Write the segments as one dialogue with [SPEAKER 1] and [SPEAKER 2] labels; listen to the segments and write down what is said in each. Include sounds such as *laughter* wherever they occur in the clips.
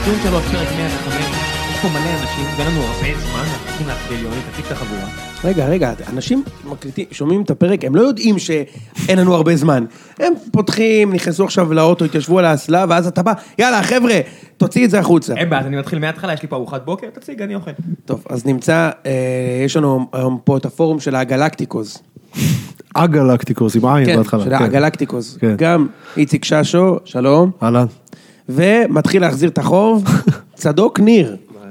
[SPEAKER 1] הציון שלו פרק 105, יש פה מלא אנשים, ואין לנו הרבה זמן, אנחנו צריכים להתחיל, יוני, תציג את החבורה.
[SPEAKER 2] רגע, רגע, אנשים מקליטים, שומעים את הפרק, הם לא יודעים שאין לנו הרבה זמן. הם פותחים, נכנסו עכשיו לאוטו, התיישבו על האסלה, ואז אתה בא, יאללה, חבר'ה, תוציא את זה החוצה.
[SPEAKER 1] אין בעיה, אז אני מתחיל מההתחלה, יש לי פה ארוחת בוקר, תציג, אני אוכל.
[SPEAKER 2] טוב, אז נמצא, אה, יש לנו היום פה את הפורום של הגלקטיקוז.
[SPEAKER 3] אגלקטיקוס עם עין
[SPEAKER 2] כן,
[SPEAKER 3] בהתחלה.
[SPEAKER 2] של הגלקטיקוז.
[SPEAKER 3] כן.
[SPEAKER 2] גם איציק ששו, שלום,
[SPEAKER 3] אהלן.
[SPEAKER 2] ומתחיל להחזיר את החוב, צדוק ניר.
[SPEAKER 4] כבר, אה,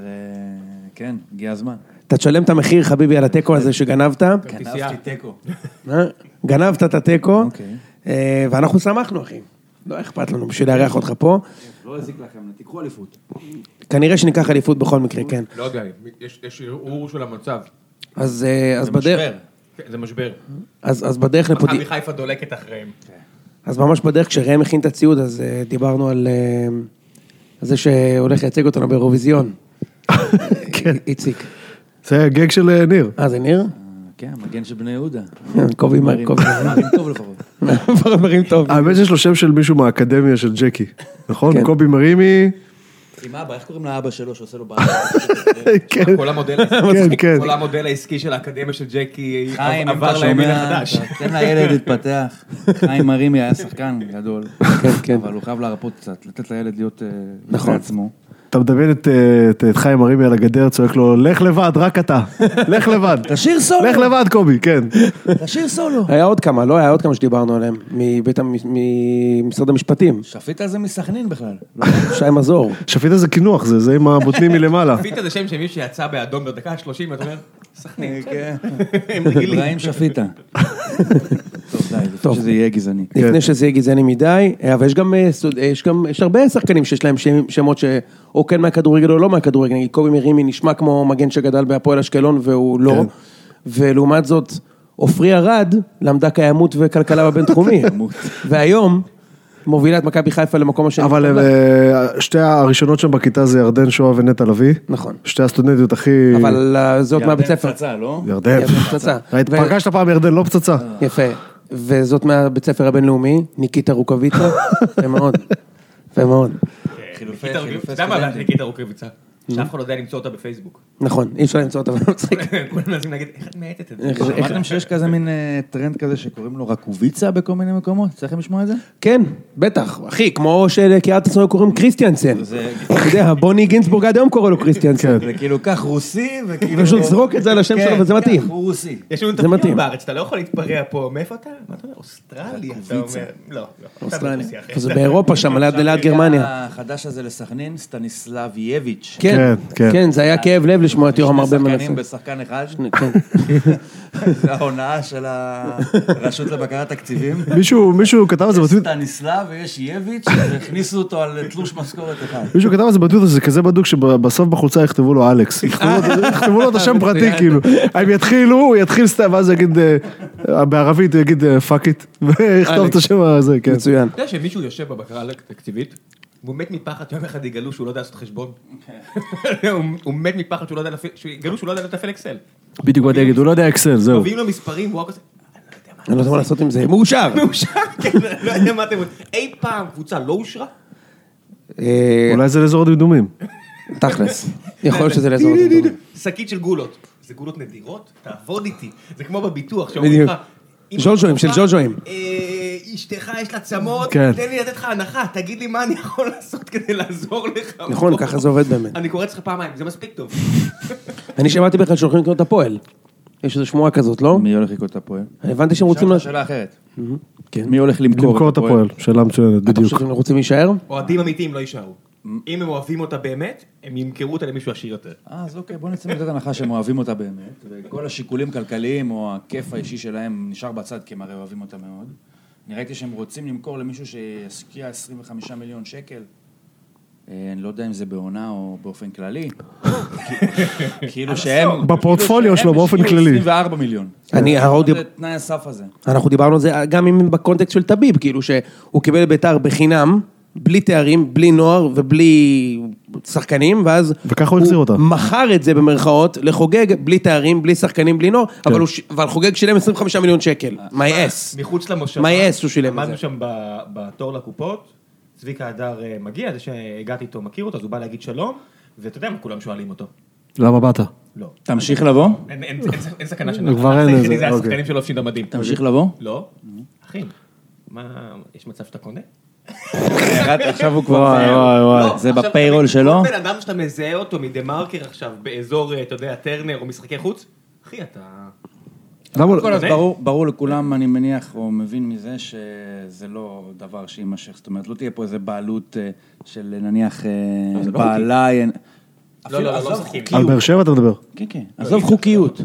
[SPEAKER 4] כן, הגיע הזמן.
[SPEAKER 2] אתה תשלם את המחיר, חביבי, על התיקו הזה שגנבת.
[SPEAKER 4] כן.
[SPEAKER 1] כרטיסייה.
[SPEAKER 4] תיקו.
[SPEAKER 2] אה? גנבת את התיקו,
[SPEAKER 4] אוקיי.
[SPEAKER 2] אה, ואנחנו שמחנו, אחי. לא אכפת לנו בשביל לארח אותך פה.
[SPEAKER 4] לא הזיק לכם, תיקחו אליפות.
[SPEAKER 2] כנראה שניקח אליפות בכל מקרה, כן.
[SPEAKER 5] לא יודע, יש, יש ערעור של המצב.
[SPEAKER 2] אז, אה, אז,
[SPEAKER 1] זה
[SPEAKER 2] בדרך,
[SPEAKER 1] משבר. כן, זה משבר.
[SPEAKER 2] אז, אז בדרך לפודי...
[SPEAKER 1] מכבי חיפה דולקת אחריהם.
[SPEAKER 2] אז ממש בדרך, כשראם הכין את הציוד, אז אה, דיברנו על אה, על זה שהולך לייצג אותנו באירוויזיון.
[SPEAKER 3] כן.
[SPEAKER 2] איציק.
[SPEAKER 3] זה הגג של אה, ניר.
[SPEAKER 2] אה, זה ניר? אה,
[SPEAKER 4] כן, מגן של בני יהודה.
[SPEAKER 2] קובי מר,
[SPEAKER 4] מרים-
[SPEAKER 2] קובי
[SPEAKER 4] *laughs* מרים טוב לפחות.
[SPEAKER 2] מר, מרים טוב.
[SPEAKER 3] האמת שיש לו שם של מישהו מהאקדמיה של ג'קי.
[SPEAKER 2] כן.
[SPEAKER 3] נכון? קובי מרימי.
[SPEAKER 4] עם אבא, איך קוראים לאבא שלו שעושה לו בעיה?
[SPEAKER 3] כן,
[SPEAKER 1] כל המודל
[SPEAKER 3] *laughs* כן, כן.
[SPEAKER 1] כל המודל העסקי של האקדמיה של ג'קי
[SPEAKER 4] *laughs* חיים, אם אתה
[SPEAKER 1] עבר לימין
[SPEAKER 4] שומע,
[SPEAKER 1] החדש.
[SPEAKER 4] אתה- תן לילד להתפתח. חיים מרימי היה שחקן גדול.
[SPEAKER 2] כן, כן.
[SPEAKER 4] אבל הוא חייב להרפות קצת, לתת לילד להיות אה,
[SPEAKER 2] נכון.
[SPEAKER 4] בפני עצמו.
[SPEAKER 3] אתה מדמיין את, אה, את- את חיים מרימי על הגדר, צועק לו, לך לבד, רק אתה. *laughs* לך לבד.
[SPEAKER 2] תשאיר סולו.
[SPEAKER 3] לך לבד, קובי, כן.
[SPEAKER 2] תשאיר סולו. היה עוד כמה, לא היה עוד כמה שדיברנו עליהם, מבית המ- ממשרד המשפטים.
[SPEAKER 4] שפית על זה מסכנין *laughs* בכלל.
[SPEAKER 2] שי מזור.
[SPEAKER 3] שפיטה זה קינוח, זה, זה עם
[SPEAKER 2] *laughs*
[SPEAKER 3] הבוטנים מלמעלה.
[SPEAKER 1] פיתה זה שם של מי שיצא באדום בדקה ה-30, ואתה אומר, סכנין.
[SPEAKER 4] כן.
[SPEAKER 1] הם רגילים.
[SPEAKER 4] *laughs* אברהים
[SPEAKER 2] *laughs*
[SPEAKER 4] שפיטה. טוב, די,
[SPEAKER 2] טוב.
[SPEAKER 4] לפני שזה יהיה גזעני.
[SPEAKER 2] לפני
[SPEAKER 3] כן.
[SPEAKER 2] שזה יהיה גזעני מדי, אה, אבל יש גם, אה, סוד- אה, יש גם, יש הרבה שחקנים שיש להם שם- שמות שאו כן מהכדורגל או לא מהכדורגל, נגיד קובי מרימי נשמע כמו מגן שגדל בהפועל אשקלון והוא
[SPEAKER 3] כן.
[SPEAKER 2] לא, ולעומת זאת, עופרי ארד למדה קיימות וכלכלה
[SPEAKER 3] *laughs*
[SPEAKER 2] בבינתחומי, והיום מובילה את מכבי חיפה למקום השני.
[SPEAKER 3] אבל הם,
[SPEAKER 2] בטבלה.
[SPEAKER 3] אה, שתי הראשונות שם בכיתה זה ירדן שואה ונטע לביא.
[SPEAKER 2] נכון.
[SPEAKER 3] שתי הסטודנטיות הכי...
[SPEAKER 2] אבל אה, זאת מהבית
[SPEAKER 4] ירדן
[SPEAKER 2] ספר.
[SPEAKER 4] פצצה, לא?
[SPEAKER 3] ירדן.
[SPEAKER 2] ירדן
[SPEAKER 3] *laughs*
[SPEAKER 2] פצצה.
[SPEAKER 3] ראית,
[SPEAKER 2] ו- אה.
[SPEAKER 3] פגשת פעם ירדן, לא פצצה.
[SPEAKER 2] יפה. וזאת מהבית ספר הבינלאומי, ניקיטה רוקוויצה,
[SPEAKER 3] *laughs*
[SPEAKER 2] יפה מאוד. יפה מאוד.
[SPEAKER 4] חילופי
[SPEAKER 1] ניקיטה רוקאביצה. אתה יודע מה
[SPEAKER 4] סטודנטים.
[SPEAKER 1] הבעיה של ניקיטה רוקאביצה? שאף אחד לא יודע למצוא אותה בפייסבוק.
[SPEAKER 2] *laughs* נכון, אי אפשר למצוא אותה, אבל מצחיק.
[SPEAKER 1] כולם מנסים להגיד, איך את מאייתת את זה?
[SPEAKER 2] איך- איך-
[SPEAKER 4] שמעתם שיש כזה מין אה, טרנד כזה שקוראים לו רקוביצה בכל מיני מקומות? צריכים לשמוע את זה?
[SPEAKER 2] כן, בטח, אחי, כמו שלקיארט עצמו קוראים קריסטיאנסן.
[SPEAKER 4] זה-
[SPEAKER 2] אתה יודע, בוני גינצבורג עד היום קורא לו קריסטיאנסן.
[SPEAKER 4] זה כאילו, קח רוסי וכאילו...
[SPEAKER 2] פשוט זרוק את זה על השם
[SPEAKER 4] כן,
[SPEAKER 2] שלו וזה
[SPEAKER 4] קח,
[SPEAKER 2] מתאים.
[SPEAKER 4] הוא רוסי.
[SPEAKER 1] יש לנו
[SPEAKER 2] זה מתאים.
[SPEAKER 1] תפקידים בארץ, אתה לא יכול להתפרע פה. מאיפה אתה? מה אתה אומר? אוסטרלי, אתה אומר. לא, לא. אתה ברוסיה,
[SPEAKER 2] אוסטרליה.
[SPEAKER 1] אחי.
[SPEAKER 2] זה באירופה שם, ליד ליד גרמניה.
[SPEAKER 4] החדש הזה לסכנין, סטניסלב יביץ'.
[SPEAKER 2] כן,
[SPEAKER 3] כן, כן.
[SPEAKER 2] כן, זה היה כאב לב לשמוע את יורם הרבה
[SPEAKER 4] שני
[SPEAKER 2] מנסה.
[SPEAKER 4] שחקנים בשחקן אחד,
[SPEAKER 2] כן.
[SPEAKER 4] *laughs* זה ההונאה של הרשות לבקרת תקציבים.
[SPEAKER 3] מישהו, מישהו כתב על זה בטוויטר,
[SPEAKER 4] סטניסלב ויש יביץ', והכניסו אותו על תלוש משכורת אחד.
[SPEAKER 3] מישהו כתב על זה בטוויטר שזה כזה בדוק שבסוף בחולצה יכתבו לו *laughs* אלכס. יכתבו לו- יכתבו לו את *laughs* השם פרטי כאילו. הם יתחילו, הוא יתחיל סתם, ואז הוא יגיד, אה, בערבית הוא יגיד פאק איט. *laughs* ויכתוב
[SPEAKER 2] אלכס.
[SPEAKER 3] את השם הזה, כן.
[SPEAKER 2] מצוין.
[SPEAKER 1] אתה יודע שמישהו יושב בבקרה התקציבית, והוא מת מפחד שיום אחד יגלו שהוא לא יודע לעשות חשבון.
[SPEAKER 2] כן.
[SPEAKER 1] *laughs* הוא- הוא מת מפחד שהוא לא יודע, להפעיל- שיגלו שהוא לא יודע לתפעל אקסל.
[SPEAKER 3] בדיוק באתי להגיד, הוא לא יודע אקסל, זהו.
[SPEAKER 1] מביאים לו מספרים, הוא רק עושה... "אני לא יודע מה
[SPEAKER 2] אני לא יודע מה לעשות עם זה, מאושר.
[SPEAKER 1] מאושר, *laughs* כן, לא יודע מה אתם רוצים. אי פעם קבוצה לא אושרה?
[SPEAKER 2] אה,
[SPEAKER 3] אולי זה לאזור הדמדומים.
[SPEAKER 2] תכלס, יכול להיות שזה לאזור הדמדומים.
[SPEAKER 1] שקית של גולות. זה גולות נדירות? תעבוד איתי. זה כמו בביטוח, שאומרים
[SPEAKER 2] בדיוק.
[SPEAKER 1] לך... "אם
[SPEAKER 2] ז'וז'ואים,
[SPEAKER 1] את
[SPEAKER 2] של
[SPEAKER 1] רוצה,
[SPEAKER 2] ז'וז'ואים.
[SPEAKER 1] אה, אשתך יש לה צמות,
[SPEAKER 3] כן.
[SPEAKER 1] תן לי לתת לך הנחה, תגיד לי מה אני יכול לעשות כדי לעזור לך.
[SPEAKER 2] נכון,
[SPEAKER 1] פה."
[SPEAKER 2] ככה זה עובד באמת.
[SPEAKER 1] אני קורא אצלך פעמיים, זה מספיק טוב.
[SPEAKER 2] אני שמעתי בכלל שהולכים לקנות את הפועל. יש איזו שמועה כזאת, לא?
[SPEAKER 4] מי הולך לקרוא את הפועל?
[SPEAKER 2] אני הבנתי שהם רוצים...
[SPEAKER 4] שאלת
[SPEAKER 2] לה-
[SPEAKER 4] שאלה אחרת.
[SPEAKER 2] כן.
[SPEAKER 4] מי הולך
[SPEAKER 3] למכור את הפועל, שאלה מצוינת,
[SPEAKER 2] אתה
[SPEAKER 3] בדיוק.
[SPEAKER 2] חושב שהם רוצים להישאר?
[SPEAKER 1] אוהדים אמיתיים לא יישארו. אם הם אוהבים אותה באמת, הם ימכרו אותה למישהו עשיר יותר.
[SPEAKER 4] אה, אז אוקיי, בוא נצא מנקודת הנחה שהם אוהבים אותה באמת, וכל השיקולים כלכליים או הכיף האישי שלהם נשאר בצד, כי הם הרי אוהבים אותה מאוד. אני ראיתי שהם רוצים למכור למישהו שישקיע 25 מיליון שקל. אה, אני לא יודע אם זה בעונה או באופן *laughs* כללי. כי- כאילו שהם...
[SPEAKER 3] בפורטפוליו
[SPEAKER 4] כאילו שהם
[SPEAKER 3] שלו, באופן
[SPEAKER 4] השקיעו
[SPEAKER 3] כללי.
[SPEAKER 4] 24 מיליון.
[SPEAKER 2] אני, ההודי...
[SPEAKER 4] מה זה תנאי הסף הזה?
[SPEAKER 2] אנחנו דיברנו על זה גם אם בקונטקסט של טביב, כאילו שהוא קיבל את ביתר בחינם, בלי תארים, בלי נוער ובלי שחקנים, ואז...
[SPEAKER 3] וככה הוא החזיר אותה.
[SPEAKER 2] מכר את זה במרכאות לחוגג, בלי תארים, בלי שחקנים, בלי נוער,
[SPEAKER 3] כן.
[SPEAKER 2] אבל, הוא, ש- אבל חוגג שילם 25 מיליון שקל, my ass.
[SPEAKER 1] מחוץ למושבה.
[SPEAKER 2] My ass הוא שילם את
[SPEAKER 1] עמדנו
[SPEAKER 2] זה.
[SPEAKER 1] שם ב- בתור לקופות, צביקה הדר אה, מגיע, זה שהגעתי איתו מכיר אותו, אז הוא בא להגיד שלום, ואתה יודע מה כולם שואלים אותו.
[SPEAKER 3] למה באת?
[SPEAKER 1] לא.
[SPEAKER 4] תמשיך לבוא?
[SPEAKER 6] אין- אין אין- אין
[SPEAKER 3] *laughs*
[SPEAKER 6] סכנה שלנו.
[SPEAKER 3] כבר
[SPEAKER 6] האח
[SPEAKER 3] אין איזה,
[SPEAKER 6] שלי זה
[SPEAKER 3] אוקיי.
[SPEAKER 6] השחקנים שלא לובשים את המדים.
[SPEAKER 4] תמשיך לבוא?
[SPEAKER 6] לא? אחי, מה, יש מצב שאתה קונה?
[SPEAKER 4] ירד, עכשיו הוא כבר...
[SPEAKER 3] וואי, וואי, וואי.
[SPEAKER 4] זה
[SPEAKER 6] לא, עכשיו,
[SPEAKER 4] בפיירול
[SPEAKER 6] תגיד,
[SPEAKER 4] שלו?
[SPEAKER 6] כל בן אדם שאתה מזהה אותו מדה מרקר עכשיו, באזור, אה, אתה יודע, טרנר או משחקי חוץ, אחי, אתה...
[SPEAKER 3] למה לא?
[SPEAKER 4] קודם כל, אז ברור- ברור לכולם, אני מניח, או מבין מזה, שזה לא דבר שיימשך. זאת אומרת, לא תהיה פה איזה בעלות אה, של נניח אה, בעליי. אין-
[SPEAKER 6] לא, לא,
[SPEAKER 4] אפילו-
[SPEAKER 6] לא,
[SPEAKER 4] עזוב
[SPEAKER 6] לא משחקים.
[SPEAKER 4] חוקיות.
[SPEAKER 3] על באר שבע אתה מדבר.
[SPEAKER 4] כן, כן. עזוב חוקיות.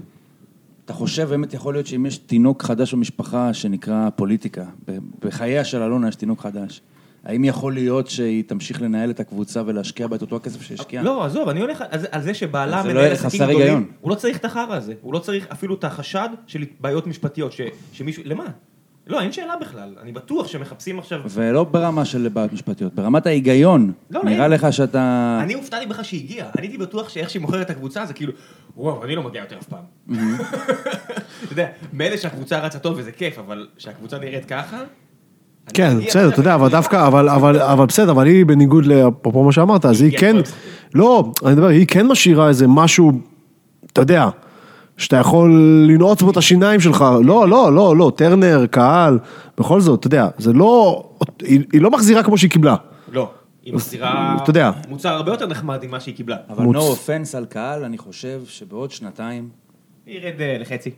[SPEAKER 4] אתה חושב, באמת יכול להיות שאם יש תינוק חדש במשפחה שנקרא פוליטיקה, ב- בחייה של אלונה יש תינוק חדש, האם יכול להיות שהיא תמשיך לנהל את הקבוצה ולהשקיע בה את אותו הכסף שהשקיעה?
[SPEAKER 1] לא, עזוב, אני הולך על- על זה שבעלה
[SPEAKER 4] כן. זה לא
[SPEAKER 1] מנהל
[SPEAKER 4] יהיה
[SPEAKER 1] עסקים
[SPEAKER 4] חסר
[SPEAKER 1] גדולים,
[SPEAKER 4] היגיון.
[SPEAKER 1] הוא לא צריך את החרא הזה, הוא לא צריך אפילו את החשד של בעיות משפטיות, ש- שמישהו, למה? לא, אין שאלה בכלל, אני בטוח שמחפשים עכשיו...
[SPEAKER 4] ולא ברמה של בעיות משפטיות, ברמת ההיגיון.
[SPEAKER 1] לא,
[SPEAKER 4] נראה
[SPEAKER 1] לא.
[SPEAKER 4] לך שאתה...
[SPEAKER 1] אני הופתעתי בכלל שהיא הגיעה, אני הייתי בטוח שאיך שהיא מוכרת את הקבוצה זה כאילו, וואו, אני לא מגיע יותר אף פעם. *laughs* אתה יודע, מילא שהקבוצה רצה טוב וזה כיף, אבל שהקבוצה נראית ככה... אני
[SPEAKER 3] כן,
[SPEAKER 1] מגיע
[SPEAKER 3] בסדר,
[SPEAKER 1] לזה,
[SPEAKER 3] אתה יודע,
[SPEAKER 1] ואני
[SPEAKER 3] אבל
[SPEAKER 1] מגיע.
[SPEAKER 3] דווקא, אבל- אבל אבל בסדר, אבל היא בניגוד לאפרופו מה שאמרת, אז היא
[SPEAKER 1] היא
[SPEAKER 3] כן,
[SPEAKER 1] הכל בסדר.
[SPEAKER 3] לא, אני מדבר, היא כן משאירה איזה משהו, אתה יודע, שאתה יכול לנעוץ בו את השיניים שלך, לא, לא, לא, לא, טרנר, קהל, בכל זאת, אתה יודע, זה לא, היא היא לא מחזירה כמו שהיא קיבלה.
[SPEAKER 1] לא, היא מחזירה
[SPEAKER 3] אתה יודע.
[SPEAKER 1] מוצר הרבה יותר נחמד ממה שהיא קיבלה.
[SPEAKER 4] אבל
[SPEAKER 3] מוצ-
[SPEAKER 4] no offense על קהל, אני חושב שבעוד שנתיים
[SPEAKER 1] היא ירד אה, לחצי.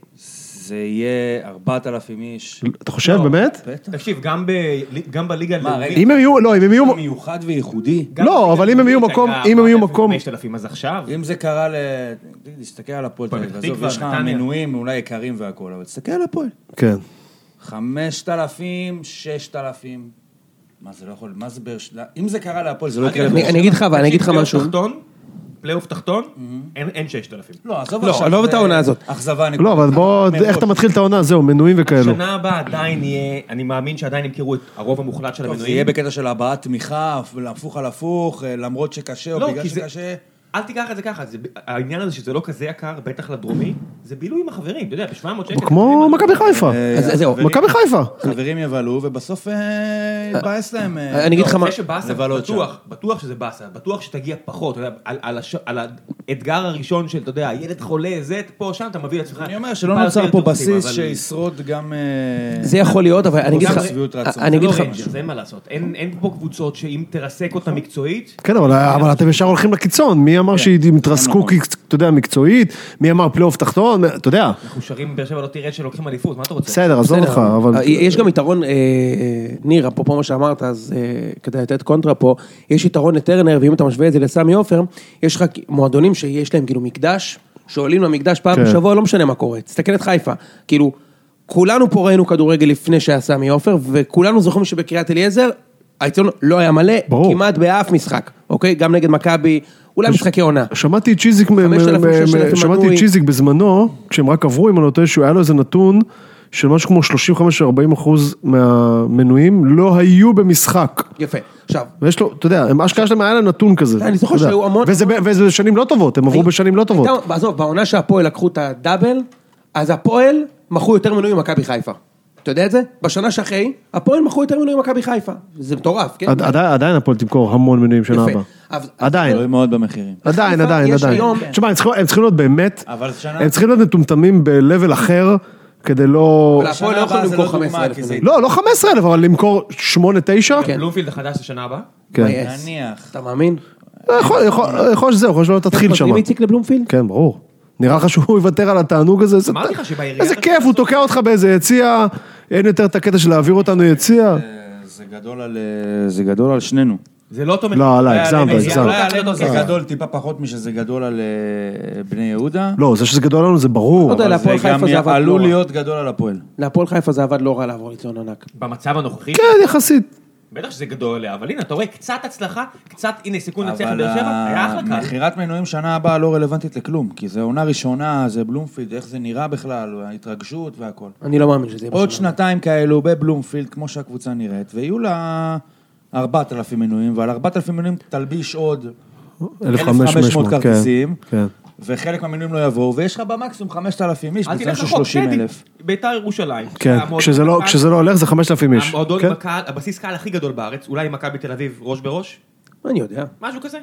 [SPEAKER 4] זה יהיה 4,000 איש.
[SPEAKER 3] אתה חושב,
[SPEAKER 1] לא.
[SPEAKER 3] באמת?
[SPEAKER 4] בטח.
[SPEAKER 1] תקשיב, גם ב- גם בליגה
[SPEAKER 4] מה,
[SPEAKER 1] הלאומית...
[SPEAKER 4] רגע,
[SPEAKER 3] אם הם יהיו, לא, אם הם יהיו,
[SPEAKER 4] מיוחד וייחודי.
[SPEAKER 1] גם
[SPEAKER 3] לא,
[SPEAKER 1] בליגה
[SPEAKER 3] אבל אם הם יהיו
[SPEAKER 1] הלאומית
[SPEAKER 3] מקום-
[SPEAKER 1] היה
[SPEAKER 3] אם הם יהיו
[SPEAKER 1] 4,000,
[SPEAKER 3] מקום-
[SPEAKER 1] 5,000 אז עכשיו.
[SPEAKER 4] אם זה קרה ל... תסתכל על הפועל תל אביב,
[SPEAKER 1] פתח
[SPEAKER 4] עזוב,
[SPEAKER 1] תקווה,
[SPEAKER 4] יש לך
[SPEAKER 1] נתניה.
[SPEAKER 4] מנויים אולי יקרים והכול, אבל תסתכל על הפועל.
[SPEAKER 3] כן,
[SPEAKER 4] 5,000, 6,000. מה זה לא יכול, מה זה באר שבע? אם זה קרה להפועל, זה לא יקרה
[SPEAKER 2] אני
[SPEAKER 4] לבאר שבע.
[SPEAKER 2] אני אגיד לך, אבל אני אגיד לך
[SPEAKER 1] פלייאוף
[SPEAKER 2] משהו.
[SPEAKER 1] תחתון, פלייאוף תחתון,
[SPEAKER 4] Mhm.
[SPEAKER 1] אין אין 6,000.
[SPEAKER 4] לא, עזוב
[SPEAKER 2] לא,
[SPEAKER 4] עכשיו.
[SPEAKER 2] לא
[SPEAKER 4] זה
[SPEAKER 2] את העונה הזאת.
[SPEAKER 4] אכזבה. אני-
[SPEAKER 3] לא, אבל בוא,
[SPEAKER 4] מראש.
[SPEAKER 3] איך אתה מתחיל את העונה, זהו, מנויים
[SPEAKER 2] כן, לא.
[SPEAKER 3] וכאלו.
[SPEAKER 1] שנה הבאה עדיין יהיה, אני מאמין שעדיין ימכרו את הרוב המוחלט של
[SPEAKER 4] טוב, זה
[SPEAKER 1] המנויים.
[SPEAKER 4] יהיה בקטע של הבעת תמיכה, הפוך על הפוך, אה, למרות שקשה או
[SPEAKER 1] לא,
[SPEAKER 4] בגלל
[SPEAKER 1] כי זה-
[SPEAKER 4] שקשה.
[SPEAKER 1] אל תיקח את זה ככה, זה- העניין הזה שזה לא כזה יקר, בטח לדרומי, זה בילוי עם החברים, אתה יודע, ב-700 שקל.
[SPEAKER 3] כמו מכבי חיפה.
[SPEAKER 1] אה,
[SPEAKER 2] אז זהו,
[SPEAKER 3] מכבי חיפה.
[SPEAKER 4] חברים יבלו, ובסוף אה, יתבאס להם. אה,
[SPEAKER 2] אני אגיד לך
[SPEAKER 1] לא,
[SPEAKER 2] מה...
[SPEAKER 1] זה שבאסה,
[SPEAKER 4] לבלות
[SPEAKER 1] בטוח, בטוח שזה באסה, בטוח שתגיע פחות, אתה יודע, על- על הש- על האתגר הראשון של, אתה יודע, הילד חולה, זה, פה, שם, אתה מביא לעצמך.
[SPEAKER 4] אני אומר שלא
[SPEAKER 1] טיפה
[SPEAKER 4] נוצר
[SPEAKER 1] יותר
[SPEAKER 4] פה
[SPEAKER 1] טורפים,
[SPEAKER 4] בסיס
[SPEAKER 1] אבל-
[SPEAKER 4] שישרוד גם... אה,
[SPEAKER 2] זה יכול להיות, אבל אני אגיד לך...
[SPEAKER 4] חוסר שביעות רצון.
[SPEAKER 2] אני
[SPEAKER 1] זה
[SPEAKER 2] אגיד
[SPEAKER 1] לא
[SPEAKER 2] לך...
[SPEAKER 1] ריינג'רס, אין מה לעשות. אין אין פה קבוצות שאם תרסק אותה מקצועית,
[SPEAKER 3] כן, אבל, אבל אתם ישר הולכים לקיצון, מי
[SPEAKER 2] כן.
[SPEAKER 3] אמר שהם התרסקו,
[SPEAKER 4] נכון.
[SPEAKER 3] כי- אתה יודע, מקצועית, מי אמר פלייאוף תחתון, אתה יודע,
[SPEAKER 1] אנחנו שרים באר שבע לא תראה שלוקחים אליפות, מה אתה רוצה?
[SPEAKER 3] בסדר, עזוב אותך,
[SPEAKER 2] נכון. בסדר,
[SPEAKER 3] אבל...
[SPEAKER 2] אה, יש גם יתרון, אה, אה, ניר, אפרופו מה שאמרת, אז אה, כדי לתת קונטרה פה, יש יתרון לטרנר, ואם אתה משווה את זה לסמי עופר, יש לך מועדונים שיש להם כאילו מקדש, שעולים למקדש פעם
[SPEAKER 3] כן.
[SPEAKER 2] בשבוע, לא משנה מה קורה, תסתכל את חיפה, כאילו, כולנו פה ראינו כדורגל לפני שהיה סמי עופר, וכולנו זוכרים שבקריית אליעזר, האיצטדיון לא היה מלא,
[SPEAKER 3] ברור.
[SPEAKER 2] כמעט באף משחק, אוקיי? גם נגד מכבי, אולי משחקי עונה.
[SPEAKER 3] שמעתי את צ'יזיק, מ- מ-
[SPEAKER 2] 5,000,
[SPEAKER 3] מ-
[SPEAKER 2] 6,000
[SPEAKER 3] שמעתי את
[SPEAKER 2] מנוי.
[SPEAKER 3] צ'יזיק בזמנו, כשהם רק עברו, אם אני לא טועה, שהוא היה לו איזה נתון של משהו כמו 35-40 אחוז מהמנויים לא היו במשחק.
[SPEAKER 2] יפה. עכשיו,
[SPEAKER 3] ויש לו, אתה יודע, הם אשכרה שלהם היה להם נתון כזה.
[SPEAKER 2] אה, אני זוכר
[SPEAKER 3] אתה יודע.
[SPEAKER 2] שהיו המון-
[SPEAKER 3] וזה ב- וזה בשנים לא טובות, הם עברו
[SPEAKER 2] היו-
[SPEAKER 3] בשנים לא טובות.
[SPEAKER 2] הייתה- עזוב, בעונה שהפועל לקחו את הדאבל, אז הפועל מכרו יותר מנויים ממכבי חיפה. אתה יודע את זה? בשנה שאחרי, הפועל מכרו יותר מנויים ממכבי חיפה. זה מטורף, כן?
[SPEAKER 3] עד- עדיין עדיין הפועל תמכור המון מנויים שנה
[SPEAKER 2] יפה. אה,
[SPEAKER 3] הבאה.
[SPEAKER 2] אז-
[SPEAKER 3] עדיין.
[SPEAKER 4] תלוי מאוד במחירים.
[SPEAKER 3] עדיין,
[SPEAKER 2] חיפה
[SPEAKER 3] עדיין,
[SPEAKER 2] יש
[SPEAKER 3] עדיין.
[SPEAKER 2] היום- כן.
[SPEAKER 3] תשמע, הם צריכים- הם צריכים להיות באמת,
[SPEAKER 4] אבל שנה-
[SPEAKER 3] הם צריכים להיות מטומטמים ב-level אחר, כדי לא...
[SPEAKER 2] אבל הפועל לא
[SPEAKER 4] השנה
[SPEAKER 2] יכול
[SPEAKER 4] הבאה זה
[SPEAKER 2] למכור
[SPEAKER 4] לא דוגמה,
[SPEAKER 2] 15,000
[SPEAKER 4] כי זה-
[SPEAKER 2] מנויים.
[SPEAKER 3] לא, לא 15 אלף, אבל למכור 8-9?
[SPEAKER 2] כן.
[SPEAKER 1] בלומפילד החדש זה שנה הבאה?
[SPEAKER 3] כן.
[SPEAKER 2] yes.
[SPEAKER 4] נניח.
[SPEAKER 2] אתה מאמין?
[SPEAKER 3] יכול- יכול יכול שזהו, יכול שלא תתחיל שם.
[SPEAKER 2] חוזרים איציק לבלומפילד?
[SPEAKER 3] כן, ברור. נראה לך שהוא יוותר על התענוג הזה? איזה-
[SPEAKER 1] אמרתי לך שבעירייה-
[SPEAKER 3] איזה כיף, הוא תוקע אותך באיזה יציע, אין יותר את הקטע של להעביר אותנו יציע.
[SPEAKER 4] אה, זה גדול על... אה, זה גדול על שנינו.
[SPEAKER 1] זה לא תומך.
[SPEAKER 3] לא,
[SPEAKER 1] אולי
[SPEAKER 3] עליי, הגזמת,
[SPEAKER 1] עלינו-
[SPEAKER 3] הגזמת.
[SPEAKER 2] אה,
[SPEAKER 1] אולי עלינו זה
[SPEAKER 4] אה,
[SPEAKER 2] אוקיי.
[SPEAKER 1] גדול.
[SPEAKER 4] זה גדול טיפה פחות משזה גדול על אה, בני יהודה.
[SPEAKER 3] לא, זה שזה גדול לנו זה ברור.
[SPEAKER 2] לא יודע,
[SPEAKER 3] אבל-
[SPEAKER 4] אבל
[SPEAKER 2] להפועל
[SPEAKER 4] זה
[SPEAKER 2] חיפה
[SPEAKER 4] גם
[SPEAKER 2] זה עבד
[SPEAKER 4] עלול
[SPEAKER 2] לא רע.
[SPEAKER 4] להיות גדול על הפועל.
[SPEAKER 2] להפועל חיפה זה עבד לא רע לעבור ליציון ענק.
[SPEAKER 1] במצב הנוכחי,
[SPEAKER 3] כן, יחסית.
[SPEAKER 1] בטח שזה גדול עליה, אבל הנה, אתה רואה קצת הצלחה, קצת, הנה, סיכון לנצח את
[SPEAKER 4] אבל
[SPEAKER 1] באר שבע, היה אחלה קהל.
[SPEAKER 4] מכירת מנויים שנה הבאה לא רלוונטית לכלום, כי זה עונה ראשונה, זה בלומפילד, איך זה נראה בכלל, ההתרגשות והכל.
[SPEAKER 2] אני לא מאמין שזה יהיה
[SPEAKER 4] עוד
[SPEAKER 2] בשנה.
[SPEAKER 4] שנתיים כאלו בבלומפילד, כמו שהקבוצה נראית, ויהיו לה 4,000 מנויים, ועל 4,000 מנויים תלביש עוד 1,500
[SPEAKER 3] 1,500,
[SPEAKER 4] כרטיסים,
[SPEAKER 3] כן.
[SPEAKER 4] וחלק מהמנויים לא יבואו, ויש לך במקסימום 5,000 איש,
[SPEAKER 1] אל
[SPEAKER 4] בצד
[SPEAKER 1] תלך
[SPEAKER 4] של
[SPEAKER 1] רחוק,
[SPEAKER 4] 30,000.
[SPEAKER 1] טדי. ביתר ירושלים.
[SPEAKER 3] כן,
[SPEAKER 1] המועדון
[SPEAKER 3] כשזה לא-
[SPEAKER 1] בקהל-
[SPEAKER 3] כשזה לא הולך זה 5,000 איש.
[SPEAKER 1] המועדון
[SPEAKER 3] כן.
[SPEAKER 1] בקהל, הבסיס קהל הכי גדול בארץ, אולי עם מכבי תל אביב ראש בראש,
[SPEAKER 2] אני יודע.
[SPEAKER 1] משהו כזה.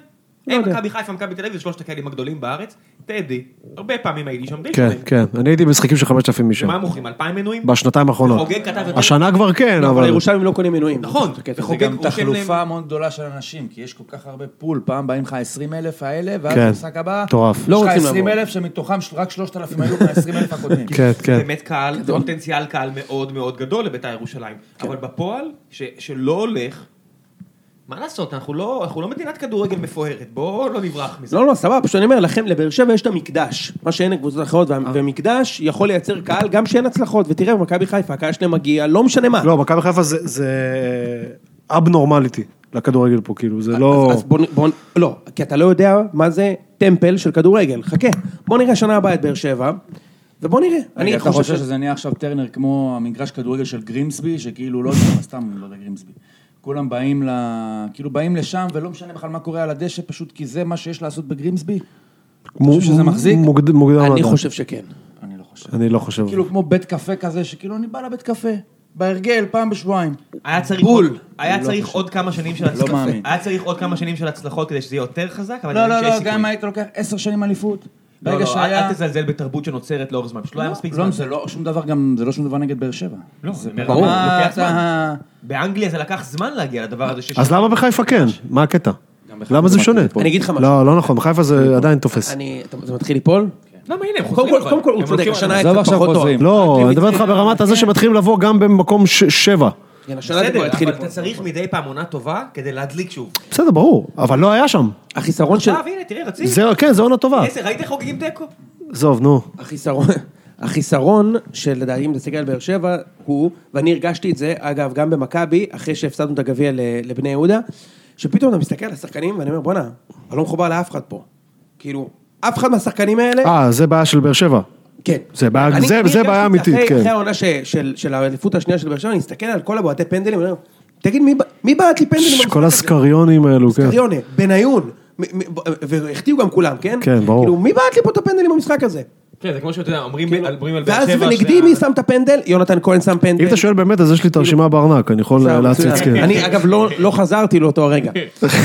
[SPEAKER 2] לא
[SPEAKER 1] הם
[SPEAKER 2] יודע.
[SPEAKER 1] מכבי חיפה, מכבי תל אביב, זה שלושת הקהלים הגדולים בארץ. טדי, הרבה פעמים הייתי שם, די
[SPEAKER 2] *laughs*
[SPEAKER 3] כן,
[SPEAKER 1] שלם.
[SPEAKER 3] כן, אני הייתי במשחקים של 5,000
[SPEAKER 2] כן.
[SPEAKER 3] איש שם,
[SPEAKER 1] ומה הם מוכרים? אלפיים מנויים?
[SPEAKER 3] בשנתיים האחרונות.
[SPEAKER 1] חוגג כתב יותר-
[SPEAKER 3] השנה כבר כן,
[SPEAKER 2] אבל
[SPEAKER 3] אבל...
[SPEAKER 2] הירושלמים לא קונים מנויים.
[SPEAKER 1] נכון,
[SPEAKER 2] זה קטע.
[SPEAKER 1] זה
[SPEAKER 4] זה גם
[SPEAKER 1] חוגג, רושם
[SPEAKER 4] תחלופה
[SPEAKER 1] להם-
[SPEAKER 4] מאוד גדולה של אנשים, כי יש כל כך הרבה פול, פעם באים לך 20 אלף האלה, ואז
[SPEAKER 3] כן.
[SPEAKER 4] במשחק הבא,
[SPEAKER 3] מטורף.
[SPEAKER 2] לא
[SPEAKER 4] יש לך
[SPEAKER 2] רוצים
[SPEAKER 4] 20
[SPEAKER 2] לעבור.
[SPEAKER 4] אלף שמתוכם ש- רק 3,000 היו מה-20 אלף הקודמים.
[SPEAKER 3] כן, כן.
[SPEAKER 1] באמת קהל, זה פוטנציאל קהל מאוד מאוד גדול לביתר ירושלים.
[SPEAKER 2] כן.
[SPEAKER 1] אבל בפועל, ש- שלא הולך, מה לעשות, אנחנו לא אנחנו לא מדינת כדורגל מפוארת, בואו לא נברח מזה.
[SPEAKER 2] לא, לא, סבבה, פשוט אני אומר לכם, לבאר שבע יש את המקדש, מה שאין לקבוצות אחרות, וה- והמקדש יכול לייצר קהל גם שאין הצלחות, ותראה, במכבי חיפה, הקהל שלהם מגיע, לא משנה מה.
[SPEAKER 3] לא, מכבי חיפה זה- זה אבנורמליטי לכדורגל פה, כאילו, זה לא...
[SPEAKER 2] אז בוא, נ- בוא, נ- לא, כי אתה לא יודע מה זה טמפל של כדורגל, חכה. בוא נראה שנה הבאה את באר שבע, ובוא נראה.
[SPEAKER 4] רגע,
[SPEAKER 2] אני
[SPEAKER 4] אתה חושב
[SPEAKER 2] חושב שזה...
[SPEAKER 4] שזה נהיה עכשיו טרנר כמו המגרש כדורגל של גרימסבי, שכאילו לא יודע, סתם לא יודע גרימסבי. כולם באים ל... כאילו באים לשם, ולא משנה בכלל מה קורה על הדשא, פשוט כי זה מה שיש לעשות בגרימסבי?
[SPEAKER 3] מ-
[SPEAKER 4] חושב שזה מחזיק?
[SPEAKER 3] מוגד- מוגדר
[SPEAKER 2] אני
[SPEAKER 3] לדעת.
[SPEAKER 2] חושב שכן.
[SPEAKER 4] אני לא חושב.
[SPEAKER 3] אני לא חושב.
[SPEAKER 4] כאילו כמו בית קפה כזה, שכאילו אני בא לבית קפה, בהרגל, פעם בשבועיים.
[SPEAKER 1] היה צריך עוד-
[SPEAKER 7] לא,
[SPEAKER 1] היה צריך
[SPEAKER 2] לא
[SPEAKER 1] עוד כמה שנים של הצלחות,
[SPEAKER 4] מאמין.
[SPEAKER 1] היה צריך עוד כמה שנים של הצלחות כדי שזה יהיה יותר חזק, אבל
[SPEAKER 4] לא,
[SPEAKER 1] אני
[SPEAKER 4] לא,
[SPEAKER 1] חושב שיש
[SPEAKER 4] לא,
[SPEAKER 1] סיכוי.
[SPEAKER 4] גם אם היית לוקח עשר שנים אליפות,
[SPEAKER 1] לא,
[SPEAKER 4] ברגע
[SPEAKER 1] לא, אל-
[SPEAKER 4] שהיה...
[SPEAKER 1] אל תזלזל בתרבות שנוצרת לאורך זמן, פשוט לא היה מספיק זמן.
[SPEAKER 4] לא, זה לא שום דבר גם, זה לא שום דבר נגד באר שבע.
[SPEAKER 1] לא,
[SPEAKER 4] זה
[SPEAKER 1] אני אומר,
[SPEAKER 4] ברור.
[SPEAKER 1] לוקח זמן.
[SPEAKER 4] אתה-
[SPEAKER 1] באנגליה זה לקח זמן להגיע לדבר הזה.
[SPEAKER 3] אז למה בחיפה כן? מה הקטע? למה זה שונה?
[SPEAKER 2] אני אגיד לך משהו.
[SPEAKER 3] לא, לא נכון, בחיפה זה עדיין תופס.
[SPEAKER 2] אני, אתה- זה מתחיל ליפול?
[SPEAKER 1] למה הנה, הם
[SPEAKER 2] קודם
[SPEAKER 1] לא, חוזרים
[SPEAKER 2] כל,
[SPEAKER 1] כבר.
[SPEAKER 2] קודם כל, הוא
[SPEAKER 1] הם
[SPEAKER 2] צודק,
[SPEAKER 1] לוקחים-
[SPEAKER 2] השנה היה
[SPEAKER 4] עזוב
[SPEAKER 2] קצת
[SPEAKER 4] עכשיו
[SPEAKER 2] פחות טוב.
[SPEAKER 4] חוזרים.
[SPEAKER 3] לא, אני מדבר איתך ברמת הזה שמתחילים לבוא גם במקום ש- שבע.
[SPEAKER 2] כן, השנה זה כבר
[SPEAKER 1] בסדר,
[SPEAKER 2] התחיל
[SPEAKER 1] אבל
[SPEAKER 2] ליפול.
[SPEAKER 1] אתה צריך מדי פעם עונה טובה כדי להדליק שוב.
[SPEAKER 3] בסדר, ברור, אבל לא היה שם.
[SPEAKER 2] כן. החיסרון של...
[SPEAKER 1] עכשיו, הנה, אה, תראה, רציף.
[SPEAKER 3] זה, כן, זו עונה טובה.
[SPEAKER 1] עשר, ראית איך חוגגים תיקו?
[SPEAKER 3] עזוב, נו.
[SPEAKER 2] החיסרון, החיסרון שלדעתי מתעסק על באר שבע הוא, ואני הרגשתי את זה, אגב, גם במכבי, אחרי שהפסדנו את הגביע ל- לבני יהודה, שפתאום אתה מסתכל על השחקנים ואני אומר, בואנה, אני לא מחובר לאף אחד פה. כאילו, אף אחד מהשחקנים האלה...
[SPEAKER 3] אה, זה בעיה של באר שבע.
[SPEAKER 2] כן.
[SPEAKER 3] זה בעיה-
[SPEAKER 2] אני-
[SPEAKER 3] זה-
[SPEAKER 2] אני
[SPEAKER 3] זה בעיה
[SPEAKER 2] הרגשתי את זה
[SPEAKER 3] אמיתית,
[SPEAKER 2] אחרי-
[SPEAKER 3] כן.
[SPEAKER 2] אחרי העונה ש- של- של האליפות השנייה של באר שבע, אני מסתכל על כל הבועטי פנדלים, ואני אומר, תגיד, מי ב- מי בעט לי פנדלים? במשחק
[SPEAKER 3] כל
[SPEAKER 2] הזה?"
[SPEAKER 3] הסקריונים האלו, כן.
[SPEAKER 2] קריונה, בניון, מ- מ- והחטיאו גם כולם, כן?
[SPEAKER 3] כן, ברור.
[SPEAKER 2] כאילו, מי בעט לי פה את הפנדלים במשחק הזה?
[SPEAKER 8] כן, זה כמו שאתה יודע, אומרים
[SPEAKER 1] כאילו,
[SPEAKER 8] על אומרים על באר
[SPEAKER 2] כאילו, ואז
[SPEAKER 8] שבע...
[SPEAKER 2] ונגדי
[SPEAKER 8] שה-
[SPEAKER 2] מי שם את הפנדל? יונתן כהן שם פנדל.
[SPEAKER 3] אם אתה שואל באמת, אז יש לי את הרשימה בארנק, אני יכול
[SPEAKER 2] כן. כאילו- מצוין.
[SPEAKER 3] להציץ, כן.
[SPEAKER 2] אני אגב לא- לא חזרתי לאותו
[SPEAKER 3] *laughs*
[SPEAKER 2] הרגע.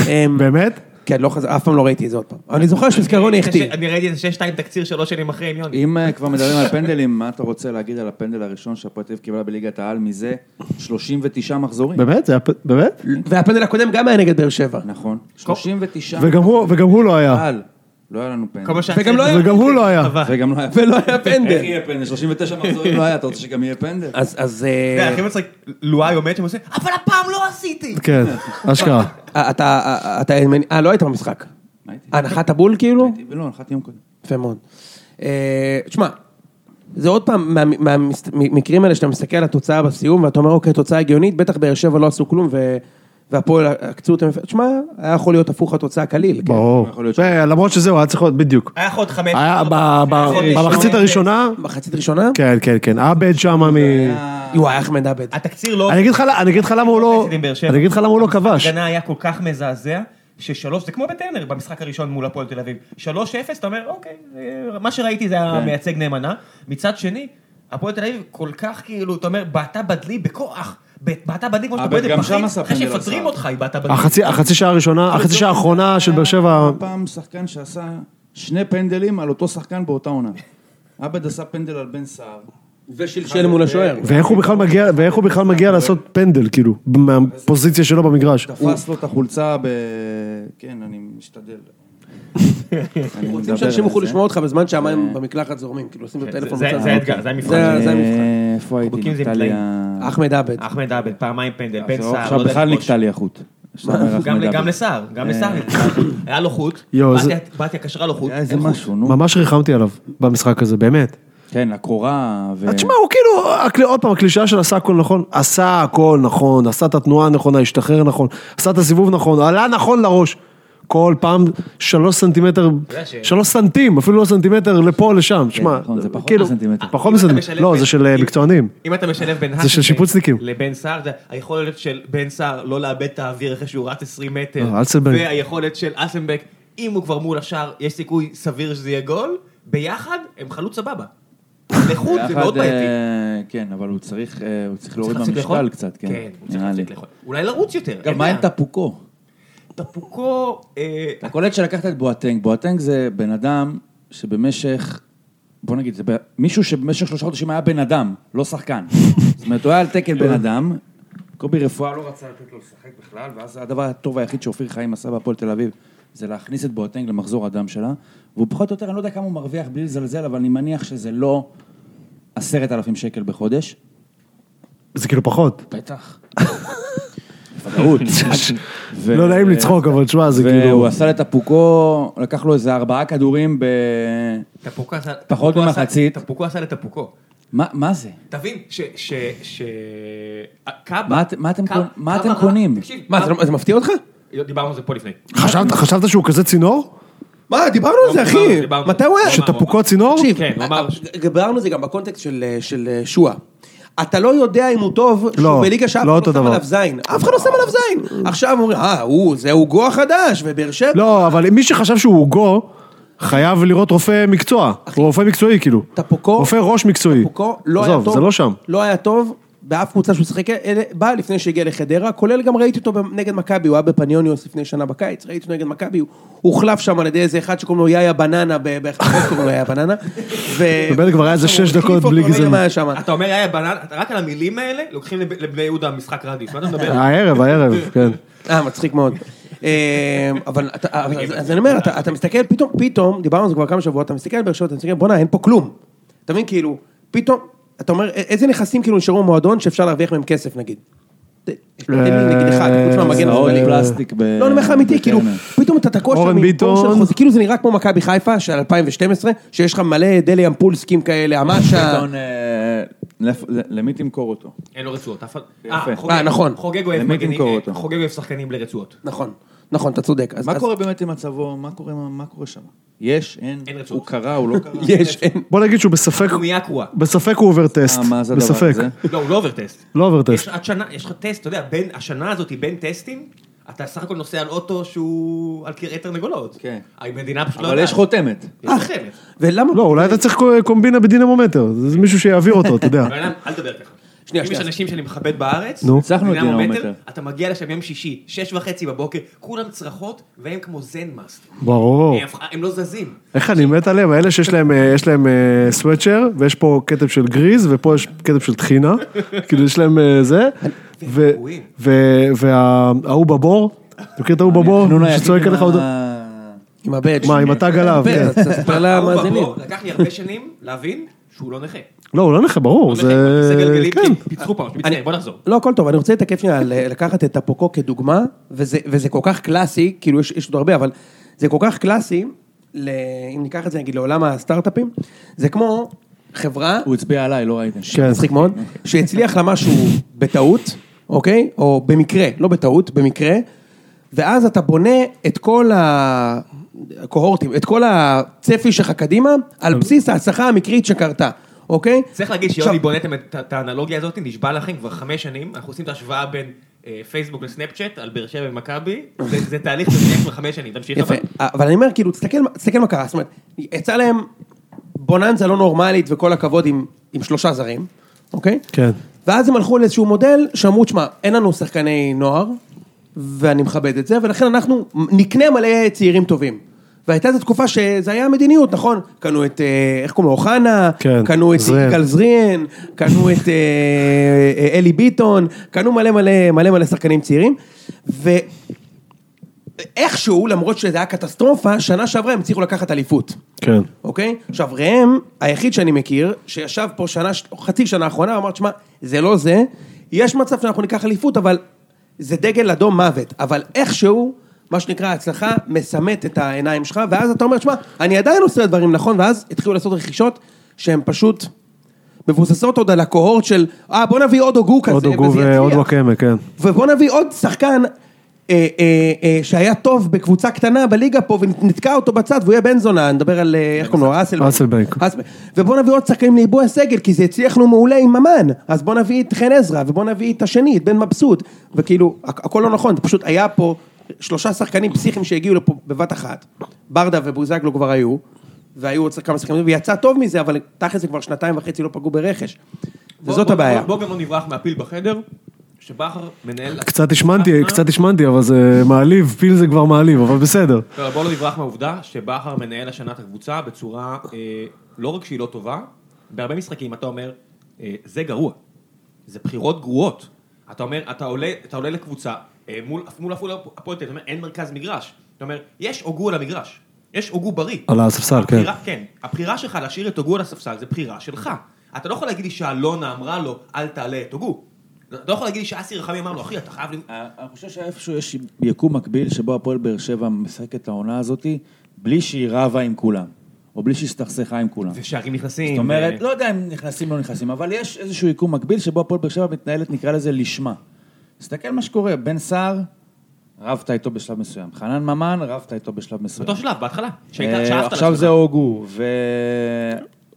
[SPEAKER 2] אמ,
[SPEAKER 3] באמת?
[SPEAKER 2] כן, לא חזר, אף פעם לא ראיתי את זה עוד פעם. אני זוכר שסקרוני
[SPEAKER 8] אה,
[SPEAKER 2] החטיא.
[SPEAKER 1] אני ראיתי את השש-שתיים תקציר שלוש שנים אחרי עם יוני.
[SPEAKER 4] אם אה, כבר מדברים על פנדלים, מה אתה רוצה להגיד על הפנדל הראשון שהפועל תל אביב קיבלה בליגת העל מזה 39 מחזורים?
[SPEAKER 3] באמת? זה היה פ- באמת?
[SPEAKER 2] לא.
[SPEAKER 8] אה.
[SPEAKER 2] והפנדל הקודם גם היה נגד באר שבע.
[SPEAKER 4] נכון. 39
[SPEAKER 3] וגם הוא- וגם הוא לא
[SPEAKER 2] אה,
[SPEAKER 3] היה.
[SPEAKER 4] על. לא היה לנו פנדל.
[SPEAKER 1] כמה
[SPEAKER 2] וגם לא היה-
[SPEAKER 3] וגם הוא לא היה.
[SPEAKER 4] וגם לא היה
[SPEAKER 2] ולא היה פנדל.
[SPEAKER 4] איך יהיה פנדל? 39 מחזורים לא היה, אתה רוצה שגם יהיה פנדל?
[SPEAKER 2] אז, אז אה,
[SPEAKER 1] זה הכי מצחיק, לואי עומד שם ועושה, אבל הפעם לא עשיתי!
[SPEAKER 3] כן, אשכרה.
[SPEAKER 2] אה, אתה, אה, אתה, אה, לא היית במשחק.
[SPEAKER 4] מה הייתי?
[SPEAKER 2] הנחת הבול כאילו?
[SPEAKER 4] הייתי- לא, הנחת יום קודם.
[SPEAKER 2] יפה מאוד. אה, תשמע, זה עוד פעם מהמקרים האלה שאתה מסתכל על התוצאה בסיום ואתה אומר, אוקיי, תוצאה הגיונית, בטח באר שבע לא עשו כלום ו- והפועל עקצו אותם. תשמע, היה יכול להיות הפוך התוצאה קליל. כן.
[SPEAKER 3] ברור.
[SPEAKER 4] יכול להיות ש-
[SPEAKER 3] אה, למרות שזהו, היה צריך להיות, בדיוק.
[SPEAKER 1] היה לך עוד חמש.
[SPEAKER 2] אה,
[SPEAKER 3] היה ב- ב- במחצית הראשונה,
[SPEAKER 2] מחצית ראשונה?
[SPEAKER 3] כן, כן, כן, עבד שם מ...
[SPEAKER 2] אה, יואו, היה אחמד עבד.
[SPEAKER 1] התקציר
[SPEAKER 2] אה.
[SPEAKER 1] לא...
[SPEAKER 3] אני אגיד לך ל- אני אגיד לך למה הוא לא...
[SPEAKER 1] מחצית עם באר שבע.
[SPEAKER 3] אני אגיד לך למה הוא לא כבש.
[SPEAKER 1] ההגנה היה כל כך מזעזע, ששלוש, זה כמו בטרנר במשחק הראשון מול הפועל תל אביב. שלוש אפס, אתה אומר, אוקיי, אה, מה שראיתי זה
[SPEAKER 2] כן.
[SPEAKER 1] היה מייצג נאמנה. מצד שני, הפועל תל אביב כל כך כאילו, אתה אומר, בעטה בדלי בכוח. בעטה בדלי כמו שאתה
[SPEAKER 4] אבל
[SPEAKER 1] בועט
[SPEAKER 4] גם
[SPEAKER 1] בפחית,
[SPEAKER 4] שם עשה
[SPEAKER 1] אחרי
[SPEAKER 4] פנדל
[SPEAKER 1] שיפטרים
[SPEAKER 4] לסער.
[SPEAKER 1] אותך, היא
[SPEAKER 2] אה,
[SPEAKER 1] בעטה בדלי.
[SPEAKER 3] החצי החצי שעה הראשונה, החצי שעה האחרונה של באר שבע...
[SPEAKER 2] אה.
[SPEAKER 4] היה פעם שחקן שעשה שני פנדלים על אותו שחקן באותה עונה. עבד עשה פנדל על בן סער.
[SPEAKER 2] ושלשל מול השוער.
[SPEAKER 3] ואיך הוא בכלל מגיע, ואיך הוא בכלל מגיע לעשות פנדל,
[SPEAKER 2] אה,
[SPEAKER 3] כאילו, מהפוזיציה שלו במגרש.
[SPEAKER 4] תפס לו את החולצה ב... כן, אני משתדל. אני מדבר
[SPEAKER 2] רוצים שאנשים
[SPEAKER 4] על
[SPEAKER 2] יוכלו
[SPEAKER 4] זה.
[SPEAKER 2] לשמוע אותך בזמן שהמים במקלחת זורמים, כאילו עושים את הטלפון
[SPEAKER 1] זה-
[SPEAKER 2] בצד.
[SPEAKER 1] זה האתגר, זה המבחן.
[SPEAKER 2] זה- זה המבחן.
[SPEAKER 4] אה, איפה הייתי?
[SPEAKER 1] חוקים זה עם
[SPEAKER 4] נקטע לי
[SPEAKER 1] טלאים.
[SPEAKER 4] ה...
[SPEAKER 2] אחמד עבד.
[SPEAKER 1] אחמד עבד, פעמיים פנדל, בן
[SPEAKER 4] זה
[SPEAKER 1] סער,
[SPEAKER 4] עכשיו
[SPEAKER 1] לא יודע
[SPEAKER 4] בכלל
[SPEAKER 1] לכבוש.
[SPEAKER 4] נקטע לי החוט.
[SPEAKER 1] *laughs* גם ל- גם לסער, גם לסער, נקטע. היה לו חוט,
[SPEAKER 3] יואו, זה-
[SPEAKER 1] בתיה- בתיה קשרה לו חוט,
[SPEAKER 9] אה,
[SPEAKER 4] היה איזה
[SPEAKER 1] אין חוט.
[SPEAKER 4] אה, משהו, נו.
[SPEAKER 3] ממש ריחמתי עליו במשחק הזה, באמת.
[SPEAKER 4] כן, הקורה ו...
[SPEAKER 3] אז תשמע, הוא כאילו, הקל- עוד פעם, הקלישאה של עשה הכל נכון, עשה הכל נכון, עשה את התנועה הנכונה, השתחרר נכון, עשה את הסיבוב נכון, עלה נכון לראש. כל פעם שלוש סנטימטר, שלוש סנטים, אפילו לא סנטימטר לפה, לשם. תשמע,
[SPEAKER 4] נכון, זה פחות
[SPEAKER 3] כאילו,
[SPEAKER 4] מסנטימטר.
[SPEAKER 3] פחות
[SPEAKER 1] אם אתה
[SPEAKER 3] מסנטימטר.
[SPEAKER 1] משלב כן.
[SPEAKER 3] לא,
[SPEAKER 1] בין-
[SPEAKER 3] זה של אה,
[SPEAKER 1] אם-
[SPEAKER 3] מקצוענים.
[SPEAKER 1] אם אתה משלב בין
[SPEAKER 3] של
[SPEAKER 1] האקספלט
[SPEAKER 3] שיפוצניקים.
[SPEAKER 1] לבן סער, זה היכולת של בן סער לא לאבד את האוויר אחרי שהוא רץ 20 מטר.
[SPEAKER 3] לא, אלסנבק.
[SPEAKER 1] והיכולת של אסנבק, אם הוא כבר מול השער, יש סיכוי סביר שזה יהיה גול, ביחד הם חלוץ סבבה. לחוד זה מאוד
[SPEAKER 9] ביחד,
[SPEAKER 1] בעייתי.
[SPEAKER 9] אה, כן, אבל הוא צריך אה, הוא צריך להוריד
[SPEAKER 1] צריך להפסיק לאכול?
[SPEAKER 9] במשקל קצת, כן,
[SPEAKER 1] כן, הוא צריך
[SPEAKER 9] נראה לי.
[SPEAKER 1] להפסיק לאכול. אולי לרוץ יותר.
[SPEAKER 9] אגב, מה עם טפוקו?
[SPEAKER 1] טפוקו? אה,
[SPEAKER 9] אתה קולט שלקחת את בואטנג. בואטנג זה בן אדם שבמשך, בוא נגיד, זה ב- מישהו שבמשך שלושה חודשים היה בן אדם, לא שחקן. זאת אומרת, הוא היה על תקן
[SPEAKER 3] כן.
[SPEAKER 9] בן אדם, קובי רפואה לא רצה לתת לו לשחק בכלל, ואז הדבר הטוב היחיד שאופיר חיים עשה בהפועל תל אביב, זה להכניס את בואטנג למחזור הדם שלה, והוא פחות או יותר, אני לא יודע כמה הוא מרוויח בלי לזלזל, אבל אני מניח שזה לא עשרת אלפים שקל בחודש.
[SPEAKER 3] זה כאילו פחות.
[SPEAKER 9] בטח.
[SPEAKER 3] *laughs*
[SPEAKER 9] ו-
[SPEAKER 3] לא נעים לצחוק, אבל תשמע, זה כאילו...
[SPEAKER 9] והוא עשה לתפוקו, לקח לו איזה ארבעה כדורים ב...
[SPEAKER 1] טפוקו עשה...
[SPEAKER 9] פחות
[SPEAKER 1] טפוקו עשה-
[SPEAKER 9] ממחצית.
[SPEAKER 1] טפוקו עשה לטפוקו.
[SPEAKER 9] מה, מה זה?
[SPEAKER 1] תבין, ש... ש... ש... אה, קאבה...
[SPEAKER 9] מה את- מה אתם
[SPEAKER 1] קאב-
[SPEAKER 9] קונ- מה
[SPEAKER 1] קאבה
[SPEAKER 9] אתם
[SPEAKER 1] רע.
[SPEAKER 9] קונים?
[SPEAKER 1] תקשיב,
[SPEAKER 2] מה, זה לא- זה מפתיע אותך?
[SPEAKER 1] דיברנו על זה פה לפני.
[SPEAKER 3] חשבת- חשבת שהוא כזה צינור?
[SPEAKER 2] מה, דיברנו על זה,
[SPEAKER 1] דיברנו,
[SPEAKER 2] אחי.
[SPEAKER 1] לא, דיברנו. לא,
[SPEAKER 2] מתי הוא היה?
[SPEAKER 1] שתפ-
[SPEAKER 3] שתפוקו צינור?
[SPEAKER 2] תקשיב, אה,
[SPEAKER 1] כן, הוא אמר-
[SPEAKER 2] דיברנו על זה גם בקונטקסט של, של אה, שועה. אתה לא יודע אם הוא טוב,
[SPEAKER 3] לא,
[SPEAKER 2] שהוא בליגה שאף
[SPEAKER 3] לא
[SPEAKER 2] אחד
[SPEAKER 3] אותו
[SPEAKER 2] לא שם
[SPEAKER 3] דבר.
[SPEAKER 2] עליו זין. אף אחד לא שם עליו זין. עכשיו אומרים, אה, הוא, זה עוגו החדש, ובאר שבע.
[SPEAKER 3] לא, אבל מי שחשב שהוא עוגו, חייב לראות רופא מקצוע. הוא רופא מקצועי, כאילו.
[SPEAKER 2] טפוקו-
[SPEAKER 3] רופא ראש מקצועי.
[SPEAKER 2] פוקו לא היה
[SPEAKER 3] עזוב,
[SPEAKER 2] טוב.
[SPEAKER 3] זה לא שם.
[SPEAKER 2] לא היה טוב באף קבוצה שהוא שיחק אלה- בה לפני שהגיע לחדרה, כולל גם ראיתי אותו נגד מכבי, הוא היה בפניוניוס לפני שנה בקיץ, ראיתי אותו נגד מכבי, הוא הוחלף שם על ידי איזה אחד שקוראים לו יאיה בננה, ב- באחד קוראים לו יאיה
[SPEAKER 3] *laughs*
[SPEAKER 2] בננה.
[SPEAKER 3] באמת כבר היה איזה שש דקות
[SPEAKER 2] לא
[SPEAKER 3] בלי גזענות.
[SPEAKER 2] גזענות.
[SPEAKER 1] אתה אומר, היה בנן, אתה רק על המילים האלה, לוקחים לב- לבני יהודה משחק רדיוס. מה אתה
[SPEAKER 9] אה,
[SPEAKER 1] מדבר?
[SPEAKER 3] הערב, הערב, כן.
[SPEAKER 2] אה, מצחיק מאוד. אה, אבל אתה- אז- אז אני אומר, אתה אתה מסתכל, פתאום, פתאום, דיברנו על זה כבר כמה שבועות, אתה מסתכל על באר שבע, אתה מסתכל, בואנה, אין פה כלום. אתה מבין, כאילו, פתאום, אתה אומר, א- איזה נכסים כאילו נשארו במועדון שאפשר להרוויח מהם כסף, נגיד? ת- תן
[SPEAKER 3] אה,
[SPEAKER 2] לי נגיד אחד, חוץ מהמגן
[SPEAKER 9] צבאות
[SPEAKER 2] השמאלי.
[SPEAKER 9] פלסטיק ב-
[SPEAKER 2] לא, אני אומר לך אמיתי, כאילו,
[SPEAKER 9] בקרן.
[SPEAKER 2] פתאום אתה תקוע
[SPEAKER 3] אורן
[SPEAKER 2] שם עם
[SPEAKER 3] ביטון.
[SPEAKER 2] בור של חוזה, כאילו זה נראה כמו מכבי חיפה של 2012, שיש לך מלא דלי אמפולסקים
[SPEAKER 9] *laughs*
[SPEAKER 2] כאלה, אמשה,
[SPEAKER 9] ביטון, אה, לפ- למי תמכור אותו?
[SPEAKER 1] אין לו רצועות, אף אחד.
[SPEAKER 9] יפה.
[SPEAKER 1] חוגג-
[SPEAKER 2] אה, נכון.
[SPEAKER 1] חוגג אוהב
[SPEAKER 9] למי
[SPEAKER 1] מגנים-
[SPEAKER 9] תמכור
[SPEAKER 1] אה,
[SPEAKER 9] אותו?
[SPEAKER 1] חוגג אוהב שחקנים בלי רצועות.
[SPEAKER 2] נכון, נכון, אתה צודק. אז-
[SPEAKER 9] מה
[SPEAKER 2] אז-
[SPEAKER 9] קורה באמת עם מצבו? מה קורה עם ה- מה קורה שם? יש, אין,
[SPEAKER 1] אין רצועות.
[SPEAKER 9] הוא קרא, הוא לא קרא.
[SPEAKER 3] *laughs*
[SPEAKER 2] יש, אין.
[SPEAKER 3] בוא נגיד שהוא בספק,
[SPEAKER 1] הוא נהיה קרואה.
[SPEAKER 3] בספק הוא עובר טסט.
[SPEAKER 9] אה, מה זה הדבר
[SPEAKER 3] בספק.
[SPEAKER 9] הזה?
[SPEAKER 1] לא, הוא לא עובר טסט.
[SPEAKER 3] לא עובר טסט.
[SPEAKER 1] יש עד שנה, יש לך טסט, אתה יודע, בין, השנה הזאת היא בין טסטים, אתה סך הכל נוסע על אוטו שהוא על קרעי תרנגולות.
[SPEAKER 9] כן.
[SPEAKER 1] המדינה פשוט לא
[SPEAKER 9] אבל יש חותמת.
[SPEAKER 1] יש חותמת.
[SPEAKER 2] ולמה?
[SPEAKER 3] לא, אולי אתה צריך קומבינה בדינמומטר. זה מישהו שיעביר אותו,
[SPEAKER 9] *laughs*
[SPEAKER 3] אתה יודע.
[SPEAKER 1] אבל אל- אל תדבר ככה.
[SPEAKER 2] שנייה,
[SPEAKER 1] אם יש
[SPEAKER 2] שנייה.
[SPEAKER 1] אנשים שאני מכבד בארץ,
[SPEAKER 3] נו.
[SPEAKER 9] הצלחנו את
[SPEAKER 1] בדינמומטר,
[SPEAKER 9] דינמומטר.
[SPEAKER 1] אתה מגיע לשם יום שישי, שש וחצי בבוקר, כולם צרחות, והם כמו זן מאסט.
[SPEAKER 3] ברור.
[SPEAKER 1] הם אף- הם לא זזים.
[SPEAKER 3] איך אני מת עליהם, האלה שיש להם, אה, יש להם אה, סוואצ'ר, ויש פה כתב של גריז, ופה יש כתב של טחינה, כאילו יש להם אה, זה,
[SPEAKER 1] רואים.
[SPEAKER 3] וההוא בבור, אתה מכיר את ההוא בבור,
[SPEAKER 9] החנון
[SPEAKER 1] לא
[SPEAKER 9] היחיד
[SPEAKER 3] אה, שצועק עליך
[SPEAKER 9] עם
[SPEAKER 3] עוד,
[SPEAKER 9] ה-
[SPEAKER 2] עם הבט.
[SPEAKER 3] מה, עם הטג עליו, כן.
[SPEAKER 9] *laughs*
[SPEAKER 2] תספר למאזינים.
[SPEAKER 1] הוא בבור, לקח לי הרבה שנים להבין שהוא לא נכה.
[SPEAKER 3] לא, הוא לא נכה, ברור,
[SPEAKER 1] הוא
[SPEAKER 3] זה,
[SPEAKER 1] נכה, בכיסא גלגלים,
[SPEAKER 3] כן,
[SPEAKER 1] כי פיצחו פעם,
[SPEAKER 2] אני-
[SPEAKER 1] מצטער, בוא נחזור.
[SPEAKER 2] לא, הכל טוב, אני רוצה להתעכב שנייה על אה, לקחת את טפוקו כדוגמה, וזה וזה כל כך קלאסי, כאילו יש יש עוד הרבה, אבל זה כל כך קלאסי, ל- אם ניקח את זה נגיד לעולם הסטארט-אפים, זה כמו חברה,
[SPEAKER 9] הוא הצביע עליי, לא ראיתם.
[SPEAKER 3] כן.
[SPEAKER 2] מצחיק מאוד, שהצליח לה משהו בטעות, אוקיי? או במקרה, לא בטעות, במקרה, ואז אתה בונה את כל הקוהורטים, את כל הצפי שלך קדימה, על בסיס ההצלחה המקרית שקרתה, אוקיי?
[SPEAKER 1] צריך להגיד
[SPEAKER 2] עכשיו-
[SPEAKER 1] שיוני בונתם את את האנלוגיה הזאת, נשבע לכם כבר חמש שנים, אנחנו עושים את ההשוואה בין אה, פייסבוק לסנאפצ'אט, על באר שבע ומכבי, זה זה תהליך שמתנהל כבר חמש שנים, תמשיך
[SPEAKER 2] יפה,
[SPEAKER 1] אבל.
[SPEAKER 2] אבל אני אומר, כאילו, תסתכל, תסתכל מה קרה, זאת אומרת, יצא להם בוננזה לא נורמלית וכל הכבוד עם, עם שלושה זרים, אוקיי?
[SPEAKER 3] כן.
[SPEAKER 2] ואז הם הלכו לאיזשהו מודל שאמרו, תשמע, אין לנו שחקני נוער, ואני מכבד את זה, ולכן אנחנו נקנה מלא צעירים טובים. והייתה איזו תקופה שזה היה המדיניות, נכון? קנו את, אה, איך קוראים לו, אוחנה,
[SPEAKER 3] כן,
[SPEAKER 2] קנו את
[SPEAKER 3] זריהן.
[SPEAKER 2] יגאל זריהן, קנו את אה, אה, אלי ביטון, קנו מלא מלא מלא מלא שחקנים צעירים, ו... איכשהו, למרות שזה היה קטסטרופה, שנה שעברה הם הצליחו לקחת אליפות,
[SPEAKER 3] כן,
[SPEAKER 2] אוקיי? עכשיו, ראם, היחיד שאני מכיר, שישב פה שנה, ש- חצי שנה האחרונה, ואמר, שמע, זה לא זה, יש מצב שאנחנו ניקח אליפות, אבל זה דגל אדום מוות, אבל איכשהו, מה שנקרא, ההצלחה מסמאת את העיניים שלך, ואז אתה אומר, שמע, אני עדיין עושה דברים נכון, ואז התחילו לעשות רכישות שהן פשוט מבוססות עוד על הקוהורט של, אה, בוא נביא עוד הוגו כזה,
[SPEAKER 3] עוד הוגו
[SPEAKER 2] וזה
[SPEAKER 3] ועוד
[SPEAKER 2] יצליח."
[SPEAKER 3] וואקמה, כן.
[SPEAKER 2] ובוא נביא עוד שחקן אה, אה, אה, שהיה טוב בקבוצה קטנה בליגה פה ונתקע אותו בצד והוא יהיה בן זונה, אני מדבר על, אה, איך קוראים לו, אסלבנק.
[SPEAKER 3] אסלבנק.
[SPEAKER 2] אסלבנק. ובוא נביא עוד שחקנים לעיבוי הסגל, כי זה הצליח לנו מעולה עם ממן, אז בוא נביא את חן עזרא, ובוא נביא את השני, את בן מבסוט, וכאילו, הכ- הכל לא נכון, זה פשוט היה פה שלושה שחקנים פסיכיים שהגיעו לפה בבת אחת, ברדה ובוזגלו כבר היו, והיו עוד כמה שחקנים, ויצא טוב מזה, אבל תכל'ס זה כבר שנתיים וחצי לא פגעו ברכש. וזאת
[SPEAKER 1] בוא-
[SPEAKER 2] הבעיה.
[SPEAKER 1] בוא- בוא גם לא נברח מהפיל בחדר, שבכר מנהל... אה,
[SPEAKER 3] קצת השמנתי, קצת השמנתי, אבל זה מעליב, פיל זה כבר מעליב, אבל בסדר.
[SPEAKER 1] לא, בואו לא נברח מהעובדה שבכר מנהל השנה את הקבוצה בצורה אה, לא רק שהיא לא טובה, בהרבה משחקים אתה אומר, אה, זה גרוע. זה בחירות גרועות. אתה אומר, אתה עולה, אתה עולה לקבוצה אה, מול מול עפולה הפועל תל אביב, אתה אומר, אין מרכז מגרש. אתה אומר, יש הוגו על המגרש. יש הוגו בריא.
[SPEAKER 3] על הספסל, כן.
[SPEAKER 1] הבחירה- כן. הבחירה שלך להשאיר את הוגו על הספסל זה בחירה שלך. אתה לא יכול להגיד לי שאלונה אמרה לו, אל תעלה את הוגו. אתה לא יכול להגיד לי שאסי רחמי אמר לו, אחי, אתה חייב... למ-"
[SPEAKER 4] אה, אני חושב שאיפשהו יש יקום מקביל שבו הפועל באר שבע משחק את העונה הזאת בלי שהיא רבה עם כולם, או בלי שהיא הסתכסכה עם כולם.
[SPEAKER 1] ושערים נכנסים.
[SPEAKER 4] זאת אומרת,
[SPEAKER 1] ו-
[SPEAKER 4] לא יודע אם נכנסים או לא נכנסים, אבל יש איזשהו יקום מקביל שבו הפועל באר שבע מתנהלת, נקרא לזה, לשמה. תסתכל מה שקורה, בן סער, רבת איתו בשלב מסוים, חנן ממן, רבת איתו בשלב מסוים.
[SPEAKER 1] באותו שלב, בהתחלה. שהיית-
[SPEAKER 4] אה,
[SPEAKER 1] שאפת
[SPEAKER 4] עכשיו
[SPEAKER 1] לעצמך.
[SPEAKER 4] זה הוגו, ו...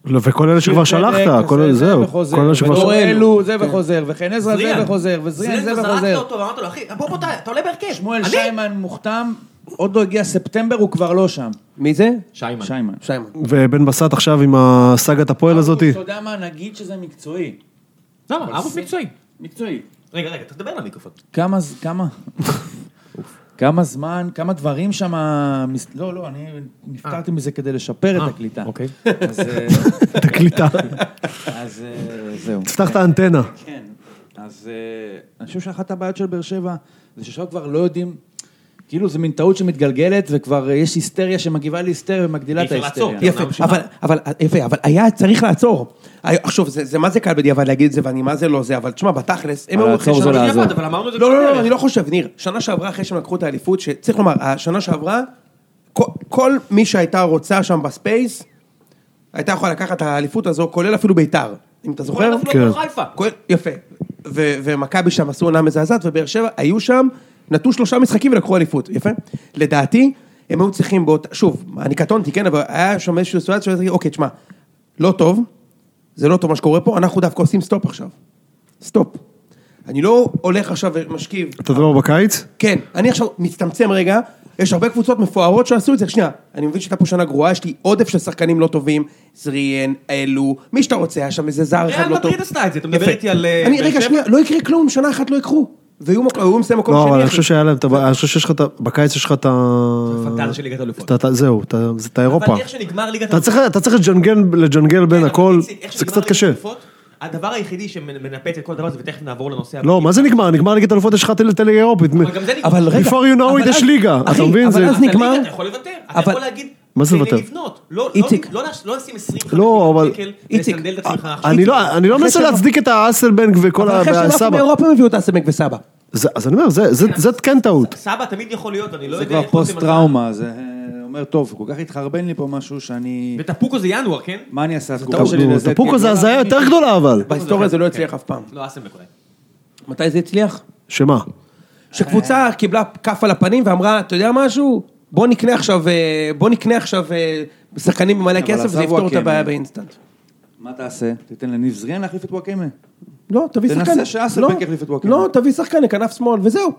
[SPEAKER 3] לא, וכל אלה שכבר שלחת, כל אלה, זהו, כל אלה שכבר
[SPEAKER 4] וחוזר,
[SPEAKER 3] שלחת.
[SPEAKER 4] ואורלו זה וחוזר, וחן עזרא זה
[SPEAKER 1] כן. זריאן.
[SPEAKER 4] וחוזר, וזריאן זה
[SPEAKER 1] זרקת
[SPEAKER 4] וחוזר.
[SPEAKER 1] אותו ואמרת לו, אחי, בוא בוא, אתה אתה עולה בהרכב.
[SPEAKER 4] שמואל
[SPEAKER 1] אני?
[SPEAKER 4] שיימן מוחתם, עוד לא הגיע ספטמבר, הוא כבר לא שם.
[SPEAKER 2] מי זה?
[SPEAKER 1] שיימן.
[SPEAKER 4] שיימן.
[SPEAKER 2] שיימן.
[SPEAKER 3] ובן בסט עכשיו עם הסאגת הפועל הזאתי.
[SPEAKER 4] אתה יודע מה, נגיד שזה מקצועי.
[SPEAKER 1] למה? ערוץ לא, מקצועי.
[SPEAKER 4] מקצועי.
[SPEAKER 1] רגע, רגע, תדבר למיקרופון.
[SPEAKER 3] כן,
[SPEAKER 4] כמה, ז- כמה, כמה זמן, כמה דברים שם, לא, לא, אני נפטרתי מזה כדי לשפר את הקליטה.
[SPEAKER 1] אה. אוקיי.
[SPEAKER 4] אז, אה,
[SPEAKER 3] את הקליטה.
[SPEAKER 4] אז אה, זהו.
[SPEAKER 3] תפתח את האנטנה.
[SPEAKER 4] כן, אז אה, אני חושב שאחת הבעיות של באר שבע זה ששם כבר לא יודעים, כאילו זה מין טעות שמתגלגלת וכבר אה, יש היסטריה שמגיבה להיסטריה ומגדילה
[SPEAKER 1] אי
[SPEAKER 4] את
[SPEAKER 1] אפשר
[SPEAKER 4] ההיסטריה.
[SPEAKER 1] לעצור. כאילו.
[SPEAKER 2] יפה, אבל, אבל, יפה, אבל היה צריך לעצור. היה- עכשיו, זה, זה מה זה קל בדיעבד להגיד את זה, ואני מה זה לא זה, אבל תשמע, בתכלס, הם
[SPEAKER 4] אבל
[SPEAKER 2] היו אחרי
[SPEAKER 4] לעצור
[SPEAKER 2] שנה...
[SPEAKER 4] זה
[SPEAKER 2] שעברה-
[SPEAKER 4] לעזור.
[SPEAKER 1] אבל אמרנו את זה
[SPEAKER 2] לא,
[SPEAKER 1] כל
[SPEAKER 2] לא, לא,
[SPEAKER 1] הדרך.
[SPEAKER 2] אני לא חושב, ניר. שנה שעברה, אחרי שהם לקחו את האליפות, שצריך לומר, השנה שעברה, כל, כל מי שהייתה רוצה שם בספייס, הייתה יכולה לקחת את האליפות הזו, כולל אפילו ביתר, אם אתה
[SPEAKER 1] כל
[SPEAKER 2] זוכר.
[SPEAKER 1] הזמן
[SPEAKER 3] כן.
[SPEAKER 1] לא חיפה.
[SPEAKER 2] כולל- יפה. ו- ומכבי שם עשו עונה מזעזעת, ובאר שבע היו שם, נטו שלושה משחקים ולקחו אליפות, יפה? לדעתי, הם היו צריכים באותה, שוב, אני קטונתי, כן, אבל היה שם איזושהי סיטואציה שהייתי להגיד, אוקיי, תשמע, לא טוב, זה לא טוב מה שקורה פה, אנחנו דווקא עושים סטופ עכשיו. סטופ. אני לא הולך עכשיו ומשכיב,
[SPEAKER 3] אתה מדבר בקיץ?
[SPEAKER 2] כן, אני עכשיו מצטמצם רגע, יש הרבה קבוצות מפוארות שעשו את זה, שנייה, אני מבין שהייתה פה שנה גרועה, יש לי עודף של שחקנים לא טובים, זריאן, אלו, מי שאתה רוצה, היה שם איזה זר אחד
[SPEAKER 1] ריאל
[SPEAKER 2] לא טוב.
[SPEAKER 1] מדריד עשתה את זה, אתה מדבר
[SPEAKER 2] יפה.
[SPEAKER 1] איתי על, אה,
[SPEAKER 2] אני,
[SPEAKER 1] באר
[SPEAKER 2] רגע,
[SPEAKER 1] שבע?
[SPEAKER 2] שנייה, לא יקרה כלום, שנה אחת לא יקחו. והיו מק- היו מסיים מקום
[SPEAKER 3] לא,
[SPEAKER 2] שני.
[SPEAKER 3] אבל אני
[SPEAKER 2] אחי.
[SPEAKER 3] חושב שהיה להם את הבעיה, אני חושב שיש לך את ה... בקיץ יש לך את ה...
[SPEAKER 1] פנטזיה של ליגת האלופות.
[SPEAKER 3] את ה- את ה- זהו, את ה- זה את האירופה.
[SPEAKER 1] אבל איך שנגמר ליגת
[SPEAKER 3] אתה צריך- אתה צריך לג'נגל- לג'נגל בין
[SPEAKER 1] כן, אבל
[SPEAKER 3] הכל,
[SPEAKER 1] איציק, איך
[SPEAKER 3] זה
[SPEAKER 1] שנגמר
[SPEAKER 3] קצת
[SPEAKER 1] ליגת
[SPEAKER 3] קשה.
[SPEAKER 1] האלופות, הדבר היחידי שמנפץ את כל הדבר הזה, ותכף נעבור לנושא הבא.
[SPEAKER 3] לא, מה זה נגמר? נגמר ליגת אלופות, יש לך את הליגה האירופית.
[SPEAKER 1] אבל גם זה נגמר.
[SPEAKER 2] אבל רגע,
[SPEAKER 3] Before you know
[SPEAKER 2] אבל
[SPEAKER 3] it יש
[SPEAKER 2] אז-
[SPEAKER 3] ליגה, אתה
[SPEAKER 2] אחי,
[SPEAKER 3] מבין?
[SPEAKER 2] אבל
[SPEAKER 3] זה-
[SPEAKER 2] אז
[SPEAKER 1] אתה ליגה,
[SPEAKER 2] נגמר,
[SPEAKER 1] אתה יכול לוותר, אתה
[SPEAKER 2] אבל-
[SPEAKER 1] יכול להגיד,
[SPEAKER 3] מה זה
[SPEAKER 1] תן לי
[SPEAKER 3] לוותר?
[SPEAKER 1] לבנות. לא- לא-
[SPEAKER 2] איציק.
[SPEAKER 1] לא לש- לא לשים 25
[SPEAKER 3] לא, אבל-
[SPEAKER 1] מיליון שקל,
[SPEAKER 2] איציק,
[SPEAKER 1] לסנדל את עצמך עכשיו.
[SPEAKER 3] אני לא- אני לא
[SPEAKER 2] אחרי
[SPEAKER 3] מנסה
[SPEAKER 2] שבע-
[SPEAKER 3] להצדיק את האסלבנג וכל
[SPEAKER 2] אבל
[SPEAKER 3] ה...
[SPEAKER 2] אחרי שהם עפו
[SPEAKER 3] והסבא.
[SPEAKER 2] מאירופה הם הביאו את אסמק וסבא.
[SPEAKER 3] זה- אז אני אומר, זה- זה- זה כן טעות.
[SPEAKER 1] סבא תמיד יכול להיות, אני לא
[SPEAKER 4] זה
[SPEAKER 1] יודע...
[SPEAKER 4] כבר
[SPEAKER 1] איך עושים
[SPEAKER 4] פוסט טראומה, זה אה, אומר, טוב, כל כך התחרבן לי פה משהו שאני...
[SPEAKER 1] את זה. וטפוקו זה ינואר, כן?
[SPEAKER 4] מה אני אעשה, התגובה שלי
[SPEAKER 3] נו,
[SPEAKER 4] לזה?
[SPEAKER 3] טפוקו
[SPEAKER 4] כן,
[SPEAKER 3] זה
[SPEAKER 4] לא
[SPEAKER 3] הזיה
[SPEAKER 4] להאמין.
[SPEAKER 3] יותר גדולה אבל.
[SPEAKER 2] בהיסטוריה זה לא הצליח אף פעם.
[SPEAKER 1] לא, אסם בכלל.
[SPEAKER 2] מתי זה הצליח?
[SPEAKER 3] שמה?
[SPEAKER 2] שקבוצה קיבלה כף על הפנים ואמרה, אתה יודע משהו? בוא נקנה עכשיו, אה, בוא נקנה עכשיו אה, שחקנים במלא
[SPEAKER 4] אבל
[SPEAKER 2] כסף,
[SPEAKER 4] עזב
[SPEAKER 2] זה יפתור את
[SPEAKER 4] וואקמה.
[SPEAKER 2] הבעיה באינסטנט.
[SPEAKER 4] מה תעשה? תיתן לניב זריאן להחליף את וואקמה?
[SPEAKER 2] לא, תביא
[SPEAKER 4] תנסה
[SPEAKER 2] שחקן.
[SPEAKER 4] שאסלבק
[SPEAKER 2] לא,
[SPEAKER 4] יחליף את וואקמה.
[SPEAKER 2] לא, תביא שחקן לכנף שמאל, וזהו.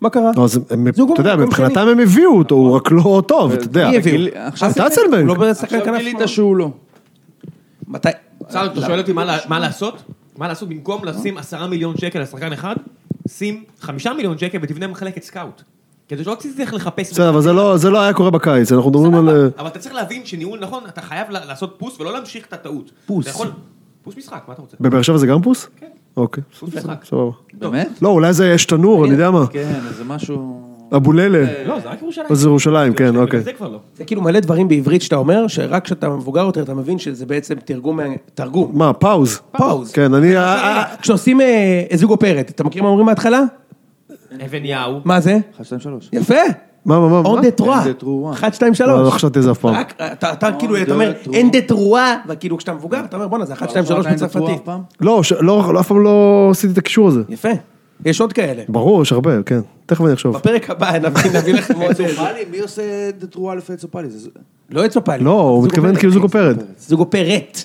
[SPEAKER 2] מה קרה?
[SPEAKER 3] לא, אז הם-
[SPEAKER 2] זוג
[SPEAKER 3] אתה יודע,
[SPEAKER 2] במקום
[SPEAKER 3] מבחינתם
[SPEAKER 2] שני.
[SPEAKER 3] הם הביאו אותו, הוא רק לא טוב, אתה יודע.
[SPEAKER 2] מי הביאו?
[SPEAKER 4] גיל- עכשיו-
[SPEAKER 2] אסלבק.
[SPEAKER 3] אסלבק.
[SPEAKER 2] הוא לא שחקן
[SPEAKER 4] עכשיו
[SPEAKER 2] כנף
[SPEAKER 4] גילית
[SPEAKER 2] שמאל.
[SPEAKER 4] שהוא לא.
[SPEAKER 2] מתי?
[SPEAKER 1] צארל, אתה שואל אותי מה לע- מה לעשות? מה לעשות במקום לשים עשרה מיליון שקל על שחקן אחד, שים חמישה מיליון שקל ותבנה מחלקת סקאוט. כדי שלא תצטרך לחפש...
[SPEAKER 3] בסדר, אבל זה לא- זה לא היה קורה בקיץ, אנחנו מדברים
[SPEAKER 1] סבבה,
[SPEAKER 3] על... אה,
[SPEAKER 1] אבל אתה צריך להבין שניהול נכון, אתה חייב ל- לעשות פוס ולא להמשיך את הטעות.
[SPEAKER 2] פוס.
[SPEAKER 1] אתה יכול- פוס משחק, מה אתה רוצה?
[SPEAKER 3] בבאר שבע זה גם פוס?
[SPEAKER 1] כן.
[SPEAKER 3] אוקיי,
[SPEAKER 1] פוס משחק.
[SPEAKER 3] סבבה.
[SPEAKER 4] באמת?
[SPEAKER 3] לא, אולי זה יש תנור, אני יודע מה.
[SPEAKER 4] כן, זה משהו...
[SPEAKER 3] אבוללה.
[SPEAKER 1] לא, זה רק ירושלים.
[SPEAKER 3] אז זה ירושלים, כן,
[SPEAKER 1] בגלל
[SPEAKER 3] אוקיי.
[SPEAKER 1] זה כבר לא.
[SPEAKER 2] זה כאילו מלא דברים בעברית שאתה אומר, שרק כשאתה מבוגר יותר אתה מבין שזה בעצם תרגום, מה- תרגום,
[SPEAKER 3] מה, פאוז?
[SPEAKER 2] פאוז. אה.
[SPEAKER 3] כן, אני...
[SPEAKER 2] כשעושים אה, זוג אופרת, אתה מכיר מה אומרים בהתחלה?
[SPEAKER 1] אבן יאו.
[SPEAKER 2] מה זה?
[SPEAKER 4] אחד, שתיים, שלוש.
[SPEAKER 2] יפה.
[SPEAKER 3] מה, מה, מה?
[SPEAKER 2] און
[SPEAKER 3] מה?
[SPEAKER 2] דה טרואה.
[SPEAKER 4] אין דה טרואה.
[SPEAKER 2] אחת, שתיים,
[SPEAKER 3] לא, לא
[SPEAKER 2] שלוש.
[SPEAKER 3] חשבתי על זה אף פעם.
[SPEAKER 2] רק, אתה אתה כאילו,
[SPEAKER 4] דה
[SPEAKER 2] אתה אומר,
[SPEAKER 4] טרואה.
[SPEAKER 2] אין דה טרואה, וכאילו כשאתה מבוגר, אתה אומר, בואנה, זה אחת, שתיים, שלוש
[SPEAKER 4] עדיין זה טרוח
[SPEAKER 2] בצרפתית.
[SPEAKER 4] פעם?
[SPEAKER 3] לא, ש- לא, לא, אף פעם לא עשיתי את הקישור הזה.
[SPEAKER 2] יפה. יש עוד כאלה.
[SPEAKER 3] ברור, יש הרבה, כן. תכף אני אחשוב.
[SPEAKER 2] בפרק הבא נביא נביא
[SPEAKER 4] *laughs*
[SPEAKER 2] לכם עוד איזה.
[SPEAKER 4] צופלי? מי עושה תרועה לפי צופלי? זה-
[SPEAKER 2] לא יצא פעם.
[SPEAKER 3] לא, הוא מתכוון כאילו זוג הפרד.
[SPEAKER 2] זוג אופרט.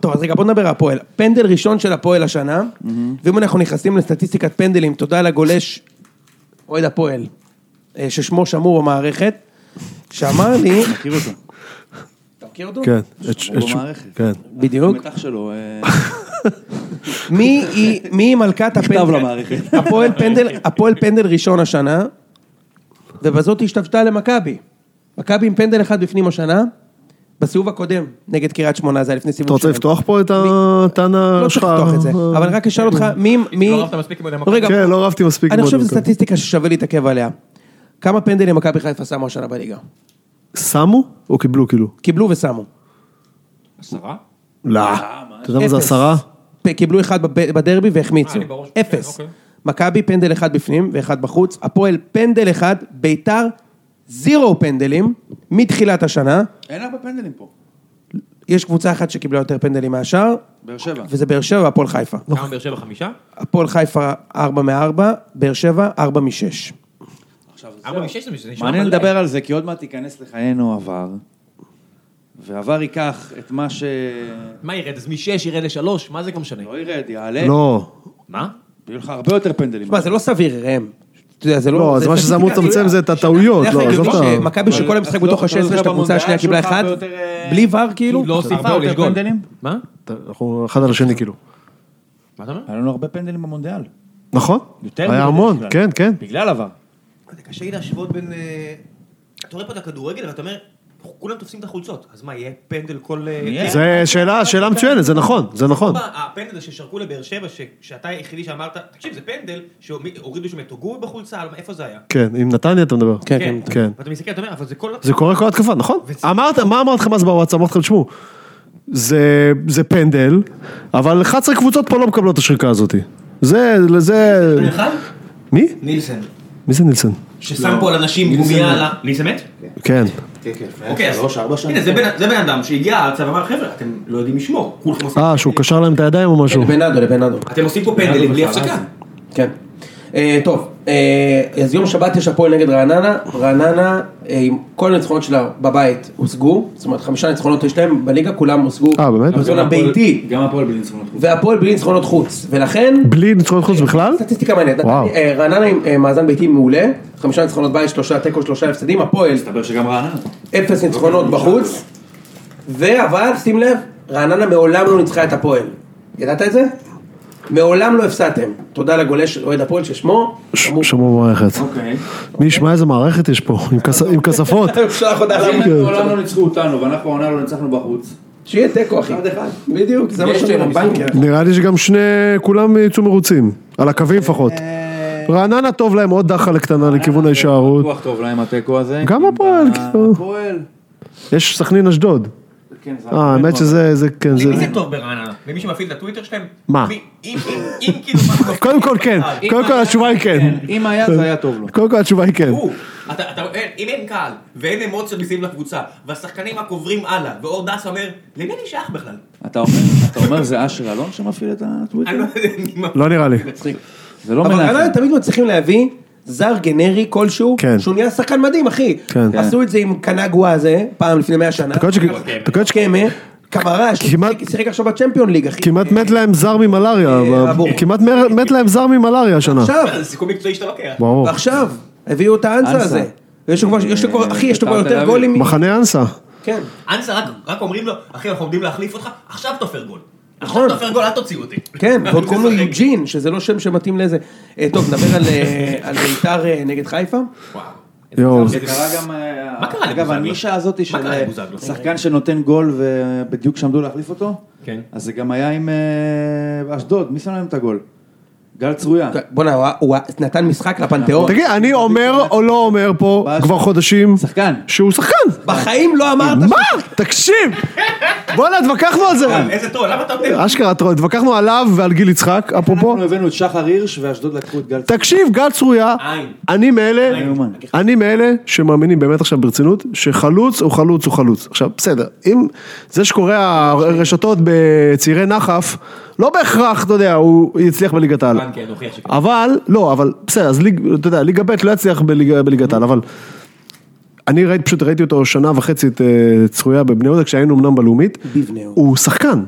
[SPEAKER 2] טוב, אז רגע, בוא נדבר על הפועל. פנדל ראשון של הפועל השנה, ואם אנחנו נכנסים לסטטיסטיקת פנדלים, תודה לגולש, אוהד הפועל, אה, ששמו שמור במערכת, שאמר לי...
[SPEAKER 4] מכיר אותו.
[SPEAKER 2] מכיר אותו?
[SPEAKER 3] כן.
[SPEAKER 4] הוא במערכת.
[SPEAKER 3] כן.
[SPEAKER 2] בדיוק.
[SPEAKER 4] המתח שלו, אה,
[SPEAKER 2] מי היא- מי היא מלכת
[SPEAKER 4] מכתב
[SPEAKER 2] הפנדל?
[SPEAKER 4] למערכת.
[SPEAKER 2] הפועל פנדל, הפועל פנדל ראשון השנה, ובזאת היא השתוותה למכבי. מכבי עם פנדל אחד בפנים השנה, בסיבוב הקודם, נגד קריית שמונה, זה היה לפני סיבוב
[SPEAKER 3] אתה רוצה
[SPEAKER 2] שלהם.
[SPEAKER 3] לפתוח פה את הטענה
[SPEAKER 2] לא
[SPEAKER 3] שלך?
[SPEAKER 2] צריך לפתוח את זה, אבל רק אשאל אותך, מי... מי...
[SPEAKER 1] לא רבת מספיק עם אוהדי מכבי.
[SPEAKER 2] רגע,
[SPEAKER 3] כן, לא רבתי מספיק.
[SPEAKER 2] אני
[SPEAKER 3] עם
[SPEAKER 2] חושב
[SPEAKER 3] עוד
[SPEAKER 2] שזו
[SPEAKER 3] מכבי.
[SPEAKER 2] סטטיסטיקה ששווה להתעכב עליה. כמה פנדלים מכבי חיפה שמו השנה בליגה?
[SPEAKER 3] שמו או קיבלו כאילו?
[SPEAKER 2] קיבלו ושמו.
[SPEAKER 1] עשרה?
[SPEAKER 3] לא. אתה יודע מה זה
[SPEAKER 2] אפס.
[SPEAKER 3] עשרה?
[SPEAKER 2] פ- קיבלו אחד בב- בדרבי והחמיצו.
[SPEAKER 1] אה, לי ברור ש-
[SPEAKER 2] אפס.
[SPEAKER 1] כן, אוקיי.
[SPEAKER 2] מכבי פנדל אחד בפנים ואחד בחוץ, הפועל פנדל אחד, ביתר זירו פנדלים מתחילת השנה.
[SPEAKER 4] אין הרבה פנדלים פה.
[SPEAKER 2] יש קבוצה אחת שקיבלה יותר פנדלים מהשאר,
[SPEAKER 4] באר שבע.
[SPEAKER 2] וזה באר שבע והפועל חיפה.
[SPEAKER 1] כמה באר שבע חמישה?
[SPEAKER 2] הפועל חיפה 4 מ-4, באר שבע 4 מ-6.
[SPEAKER 1] ארבע משש זה נשמע
[SPEAKER 4] מעניין
[SPEAKER 1] מלא.
[SPEAKER 4] לדבר על זה, כי עוד מעט ייכנס לחיינו עבר, ועבר ייקח את מה ש...
[SPEAKER 1] מה ירד? אז משש ירד לשלוש? מה זה כבר משנה?
[SPEAKER 4] לא ירד, יעלה.
[SPEAKER 3] לא.
[SPEAKER 1] מה?
[SPEAKER 4] יהיו לך הרבה יותר פנדלים.
[SPEAKER 2] תשמע, זה לא סביר, ראם. אתה יודע, זה לא...
[SPEAKER 3] לא, אז מה שזה אמור לצמצם זה את הטעויות.
[SPEAKER 2] איך
[SPEAKER 3] לא,
[SPEAKER 2] הגיוני
[SPEAKER 3] עזוב את ה-
[SPEAKER 2] כאילו, שמכבי שכל המשחק
[SPEAKER 4] אבל-
[SPEAKER 2] בתוך
[SPEAKER 4] אבל-
[SPEAKER 2] ה-16 של הקבוצה השנייה קיבלה
[SPEAKER 4] שלך
[SPEAKER 2] אחד?
[SPEAKER 4] הרבה יותר, אה,
[SPEAKER 2] בלי ור כאילו?
[SPEAKER 1] לא עושים
[SPEAKER 4] הרבה
[SPEAKER 1] פאול,
[SPEAKER 4] יותר
[SPEAKER 1] יש גול.
[SPEAKER 4] פנדלים?
[SPEAKER 1] מה?
[SPEAKER 3] אנחנו אחד על השני כאילו.
[SPEAKER 1] מה אתה אומר?
[SPEAKER 9] היה לנו הרבה פנדלים במונדיאל.
[SPEAKER 3] נכון?
[SPEAKER 9] יותר מזה
[SPEAKER 3] היה המון,
[SPEAKER 9] בכלל.
[SPEAKER 3] כן, כן.
[SPEAKER 9] בגלל עבר.
[SPEAKER 7] זה קשה לי להשוות בין... אה, אתה רואה פה את הכדורגל ואתה אומר, כולם תופסים את החולצות, אז מה, יהיה פנדל כל... אה,
[SPEAKER 9] יהיה.
[SPEAKER 7] כן?
[SPEAKER 3] זה שאלה, שאלה מצוינת, זה נכון, זה נכון.
[SPEAKER 7] מה, הפנדל הזה ששרקו לבאר שבע, ש- שאתה היחידי שאמרת, תקשיב, זה פנדל, שהורידו שם את הוגורי בחולצה, על- איפה זה היה?
[SPEAKER 3] כן, עם נתניה אתה מדבר.
[SPEAKER 2] כן, כן.
[SPEAKER 3] כן.
[SPEAKER 7] ואתה מסתכל, אתה אומר, אבל זה כל...
[SPEAKER 3] זה קורה כל התקופה, נכון? אמרת, מה אמרת לכם אז בוואטסאפ? אמרתי לכם, תשמעו, זה, זה פנדל, אבל 11 קבוצות פה לא מקבלות את השריקה הזאת. זה, זה... מי?
[SPEAKER 7] נילסן,
[SPEAKER 3] מי זה נילסון? לא.
[SPEAKER 7] ששם פה על אנשים גומייה על ה... נילסן מת?
[SPEAKER 3] כן.
[SPEAKER 7] אוקיי, אז הנה, זה בן- זה בן אדם שהגיע ארצה ואמר, חבר'ה, אתם לא יודעים לשמור, כולכם עושים...
[SPEAKER 3] אה, שהוא קשר להם את הידיים או משהו?
[SPEAKER 2] לבנאדו, לבנאדו.
[SPEAKER 7] אתם עושים פה פנדלים בלי הפסקה.
[SPEAKER 2] כן. אה, טוב, אה, אז יום שבת יש הפועל נגד רעננה, רעננה אה, עם כל הניצחונות שלה בבית הושגו, זאת אומרת חמישה ניצחונות יש להם, בליגה כולם הושגו.
[SPEAKER 3] אה, באמת?
[SPEAKER 2] בזמן הביתי,
[SPEAKER 4] גם הפועל בלי ניצחונות.
[SPEAKER 2] והפועל בלי ניצחונות חוץ, ולכן,
[SPEAKER 3] בלי ניצחונות חוץ בכלל?
[SPEAKER 2] סטטיסטיקה מעניינת,
[SPEAKER 3] וואו.
[SPEAKER 2] אה, רעננה עם אה, מאזן ביתי מעולה, חמישה ניצחונות בית, שלושה תיקו, שלושה הפסדים, הפועל,
[SPEAKER 4] מסתבר שגם רעננה.
[SPEAKER 2] אפס ניצחונות בחוץ, אבל שים לב, רעננה מעולם לא ניצחה את הפועל. ידעת את זה? מעולם לא הפסדתם. תודה לגולש אוהד הפועל ששמו...
[SPEAKER 3] ש-
[SPEAKER 2] אמור-
[SPEAKER 3] שמעו מערכת.
[SPEAKER 4] אוקיי.
[SPEAKER 3] מי ישמע איזה מערכת יש פה, עם כס- עם כספות.
[SPEAKER 2] שלח הודעה
[SPEAKER 4] אם
[SPEAKER 2] למה.
[SPEAKER 4] הם מעולם לא ניצחו אותנו, ואנחנו העונה לא ניצחנו בחוץ.
[SPEAKER 2] שיהיה תיקו אחי. בדיוק, זה מה שאני אומר.
[SPEAKER 3] נראה לי שגם שני, כולם יצאו מרוצים. על הקווים לפחות. רעננה טוב להם עוד דחלה קטנה לכיוון ההישארות.
[SPEAKER 4] רוח אה, טוב להם התיקו הזה.
[SPEAKER 3] גם הפועל, כאילו.
[SPEAKER 4] הפועל.
[SPEAKER 3] יש סכנין אשדוד.
[SPEAKER 4] כן, זה
[SPEAKER 3] אה, האמת שזה, זה, כן, זה...
[SPEAKER 7] למי זה טוב ברעננה? למי שמפעיל את הטוויטר שלהם?
[SPEAKER 3] מה?
[SPEAKER 7] מי- אם אם- אם כאילו... מה-
[SPEAKER 3] קודם כל כן, קודם כל התשובה היא כן.
[SPEAKER 4] אם היה, זה היה טוב לו.
[SPEAKER 3] קודם כל התשובה היא כן.
[SPEAKER 7] הוא. אתה, אתה, אין, אם אין קהל, ואין אמוציות מסביב לקבוצה, והשחקנים רק עוברים הלאה, ואור דס אומר, למי אני שייך בכלל?
[SPEAKER 4] אתה אומר- אתה אומר זה אשר אלון שמפעיל את
[SPEAKER 7] אני
[SPEAKER 4] הטוויטר?
[SPEAKER 7] לא יודע מי מה.
[SPEAKER 3] לא נראה לי.
[SPEAKER 4] זה לא
[SPEAKER 2] אבל רעננה
[SPEAKER 4] מנחם.
[SPEAKER 2] תמיד מצליחים להביא זר גנרי כלשהו,
[SPEAKER 3] כן.
[SPEAKER 2] שהוא נהיה שחקן מדהים אחי.
[SPEAKER 3] כן.
[SPEAKER 2] עשו את זה עם קנגווה הזה, פעם לפני 100 שנה.
[SPEAKER 3] אתה קולט שכ- אתה קולט
[SPEAKER 2] קמא, קמרש,
[SPEAKER 3] כמעט-
[SPEAKER 2] שיחק עכשיו בצ'מפיון ליג אחי.
[SPEAKER 3] שכמעט מת להם זר
[SPEAKER 7] אה,
[SPEAKER 3] ממלריה, אבל-
[SPEAKER 2] אבו.
[SPEAKER 3] כמעט מר- מת להם זר ממלריה השנה.
[SPEAKER 2] עכשיו,
[SPEAKER 7] זה סיכום מקצועי שאתה לא לוקח.
[SPEAKER 3] ברור.
[SPEAKER 2] ועכשיו, הביאו את האנסה
[SPEAKER 4] אנסה.
[SPEAKER 2] הזה. יש לו כבר, יש לו כבר, אחי, יש לו כבר
[SPEAKER 4] בית"ר תל
[SPEAKER 2] יותר
[SPEAKER 4] אביב.
[SPEAKER 2] גולים. מ-
[SPEAKER 3] מחנה אנסה.
[SPEAKER 2] כן.
[SPEAKER 7] אנסה רק, רק אומרים לו, אחי, אנחנו עומדים להחליף אותך, עכשיו תופר גול.
[SPEAKER 2] נכון.
[SPEAKER 7] עכשיו תופר גול, אל תוציאו אותי.
[SPEAKER 2] כן, ועוד קוראים לו
[SPEAKER 7] משחק.
[SPEAKER 2] יוג'ין, שזה לא שם שמתאים לזה. אה, טוב, נדבר על, אה, על ביתר אה, נגד חיפה.
[SPEAKER 3] יואו.
[SPEAKER 4] זה קרה גם... אה,
[SPEAKER 7] מה קרה
[SPEAKER 4] אגב,
[SPEAKER 7] לבוזגלו?
[SPEAKER 4] הנישה הזאת של
[SPEAKER 7] קרה
[SPEAKER 4] אה,
[SPEAKER 7] לבוזגלו?
[SPEAKER 4] שחקן שנותן גול ובדיוק שעמדו להחליף אותו,
[SPEAKER 1] כן.
[SPEAKER 4] אז זה גם היה עם אה, אשדוד, מי שם להם את הגול? גל צרויה.
[SPEAKER 2] בואנה, הוא- הוא נתן משחק לפנתיאון.
[SPEAKER 3] תגיד, אני אומר או לא אומר פה כבר חודשים
[SPEAKER 4] שחקן.
[SPEAKER 3] שהוא שחקן?
[SPEAKER 2] בחיים לא אמרת...
[SPEAKER 3] מה? תקשיב! בואנה, התווכחנו על זה.
[SPEAKER 7] איזה טוב, למה אתה נותן?
[SPEAKER 3] אשכרה, אתה רואה, התווכחנו עליו ועל גיל יצחק, אפרופו.
[SPEAKER 4] אנחנו הבאנו את שחר הירש ואשדוד לקחו את גל צרויה.
[SPEAKER 3] תקשיב, גל צרויה,
[SPEAKER 7] אין.
[SPEAKER 3] אני מאלה,
[SPEAKER 4] יאומן.
[SPEAKER 3] אני מאלה שמאמינים באמת עכשיו ברצינות, שחלוץ הוא חלוץ הוא חלוץ. עכשיו, בסדר, אם זה שקורא הרשתות בצעירי נחף, לא בהכרח, אתה יודע, הוא יצליח בליגת העל.
[SPEAKER 1] כן, הוכיח שכן.
[SPEAKER 3] אבל, לא, אבל בסדר, אז ליג, אתה יודע, ליגה ב' לא יצליח בליגה- בליגת העל, אבל... אני ראיתי, פשוט ראיתי אותו שנה וחצי את אה, צרויה בבני יהודה, כשהיינו אמנם בלאומית.
[SPEAKER 2] בבני יהודה.
[SPEAKER 3] הוא שחקן.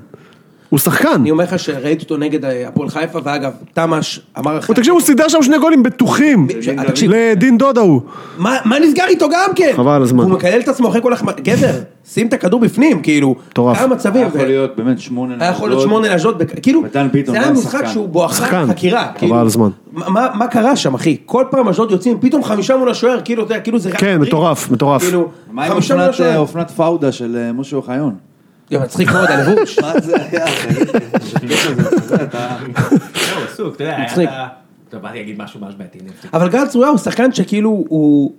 [SPEAKER 3] הוא שחקן.
[SPEAKER 2] אני אומר לך שראיתי אותו נגד אה, הפועל חיפה, ואגב, תמ"ש אמר אחרי...
[SPEAKER 3] הוא תקשיב, הוא סידר שם שני גולים בטוחים.
[SPEAKER 2] ש- תקשיב.
[SPEAKER 3] לדין דוד ההוא.
[SPEAKER 2] מה מה נסגר איתו גם כן?
[SPEAKER 3] חבל על הזמן.
[SPEAKER 2] הוא מקלל את עצמו אחרי כל החמ... גבר, שים את הכדור בפנים, כאילו.
[SPEAKER 3] מטורף.
[SPEAKER 2] כמה מצבים.
[SPEAKER 4] היה יכול להיות באמת שמונה
[SPEAKER 2] היה יכול להיות שמונה לאשדוד, בכ- כאילו,
[SPEAKER 4] מתן ביטון,
[SPEAKER 2] זה היה
[SPEAKER 4] גם
[SPEAKER 2] משחק
[SPEAKER 4] שחקן.
[SPEAKER 2] שהוא בואכה
[SPEAKER 3] שחקן.
[SPEAKER 2] חקירה,
[SPEAKER 3] חבל
[SPEAKER 2] כאילו,
[SPEAKER 3] על הזמן.
[SPEAKER 2] מה- מה מה קרה שם אחי, כל פעם אשדוד יוצאים, פתאום חמישה מול השוער, כאילו, אתה יודע, כאילו זה רק
[SPEAKER 3] כן,
[SPEAKER 2] טריק.
[SPEAKER 3] מטורף, מטורף.
[SPEAKER 2] כאילו,
[SPEAKER 4] מה עם
[SPEAKER 2] חמישה מול
[SPEAKER 4] אופנת, אה,
[SPEAKER 2] השוער,
[SPEAKER 4] אופנת פאודה של אה, משה אוחיון?
[SPEAKER 2] יואו, מצחיק מאוד הלבוש,
[SPEAKER 4] מה זה היה? תגיד לי, אתה יודע, אתה-
[SPEAKER 1] זהו, עסוק, אתה יודע,
[SPEAKER 2] מצחיק.
[SPEAKER 1] היה... טוב, באתי להגיד משהו ממש בעייתי, אני אפסיק.
[SPEAKER 2] אבל גל צרויה הוא שחקן שכאילו הוא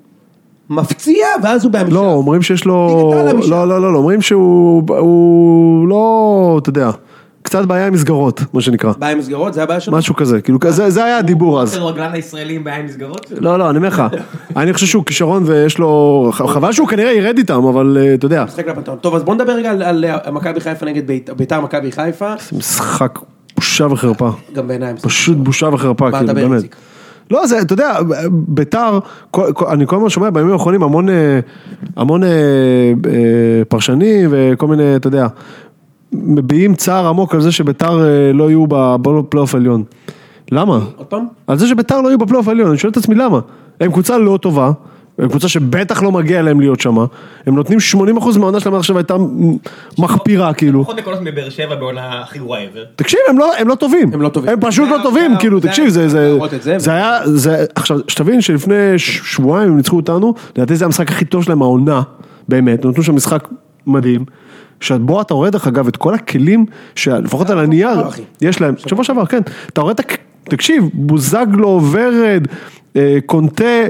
[SPEAKER 2] מפציע ואז הוא בהמשך,
[SPEAKER 3] לא, אומרים שיש לו...
[SPEAKER 2] דיגיטל המשל.
[SPEAKER 3] לא, לא, לא, לא, אומרים שהוא הוא לא, אתה יודע, קצת בעיה עם מסגרות, מה שנקרא.
[SPEAKER 2] בעיה עם מסגרות, זה הבעיה שלו,
[SPEAKER 3] משהו כזה, כאילו, זה זה היה הדיבור אז.
[SPEAKER 1] כדורגלן הישראלי עם בעיה עם מסגרות?
[SPEAKER 3] לא, לא, אני אומר לך, אני חושב שהוא כישרון ויש לו... ח- חבל שהוא כנראה ירד איתם, אבל אה, אתה יודע,
[SPEAKER 2] משחק לפנתון, טוב אז בוא נדבר רגע על- על אה, מכבי חיפה נגד בית- ביתר מכבי חיפה,
[SPEAKER 3] זה משחק בושה וחרפה.
[SPEAKER 2] גם בעיניים,
[SPEAKER 3] פשוט בושה וחרפה,
[SPEAKER 2] מה,
[SPEAKER 3] כאילו,
[SPEAKER 2] דבר,
[SPEAKER 3] באמת.
[SPEAKER 2] איציק?
[SPEAKER 3] לא, זה, אתה יודע, ביתר, כל- כל- אני כל הזמן שומע בימים האחרונים המון, אה, המון אה, אה, פרשנים וכל מיני, אתה יודע, מביעים צער עמוק על זה שביתר אה, לא יהיו בפלייאוף העליון. למה?
[SPEAKER 2] עוד פעם,
[SPEAKER 3] על זה שביתר לא יהיו בפלייאוף העליון, אני שואל את עצמי למה. הם קבוצה לא טובה, הם קבוצה שבטח לא מגיע להם להיות שמה, הם נותנים 80% מהעונה שלהם עד עכשיו הייתה מחפירה כאילו.
[SPEAKER 7] פחות נקודות מבאר שבע בעונה הכי גרועה ever.
[SPEAKER 3] תקשיב, הם לא, הם לא טובים.
[SPEAKER 2] הם לא טובים.
[SPEAKER 3] הם פשוט
[SPEAKER 2] זה
[SPEAKER 3] לא
[SPEAKER 2] ה-
[SPEAKER 3] טובים,
[SPEAKER 2] זה ה-
[SPEAKER 3] כאילו,
[SPEAKER 2] זה
[SPEAKER 3] תקשיב,
[SPEAKER 2] ה-
[SPEAKER 3] זה, זה,
[SPEAKER 2] להראות את זה.
[SPEAKER 3] זה היה, זה, עכשיו, שתבין שלפני ש- שבועיים הם ניצחו אותנו, לדעתי זה המשחק הכי טוב שלהם העונה, באמת, נתנו שם משחק מדהים. שבו אתה רואה דרך אגב את כל הכלים, שלפחות על הנייר,
[SPEAKER 2] לא, אחי.
[SPEAKER 3] יש להם, שבוע שעבר, כן, אתה רואה את, הכ- תקשיב, בוזגלו, ורד, אה, קונטה,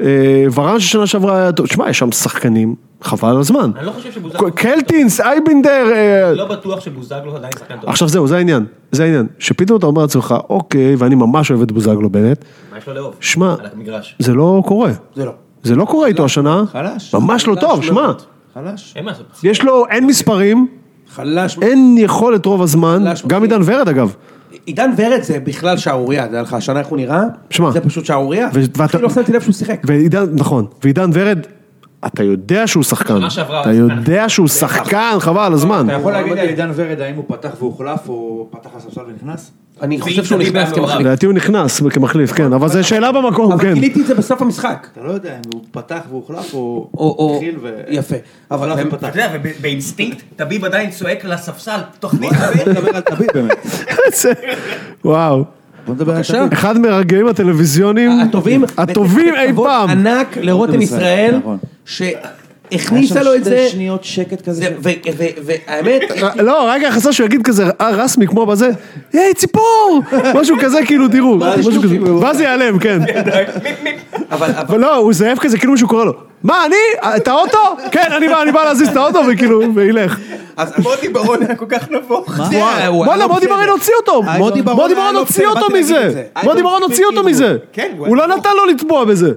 [SPEAKER 3] אה, ורן ששנה שעברה היה טוב, תשמע, יש שם שחקנים, חבל על הזמן.
[SPEAKER 7] אני לא חושב שבוזגלו,
[SPEAKER 3] ק- קלטינס, אייבנדר, אה,
[SPEAKER 7] לא בטוח שבוזגלו עדיין שחקן טוב.
[SPEAKER 3] עכשיו זהו, זה העניין, זה העניין, שפתאום אתה אומר לעצמך, אוקיי, ואני ממש אוהב את בוזגלו באמת,
[SPEAKER 7] מה יש לו לאהוב?
[SPEAKER 3] שמע,
[SPEAKER 7] על המגרש.
[SPEAKER 3] זה לא קורה,
[SPEAKER 2] זה לא,
[SPEAKER 3] זה לא קורה איתו השנה,
[SPEAKER 4] חלש.
[SPEAKER 3] ממש לא
[SPEAKER 4] חלש
[SPEAKER 3] טוב,
[SPEAKER 4] מאוד.
[SPEAKER 3] שמע,
[SPEAKER 4] חלש.
[SPEAKER 7] אין מה לעשות.
[SPEAKER 3] יש לו, אין מספרים,
[SPEAKER 2] חלש,
[SPEAKER 3] אין יכולת רוב הזמן,
[SPEAKER 2] חלש מאוד.
[SPEAKER 3] גם עידן ורד אגב,
[SPEAKER 2] עידן ורד זה בכלל שערורייה, אתה יודע לך, השנה איך הוא נראה,
[SPEAKER 3] שמע.
[SPEAKER 2] זה פשוט שערורייה,
[SPEAKER 3] ו- ואתה-
[SPEAKER 2] אחי, לא שמתי לב שהוא שיחק,
[SPEAKER 3] ועידן, נכון, ועידן ורד, אתה יודע שהוא שחקן,
[SPEAKER 7] שנה שעברה
[SPEAKER 3] אתה
[SPEAKER 7] הוא
[SPEAKER 3] יודע שהוא שחקן, חבל על הזמן,
[SPEAKER 4] אתה יכול להגיד על עידן ורד האם הוא פתח והוחלף או פתח לספסל ונכנס?
[SPEAKER 2] אני חושב
[SPEAKER 7] זה
[SPEAKER 2] שהוא
[SPEAKER 7] היה
[SPEAKER 2] נכנס
[SPEAKER 7] מעורב.
[SPEAKER 2] כמחליף,
[SPEAKER 3] לדעתי הוא נכנס כמחליף, כן, אבל זה שאלה במקום,
[SPEAKER 2] אבל
[SPEAKER 3] כן,
[SPEAKER 2] גיליתי את זה בסוף המשחק,
[SPEAKER 4] אתה לא יודע אם הוא פתח והוחלף או
[SPEAKER 2] או, או,
[SPEAKER 4] התחיל ו...
[SPEAKER 2] יפה, אבל,
[SPEAKER 4] הוחלף
[SPEAKER 2] הם-
[SPEAKER 4] ופתח.
[SPEAKER 7] אתה יודע, ובאינסטינקט, טביב עדיין צועק לספסל, תוכנית.
[SPEAKER 4] בוא נדבר על תביב באמת.
[SPEAKER 3] זה- וואו,
[SPEAKER 4] בוא נדבר על
[SPEAKER 2] בבקשה.
[SPEAKER 4] תביב.
[SPEAKER 3] אחד מהרגעים הטלוויזיונים,
[SPEAKER 2] הטובים,
[SPEAKER 3] הטובים אי
[SPEAKER 2] בכבוד
[SPEAKER 3] פעם,
[SPEAKER 2] ענק לרותם
[SPEAKER 4] רותם ישראל,
[SPEAKER 2] ישראל,
[SPEAKER 4] נכון.
[SPEAKER 2] שהכניסה לו את זה,
[SPEAKER 4] שתי שניות שקט כזה.
[SPEAKER 2] זה- ו- ו- ו- והאמת,
[SPEAKER 3] לא, רגע, חסר שהוא יגיד כזה אה, רסמי כמו בזה, היי ציפור! משהו כזה, כאילו, תראו, משהו כזה, ואז זה ייעלם, כן.
[SPEAKER 2] אבל, אבל-
[SPEAKER 3] אבל לא, הוא זאב כזה, כאילו מישהו קורא לו, מה, אני? את האוטו? כן, אני בא, אני בא להזיז את האוטו, וכאילו, וילך.
[SPEAKER 2] אז-
[SPEAKER 7] מוטי ברון היה כל כך נבוך.
[SPEAKER 2] אה, הוא היה
[SPEAKER 3] בואנה,
[SPEAKER 2] לא
[SPEAKER 3] מודי
[SPEAKER 2] בסדר.
[SPEAKER 3] ברון הוציא אותו!
[SPEAKER 2] מודי ברון
[SPEAKER 3] מודי
[SPEAKER 2] היה
[SPEAKER 3] ברון
[SPEAKER 2] לא
[SPEAKER 3] הוציא
[SPEAKER 2] בסדר,
[SPEAKER 3] אותו
[SPEAKER 2] באתי להגיד את
[SPEAKER 3] מזה!
[SPEAKER 2] זה. כאילו-
[SPEAKER 3] מודי ברון הוציא אותו מזה!
[SPEAKER 7] כן, הוא
[SPEAKER 3] הוא
[SPEAKER 7] היה
[SPEAKER 3] לא נתן לו לטבוע
[SPEAKER 2] כן,
[SPEAKER 3] בזה!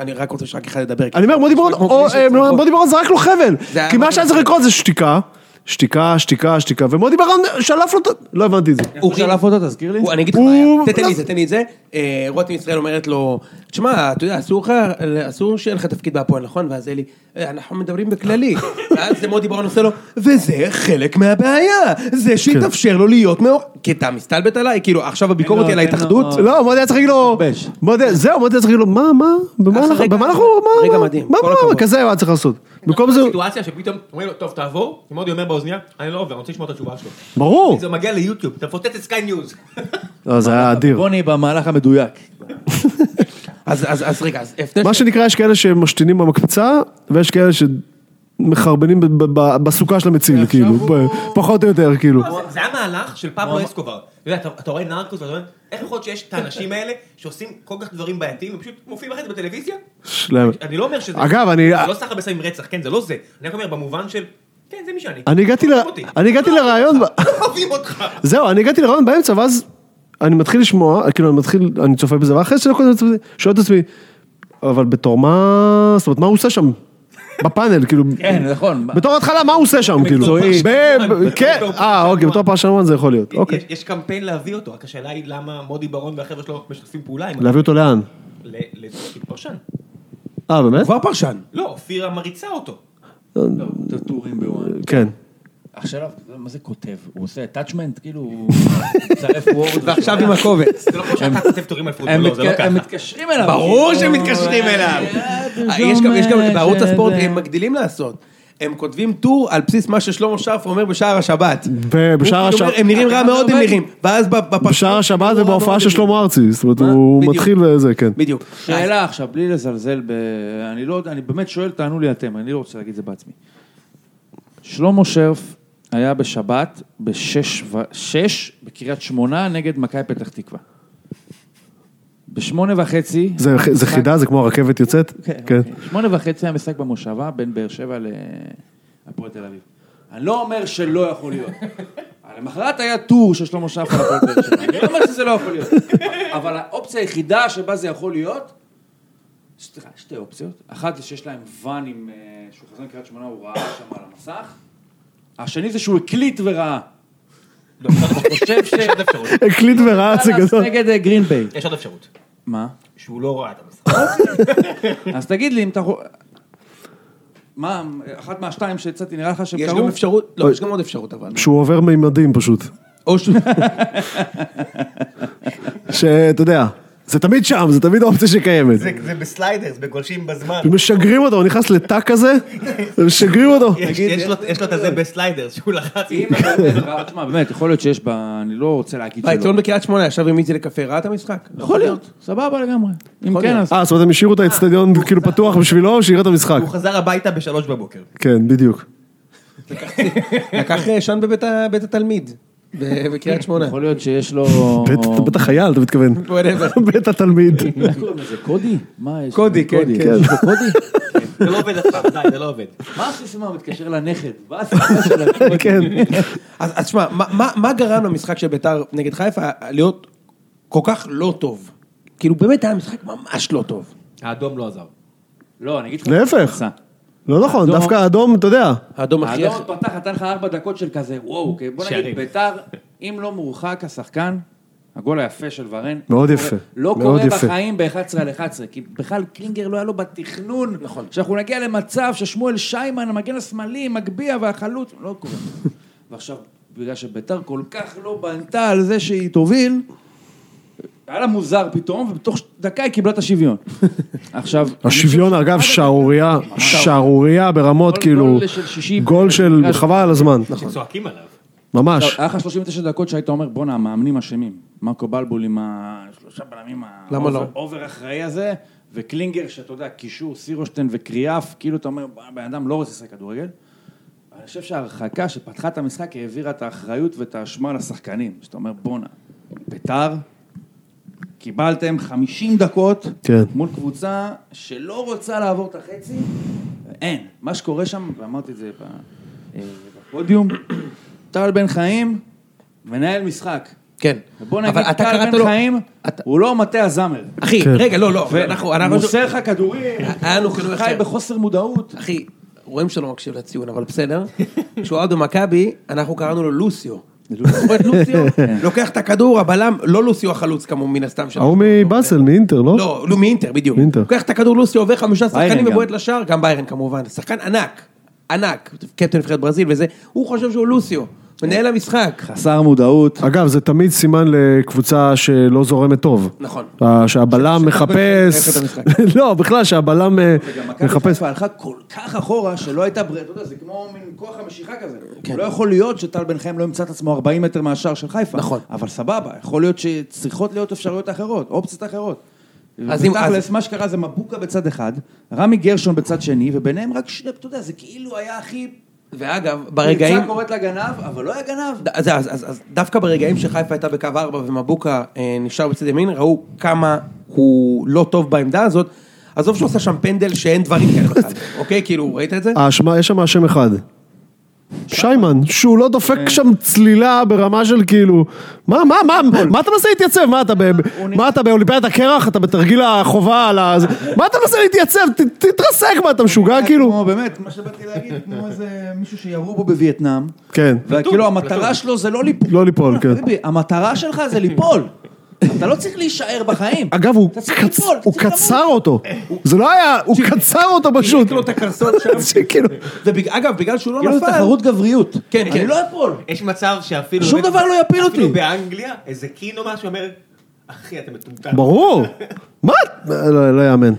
[SPEAKER 2] אני רק רוצה שרק אחד ידבר,
[SPEAKER 3] אני אומר, מודי ברון, או,
[SPEAKER 2] יש לי
[SPEAKER 3] אה,
[SPEAKER 2] צרחות.
[SPEAKER 3] מודי ברון זרק לו חבל.
[SPEAKER 2] זה היה
[SPEAKER 3] כי מה
[SPEAKER 2] מודי
[SPEAKER 3] שהיה צריך
[SPEAKER 2] ברון.
[SPEAKER 3] לקרות זה שתיקה, שתיקה, שתיקה, שתיקה, ומודי ברון שלף לו את ה... לא הבנתי את זה.
[SPEAKER 4] הוא שלף אותו, תזכיר לי?
[SPEAKER 2] הוא- אני אגיד לך
[SPEAKER 3] הוא-
[SPEAKER 2] מה היה, תן לי
[SPEAKER 3] לא-
[SPEAKER 2] את זה, תן לי את זה. אה, רותם ישראל אומרת לו, תשמע, אתה יודע, אסור לך- אסור שיהיה לך תפקיד בהפועל, נכון? ואז אלי, "אה, אנחנו מדברים בכללי. ואז מודי ברון עושה לו, וזה חלק מהבעיה,
[SPEAKER 3] כן.
[SPEAKER 2] זה שהתאפשר לו להיות מאור... כי אתה מסתלבט עליי, כאילו, עכשיו הביקורת היא על
[SPEAKER 4] אין לו-
[SPEAKER 2] ההתאחדות.
[SPEAKER 3] לא, מודי היה צריך להגיד לו,
[SPEAKER 4] מתבייש.
[SPEAKER 3] מודי- זהו, מודי היה צריך להגיד לו, מה, מה, במה
[SPEAKER 2] אחרי
[SPEAKER 3] אנחנו,
[SPEAKER 2] רגע-
[SPEAKER 3] במה אנחנו, מה,
[SPEAKER 2] רגע
[SPEAKER 3] מה,
[SPEAKER 2] מדהים,
[SPEAKER 3] מה,
[SPEAKER 2] כל
[SPEAKER 3] מה,
[SPEAKER 2] הכבוד.
[SPEAKER 3] כזה היה צריך לעשות. במקום זה,
[SPEAKER 1] סיטואציה שפתאום אומרים לו, טוב, תעבור, ומודי אומר באוזניה, אני לא עובר, אני רוצה לשמוע את התשובה שלו.
[SPEAKER 3] ברור,
[SPEAKER 1] זה מגיע ליוטיוב, אתה מפוצץ את סקיי ניוז.
[SPEAKER 3] לא, זה היה אדיר.
[SPEAKER 4] בוני במהלך המדויק.
[SPEAKER 2] אז- אז אז רגע, אז הפתש...
[SPEAKER 3] מה שנקרא, יש כאלה שמשתינים במקפצה, ויש כאלה שמחרבנים ב- ב- ב- בסוכה של המציל, כאילו, ב- פחות או יותר, כאילו.
[SPEAKER 1] זה- זה היה מהלך של פבלו אסקובר. אתה יודע, אתה- אתה רואה נרקוס, ואתה אומר, איך יכול להיות שיש את האנשים האלה שעושים כל כך דברים בעייתיים, הם פשוט מופיעים אחרי זה בטלוויזיה?
[SPEAKER 3] שלהם.
[SPEAKER 1] אני לא אומר שזה...
[SPEAKER 3] אגב, אני-
[SPEAKER 1] זה לא סחר בסמים רצח, כן, זה לא זה. אני רק אומר, במובן של, כן, זה מי שאני.
[SPEAKER 3] אני הגעתי ל-
[SPEAKER 1] אוהבים אותי.
[SPEAKER 3] אני הגעתי לרעיון, ב-
[SPEAKER 1] לא *laughs* אוהבים אותך.
[SPEAKER 3] זהו, אני הגעתי לרעיון באמצע, ואז אני מתחיל לשמוע, כאילו, אני מתחיל, אני צופה בזה, ואחרי שתי דקות אני צופה בזה, שואל את עצמי, אבל בתור מה, זאת אומרת, מה הוא עושה שם? בפאנל, כאילו,
[SPEAKER 4] כן, נכון.
[SPEAKER 3] בתור התחלה, מה הוא עושה שם, כאילו?
[SPEAKER 1] מקצועי.
[SPEAKER 3] ב- ב- כן,
[SPEAKER 1] בתור פרשן
[SPEAKER 3] אה, אוקיי,
[SPEAKER 1] וואן.
[SPEAKER 3] בתור פרשן וואן זה יכול להיות, אוקיי.
[SPEAKER 1] יש- יש קמפיין להביא אותו, רק השאלה היא למה מודי ברון והחבר'ה שלו משתפים פעולה עם...
[SPEAKER 3] להביא אותו לאן?
[SPEAKER 1] ל- לתפקיד פרשן.
[SPEAKER 3] אה, באמת?
[SPEAKER 2] כבר פרשן.
[SPEAKER 1] לא, אופירה מריצה אותו.
[SPEAKER 4] טורים בוואן.
[SPEAKER 3] כן.
[SPEAKER 9] השאלה, מה זה כותב? הוא עושה attachment? כאילו, הוא מצרף וורד.
[SPEAKER 2] ועכשיו עם הקובץ.
[SPEAKER 7] זה לא כמו שאתה כותב טורים על
[SPEAKER 9] הם
[SPEAKER 7] פוטבול, זה לא
[SPEAKER 9] מתק-
[SPEAKER 7] ככה.
[SPEAKER 9] הם מתקשרים אליו.
[SPEAKER 2] ברור
[SPEAKER 9] כאילו,
[SPEAKER 2] שהם מתקשרים אליו.
[SPEAKER 9] אה,
[SPEAKER 2] יש גם, יש
[SPEAKER 9] אה,
[SPEAKER 2] גם, בערוץ
[SPEAKER 9] שזה-
[SPEAKER 2] הספורט הם מגדילים לעשות. הם כותבים טור על בסיס מה ששלמה שרף אומר בשער השבת.
[SPEAKER 3] ב- בשער
[SPEAKER 2] הוא
[SPEAKER 3] השבת-
[SPEAKER 2] אומר, הם נראים רע מאוד, הם נראים. ואז בפרק...
[SPEAKER 3] בשער השבת ובהופעה של שלמה ארצי, זאת אומרת,
[SPEAKER 2] מה?
[SPEAKER 3] הוא
[SPEAKER 2] בדיוק.
[SPEAKER 3] מתחיל וזה, כן.
[SPEAKER 2] בדיוק. אה,
[SPEAKER 4] שאלה עכשיו, בלי לזלזל ב... אני לא יודע, אני באמת שואל, תענו לי אתם, אני לא רוצה להגיד את זה בעצמי. שלמה שרף היה בשבת בשש, ו... שש בקריית שמונה נגד מכבי פתח תקווה. בשמונה וחצי...
[SPEAKER 3] זה- זה חידה, זה כמו הרכבת יוצאת?
[SPEAKER 4] כן.
[SPEAKER 3] כן.
[SPEAKER 2] אוקיי.
[SPEAKER 4] שמונה וחצי היה משחק במושבה בין באר שבע להפועל תל אביב. אני לא אומר שלא
[SPEAKER 3] *laughs*
[SPEAKER 4] יכול להיות. למחרת היה טור של שלמה שחר על הפועל באר שבע. אני לא אומר שזה לא יכול
[SPEAKER 3] *laughs*
[SPEAKER 4] להיות. אבל האופציה היחידה שבה זה יכול להיות, סליחה, שתי אופציות. אחת זה שיש להם ואן עם... אה, שהוא חזר לקריית שמונה, הוא ראה שם על המסך. השני זה שהוא הקליט
[SPEAKER 3] *laughs*
[SPEAKER 4] וראה. אני חושב ש...
[SPEAKER 7] יש עוד אפשרות,
[SPEAKER 3] הקליט וראה זה
[SPEAKER 4] דאלאס
[SPEAKER 3] גדול.
[SPEAKER 4] נגד אה, גרין ביי.
[SPEAKER 7] יש עוד אפשרות.
[SPEAKER 4] מה?
[SPEAKER 7] שהוא לא ראה את המשחק.
[SPEAKER 4] אז תגיד לי אם אתה... יכול- מה, אחת מהשתיים שהצעתי נראה לך שהם
[SPEAKER 2] יש
[SPEAKER 4] קרו?
[SPEAKER 2] גם אפשרות, לא, יש גם עוד אפשרות אבל.
[SPEAKER 3] שהוא עובר מימדים פשוט.
[SPEAKER 2] או ש...
[SPEAKER 3] שאתה יודע, זה תמיד שם, זה תמיד האופציה שקיימת.
[SPEAKER 7] זה בסליידרס, בגולשים בזמן.
[SPEAKER 3] משגרים אותו, הוא נכנס לתא כזה, משגרים אותו.
[SPEAKER 7] יש לו- יש לו את הזה בסליידרס שהוא לחץ.
[SPEAKER 4] אם אתה *laughs* אומר, תשמע, באמת, יכול להיות שיש בה, אני לא רוצה להגיד שלא.
[SPEAKER 2] העיתון אה, בקריית שמונה ישב עם איצי לקפה, ראה את המשחק?
[SPEAKER 4] יכול להיות, סבבה לגמרי. אם כן, אז...
[SPEAKER 3] אה, זאת אומרת, הם השאירו את האצטדיון כאילו פתוח בשבילו, שיראה את המשחק.
[SPEAKER 7] הוא חזר הביתה בשלוש בבוקר.
[SPEAKER 3] כן, בדיוק.
[SPEAKER 2] לקח אה, שן בבית ה- בית התלמיד, ב- בקריית
[SPEAKER 4] *laughs*
[SPEAKER 2] שמונה.
[SPEAKER 4] יכול להיות שיש לו...
[SPEAKER 3] בית- אתה *laughs* בטח חייל, אתה
[SPEAKER 7] *laughs*
[SPEAKER 3] מתכוון. בית התלמיד.
[SPEAKER 4] איך קוראים לזה? קודי? מה יש?
[SPEAKER 2] קודי, כן, כן.
[SPEAKER 4] יש לו קודי?
[SPEAKER 7] זה לא עובד אף פעם, די, זה לא עובד.
[SPEAKER 4] מה הסיסמה? הוא מתקשר לנכד. מה הסיסמה של
[SPEAKER 3] *laughs*
[SPEAKER 4] הקודי?
[SPEAKER 3] כן.
[SPEAKER 2] אז אז תשמע, מה- מה- מה גרם למשחק של ביתר נגד חיפה להיות כל כך לא טוב? כאילו באמת היה משחק ממש לא טוב.
[SPEAKER 1] האדום לא עזר.
[SPEAKER 4] לא, אני אגיד לך...
[SPEAKER 3] להפך.
[SPEAKER 4] עשה.
[SPEAKER 3] לא נכון,
[SPEAKER 4] האדום-
[SPEAKER 3] דווקא האדום, אתה יודע.
[SPEAKER 2] האדום הכי...
[SPEAKER 4] האדום פתח, נתן לך ארבע דקות של כזה, וואו, אוקיי, בוא נגיד,
[SPEAKER 1] שערים.
[SPEAKER 4] ביתר, אם לא מורחק השחקן, הגול היפה של ורן.
[SPEAKER 3] מאוד
[SPEAKER 4] לא
[SPEAKER 3] יפה,
[SPEAKER 4] קורה- לא
[SPEAKER 3] מאוד
[SPEAKER 4] קורה
[SPEAKER 3] יפה.
[SPEAKER 4] בחיים ב-11 על 11, כי בכלל קלינגר לא היה לו בתכנון. נכון. שאנחנו נגיע למצב ששמואל שיימן, המגן השמאלי, מגביה והחלוץ, לא קורה. ועכשיו, בגלל שביתר כל כך לא בנתה על זה שהיא תוביל, היה לה מוזר פתאום, ובתוך דקה היא קיבלה
[SPEAKER 3] *laughs*
[SPEAKER 4] את השוויון. עכשיו... אני חושב
[SPEAKER 3] השוויון,
[SPEAKER 4] שעד
[SPEAKER 3] אגב,
[SPEAKER 4] הדקה-
[SPEAKER 3] שערורייה, שערורייה ברמות,
[SPEAKER 4] גול-
[SPEAKER 3] כאילו,
[SPEAKER 4] גול של שישי-
[SPEAKER 3] גול של חבל על הזמן,
[SPEAKER 7] שצועקים עליו. לא,
[SPEAKER 3] ממש.
[SPEAKER 4] לא, היה לך 39 דקות שהיית אומר, בואנה, המאמנים אשמים. מרקו בלבול עם השלושה בלמים
[SPEAKER 2] למה לא?
[SPEAKER 4] האובר אחראי הזה, וקלינגר, שאתה יודע, קישור, סירושטיין וקריאף, כאילו אתה אומר, "בוא, הבן אדם לא רוצה לשחק כדורגל. אני חושב שההרחקה שפתחה את המשחק העבירה את האחריות ואת האשמה לשחקנים. שאתה אומר, בואנה, ביתר, קיבלתם 50 דקות
[SPEAKER 3] כן.
[SPEAKER 4] מול קבוצה שלא רוצה לעבור את החצי, אין. מה שקורה שם, ואמרתי את זה ב- אה, בפודיום, טל בן חיים מנהל משחק.
[SPEAKER 2] כן.
[SPEAKER 4] ובוא
[SPEAKER 2] אבל
[SPEAKER 4] נגיד,
[SPEAKER 2] אתה
[SPEAKER 4] טל
[SPEAKER 2] קראת
[SPEAKER 4] בן
[SPEAKER 2] לו-
[SPEAKER 4] חיים, הוא לא מטה הזמר.
[SPEAKER 2] אחי,
[SPEAKER 3] כן.
[SPEAKER 2] רגע, לא, לא, אנחנו... אנחנו- אה,
[SPEAKER 4] מוסר לך כדורים,
[SPEAKER 2] היה לנו חילול
[SPEAKER 4] חי
[SPEAKER 2] אחר.
[SPEAKER 4] בחוסר מודעות.
[SPEAKER 2] אחי, רואים שאתה לא מקשיב לציון, אבל בסדר. כשהוא היה במכבי, אנחנו קראנו לו לוסיו. זאת אומרת, לוסיו לוקח את הכדור, הבלם, לא לוסיו החלוץ כמו מן הסתם.
[SPEAKER 7] אה,
[SPEAKER 2] של-
[SPEAKER 3] ההוא מבאסל, מאינטר, לא?
[SPEAKER 2] לא, לא, מאינטר, בדיוק.
[SPEAKER 3] מאינטר.
[SPEAKER 2] לוקח את הכדור לוסיו, עובר חמישה שחקנים
[SPEAKER 4] גם.
[SPEAKER 2] ובועט לשער, גם ביירן כמובן. שחקן ענק, ענק, קפטן נבחרת ברזיל וזה, הוא חושב שהוא לוסיו, מנהל המשחק.
[SPEAKER 4] חסר מודעות.
[SPEAKER 3] אגב, זה תמיד סימן לקבוצה שלא זורמת טוב.
[SPEAKER 2] נכון.
[SPEAKER 3] ה- שהבלם מחפש...
[SPEAKER 2] את המשחק.
[SPEAKER 3] לא, בכלל, שהבלם אה,
[SPEAKER 4] וגם מכבי
[SPEAKER 3] מחפש...
[SPEAKER 4] חיפה הלכה כל כך אחורה שלא הייתה ברירה, אתה יודע, זה כמו מין כוח המשיכה כזה.
[SPEAKER 2] כן.
[SPEAKER 4] לא יכול להיות שטל בן חיים לא ימצא את עצמו 40 מטר מהשער של חיפה.
[SPEAKER 2] נכון.
[SPEAKER 4] אבל סבבה, יכול להיות שצריכות להיות אפשרויות אחרות, אופציות אחרות.
[SPEAKER 2] אז אם-
[SPEAKER 4] בתכלס, מה שקרה זה מבוקה בצד אחד, רמי גרשון בצד שני, וביניהם רק שני, אתה יודע, זה כאילו היה הכי...
[SPEAKER 2] ואגב, ברגעים...
[SPEAKER 4] פרצה קוראת לגנב, אבל לא היה גנב.
[SPEAKER 2] ד- אז, אז, אז, אז דווקא ברגעים שחיפה הייתה בקו 4 ומבוקה אה, נשאר בצד ימין, ראו כמה הוא לא טוב בעמדה הזאת. עזוב שהוא עשה שם פנדל שאין דברים כאלה בכלל, אוקיי? כאילו, ראית את זה?
[SPEAKER 3] האשמה, אה, יש שם אשם אחד. שיימן, שהוא לא
[SPEAKER 4] אה.
[SPEAKER 3] דופק שם צלילה ברמה של כאילו, מה, מה, מה, מה אתה מנסה להתייצב? מה אתה, ב- מה אתה באולימפיאדת הקרח? אתה בתרגיל החובה על ה... מה אתה מנסה להתייצב? ת- תתרסק, מה אתה משוגע
[SPEAKER 4] אה,
[SPEAKER 3] כאילו?
[SPEAKER 4] כמו, באמת, מה שבאתי להגיד, כמו איזה מישהו שירו בו בווייטנאם.
[SPEAKER 3] כן.
[SPEAKER 4] וכאילו המטרה שלו זה לא ליפול.
[SPEAKER 3] לא ליפול, כן.
[SPEAKER 4] חביבי, המטרה שלך זה ליפול. אתה לא צריך להישאר בחיים.
[SPEAKER 3] אגב, הוא
[SPEAKER 4] אתה צריך
[SPEAKER 3] קצ-
[SPEAKER 4] ליפול, אתה
[SPEAKER 3] הוא
[SPEAKER 4] צריך
[SPEAKER 3] קצר אותו. זה לא היה, הוא קצר אותו פשוט.
[SPEAKER 2] לו את הקרסול שם.
[SPEAKER 3] *laughs* זה כאילו-
[SPEAKER 2] ובג- אגב, בגלל שהוא לא
[SPEAKER 4] כאילו זה
[SPEAKER 2] נפל...
[SPEAKER 4] תחרות גבריות.
[SPEAKER 2] כן, כן.
[SPEAKER 4] אני לא אפול.
[SPEAKER 7] יש מצב שאפילו...
[SPEAKER 4] שום דבר לא יפיל אותי.
[SPEAKER 7] אפילו באנגליה, איזה קין או משהו אומר, אחי, אתה מטומטם.
[SPEAKER 3] ברור. מה? לא לא יאמן.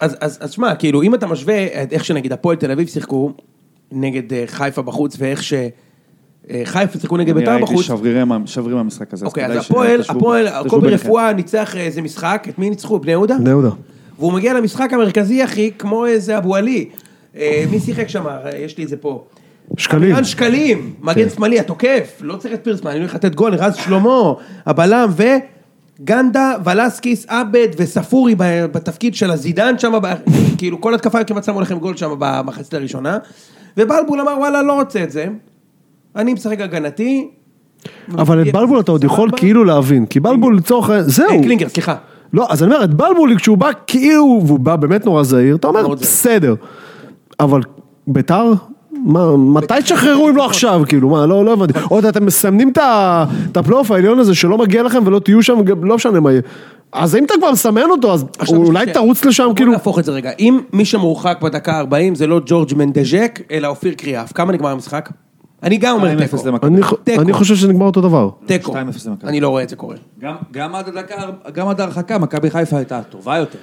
[SPEAKER 2] אז, אז, אז שמע, כאילו, אם אתה משווה את איך שנגיד הפועל תל אביב שיחקו נגד אה, חיפה בחוץ, ואיך ש... אה, חיפה שיחקו נגד בית"ר
[SPEAKER 9] אני ראיתי
[SPEAKER 2] בחוץ.
[SPEAKER 9] שברירי מה- שברירי מהמשחק הזה.
[SPEAKER 2] אוקיי, אז
[SPEAKER 9] כדאי
[SPEAKER 2] הפועל,
[SPEAKER 9] שתשבו-
[SPEAKER 2] הפועל,
[SPEAKER 9] תשבו
[SPEAKER 2] הקובי
[SPEAKER 9] ביניכם.
[SPEAKER 2] רפואה ניצח אה, איזה משחק, את מי ניצחו? בני יהודה?
[SPEAKER 3] בני יהודה.
[SPEAKER 2] והוא מגיע למשחק המרכזי, אחי, כמו איזה אבו עלי. אה, מי שיחק שם? אה, יש לי את זה פה.
[SPEAKER 9] כן.
[SPEAKER 3] שקלים.
[SPEAKER 2] רן שקלים, מגן שמאלי, התוקף, לא צריך את פירסמן, אני הולך לתת גול, רז שלמה, הבלם, וגנדה, ולסקיס, עבד וספורי ב- בתפקיד של הזידן שם, ב- *laughs* כאילו כל התקפה כמעט שמו לכם גול שם במחצית הראשונה, ובלבול אמר וואלה, לא רוצה את זה, אני משחק הגנתי.
[SPEAKER 3] אבל את בלבול אתה עוד יכול
[SPEAKER 2] סבבה.
[SPEAKER 3] כאילו להבין, כי בלבול לצורך, ה-
[SPEAKER 2] לא אה,
[SPEAKER 3] זהו.
[SPEAKER 2] קלינגר, סליחה.
[SPEAKER 3] לא, אז אני אומר, את בלבול כשהוא בא כאילו, והוא בא באמת נורא זהיר, אתה אומר,
[SPEAKER 2] מאוד זהיר.
[SPEAKER 3] בסדר. אבל ביתר? מה, מתי תשחררו אם לא עכשיו, כאילו, מה, לא, לא הבנתי. עוד אתם מסמנים את ה- את הפלייאוף העליון הזה שלא מגיע לכם ולא תהיו שם, גם לא משנה מה יהיה. אז אם אתה כבר מסמן אותו, אז
[SPEAKER 2] עכשיו יש לי
[SPEAKER 3] אולי
[SPEAKER 2] שאלה.
[SPEAKER 3] תרוץ לשם,
[SPEAKER 2] בוא
[SPEAKER 3] כאילו,
[SPEAKER 2] נהפוך את זה רגע, אם מי שמורחק בדקה ה-40 זה לא ג'ורג' מנדז'ק, אלא אופיר קריאף, כמה נגמר המשחק? אני גם אומר
[SPEAKER 9] 2-0
[SPEAKER 2] תיקו.
[SPEAKER 9] למכבי.
[SPEAKER 3] אני ח-
[SPEAKER 2] תיקו.
[SPEAKER 3] אני חושב שנגמר אותו דבר.
[SPEAKER 2] תיקו.
[SPEAKER 9] 2-0 למכבי.
[SPEAKER 2] אני לא רואה את זה קורה.
[SPEAKER 4] גם- גם עד הדקה, גם עד ההרחקה, מכבי חיפה הייתה טובה יותר.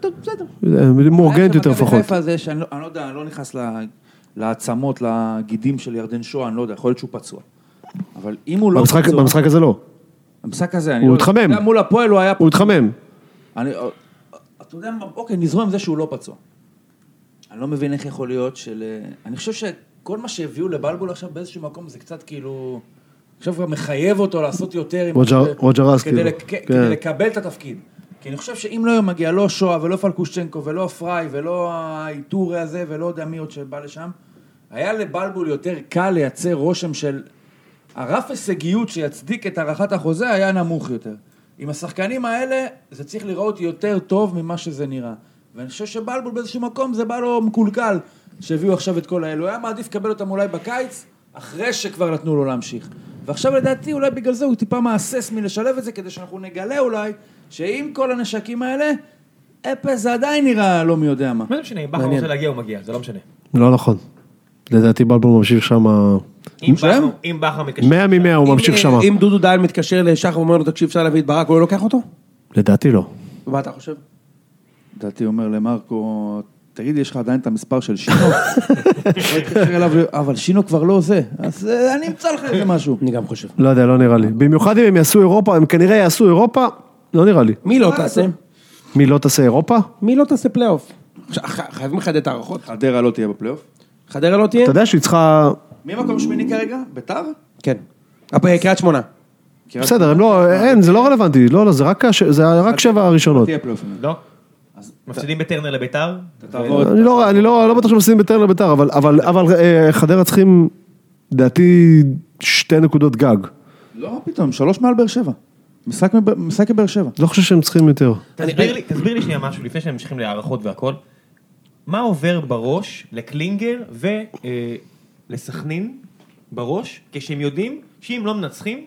[SPEAKER 2] טוב, בסדר.
[SPEAKER 3] אה, מאורגנת יותר
[SPEAKER 4] מכבי
[SPEAKER 3] לפחות.
[SPEAKER 4] חיפה זה שאני לא- אני לא יודע, אני לא נכנס ל- לעצמות, לגידים של ירדן שואה, אני לא יודע, יכול להיות שהוא פצוע. אבל אם הוא לא
[SPEAKER 3] במשחק-
[SPEAKER 4] פצוע,
[SPEAKER 3] במשחק הזה לא.
[SPEAKER 4] המשחק הזה, אני
[SPEAKER 3] הוא
[SPEAKER 4] לא-
[SPEAKER 3] התחמם.
[SPEAKER 4] גם מול הפועל הוא היה
[SPEAKER 3] הוא התחמם.
[SPEAKER 4] אני, אה, אתה יודע מה, אוקיי, נזרום עם זה שהוא לא פצוע. אני לא מבין איך יכול להיות של... אה, אני חושב שכל מה שהביאו לבלבול עכשיו באיזשהו מקום זה קצת כאילו... עכשיו כבר מחייב אותו לעשות יותר עם...
[SPEAKER 3] רוג'ר-
[SPEAKER 4] כדי-
[SPEAKER 3] רוג'ר רז,
[SPEAKER 4] כדי
[SPEAKER 3] כאילו.
[SPEAKER 4] לק-
[SPEAKER 3] כן.
[SPEAKER 4] כדי לקבל את התפקיד. כי אני חושב שאם לא היה מגיע לא שואה ולא פלקושצ'נקו ולא פריי ולא האיתור הזה ולא יודע מי עוד שבא לשם, היה לבלבול יותר קל לייצר רושם של הרף הישגיות שיצדיק את הארכת החוזה היה נמוך יותר. עם השחקנים האלה, זה צריך להיראות יותר טוב ממה שזה נראה. ואני חושב שבלבול באיזשהו מקום זה בא לו מקולקל, שהביאו עכשיו את כל האלו. הוא היה מעדיף לקבל אותם אולי בקיץ, אחרי שכבר נתנו לו להמשיך. ועכשיו לדעתי אולי בגלל זה הוא טיפה מהסס מלשלב את זה, כדי שאנחנו נגלה אולי, שעם כל הנשקים האלה, אפס זה עדיין נראה לא מי יודע מה.
[SPEAKER 7] מה זה משנה, אם בכר רוצה להגיע הוא מגיע, זה לא משנה.
[SPEAKER 3] לא נכון. לדעתי בלבול ממשיך שם...
[SPEAKER 7] אם בכר- אם בכר מתקשר...
[SPEAKER 3] 100 מ-100 הוא ממשיך
[SPEAKER 2] אם,
[SPEAKER 3] שם.
[SPEAKER 2] אה, אם דודו דהן מתקשר לשחר ואומר לו, תקשיב, אפשר להביא את ברק, הוא לא לוקח אותו?
[SPEAKER 3] לדעתי לא.
[SPEAKER 2] מה אתה חושב?
[SPEAKER 9] לדעתי אומר למרקו, תגיד, יש לך עדיין את המספר של שינו? לא התקשר אליו, אבל שינו כבר לא זה.
[SPEAKER 4] אז אה, אני אמצא לך איזה משהו.
[SPEAKER 2] אני גם חושב.
[SPEAKER 3] לא יודע, לא נראה לי. במיוחד אם הם יעשו אירופה, הם כנראה יעשו אירופה, לא נראה לי.
[SPEAKER 2] מי לא תעשה?
[SPEAKER 3] מי לא תעשה אירופה?
[SPEAKER 2] מי לא תעשה פלייאוף? עכשיו, ח- חייבים לחדד את ההערכות.
[SPEAKER 9] חדרה לא תהיה בפלייאוף.
[SPEAKER 2] חדרה לא תהיה?
[SPEAKER 3] אתה יודע שהיא צריכה...
[SPEAKER 4] מי מקום שמיני כרגע? ביתר?
[SPEAKER 2] כן. הפועל קריית שמונה.
[SPEAKER 3] בסדר, הם לא... אין, זה לא רלוונטי. לא, לא, זה רק הש- זה רק שבע הראשונות.
[SPEAKER 9] תהיה פלייאופים.
[SPEAKER 7] לא? מפסידים בטרנר לביתר?
[SPEAKER 9] תעבור את
[SPEAKER 3] אני לא- אני לא לא בטוח שמפסידים בטרנר לביתר, אבל- אבל אבל, אה, חדרה צריכים, לדעתי, שתי נקודות גג.
[SPEAKER 9] לא, פתאום, שלוש מעל באר שבע. משחק מב- משחק בבאר שבע.
[SPEAKER 3] לא חושב שהם צריכים יותר.
[SPEAKER 7] תסביר לי- תסביר לי שנייה משהו, לפני שהם ממשיכים להערכות והכל. מה עובר בראש לקלינגר ולסכנין בראש, כשהם יודעים שאם לא מנצחים,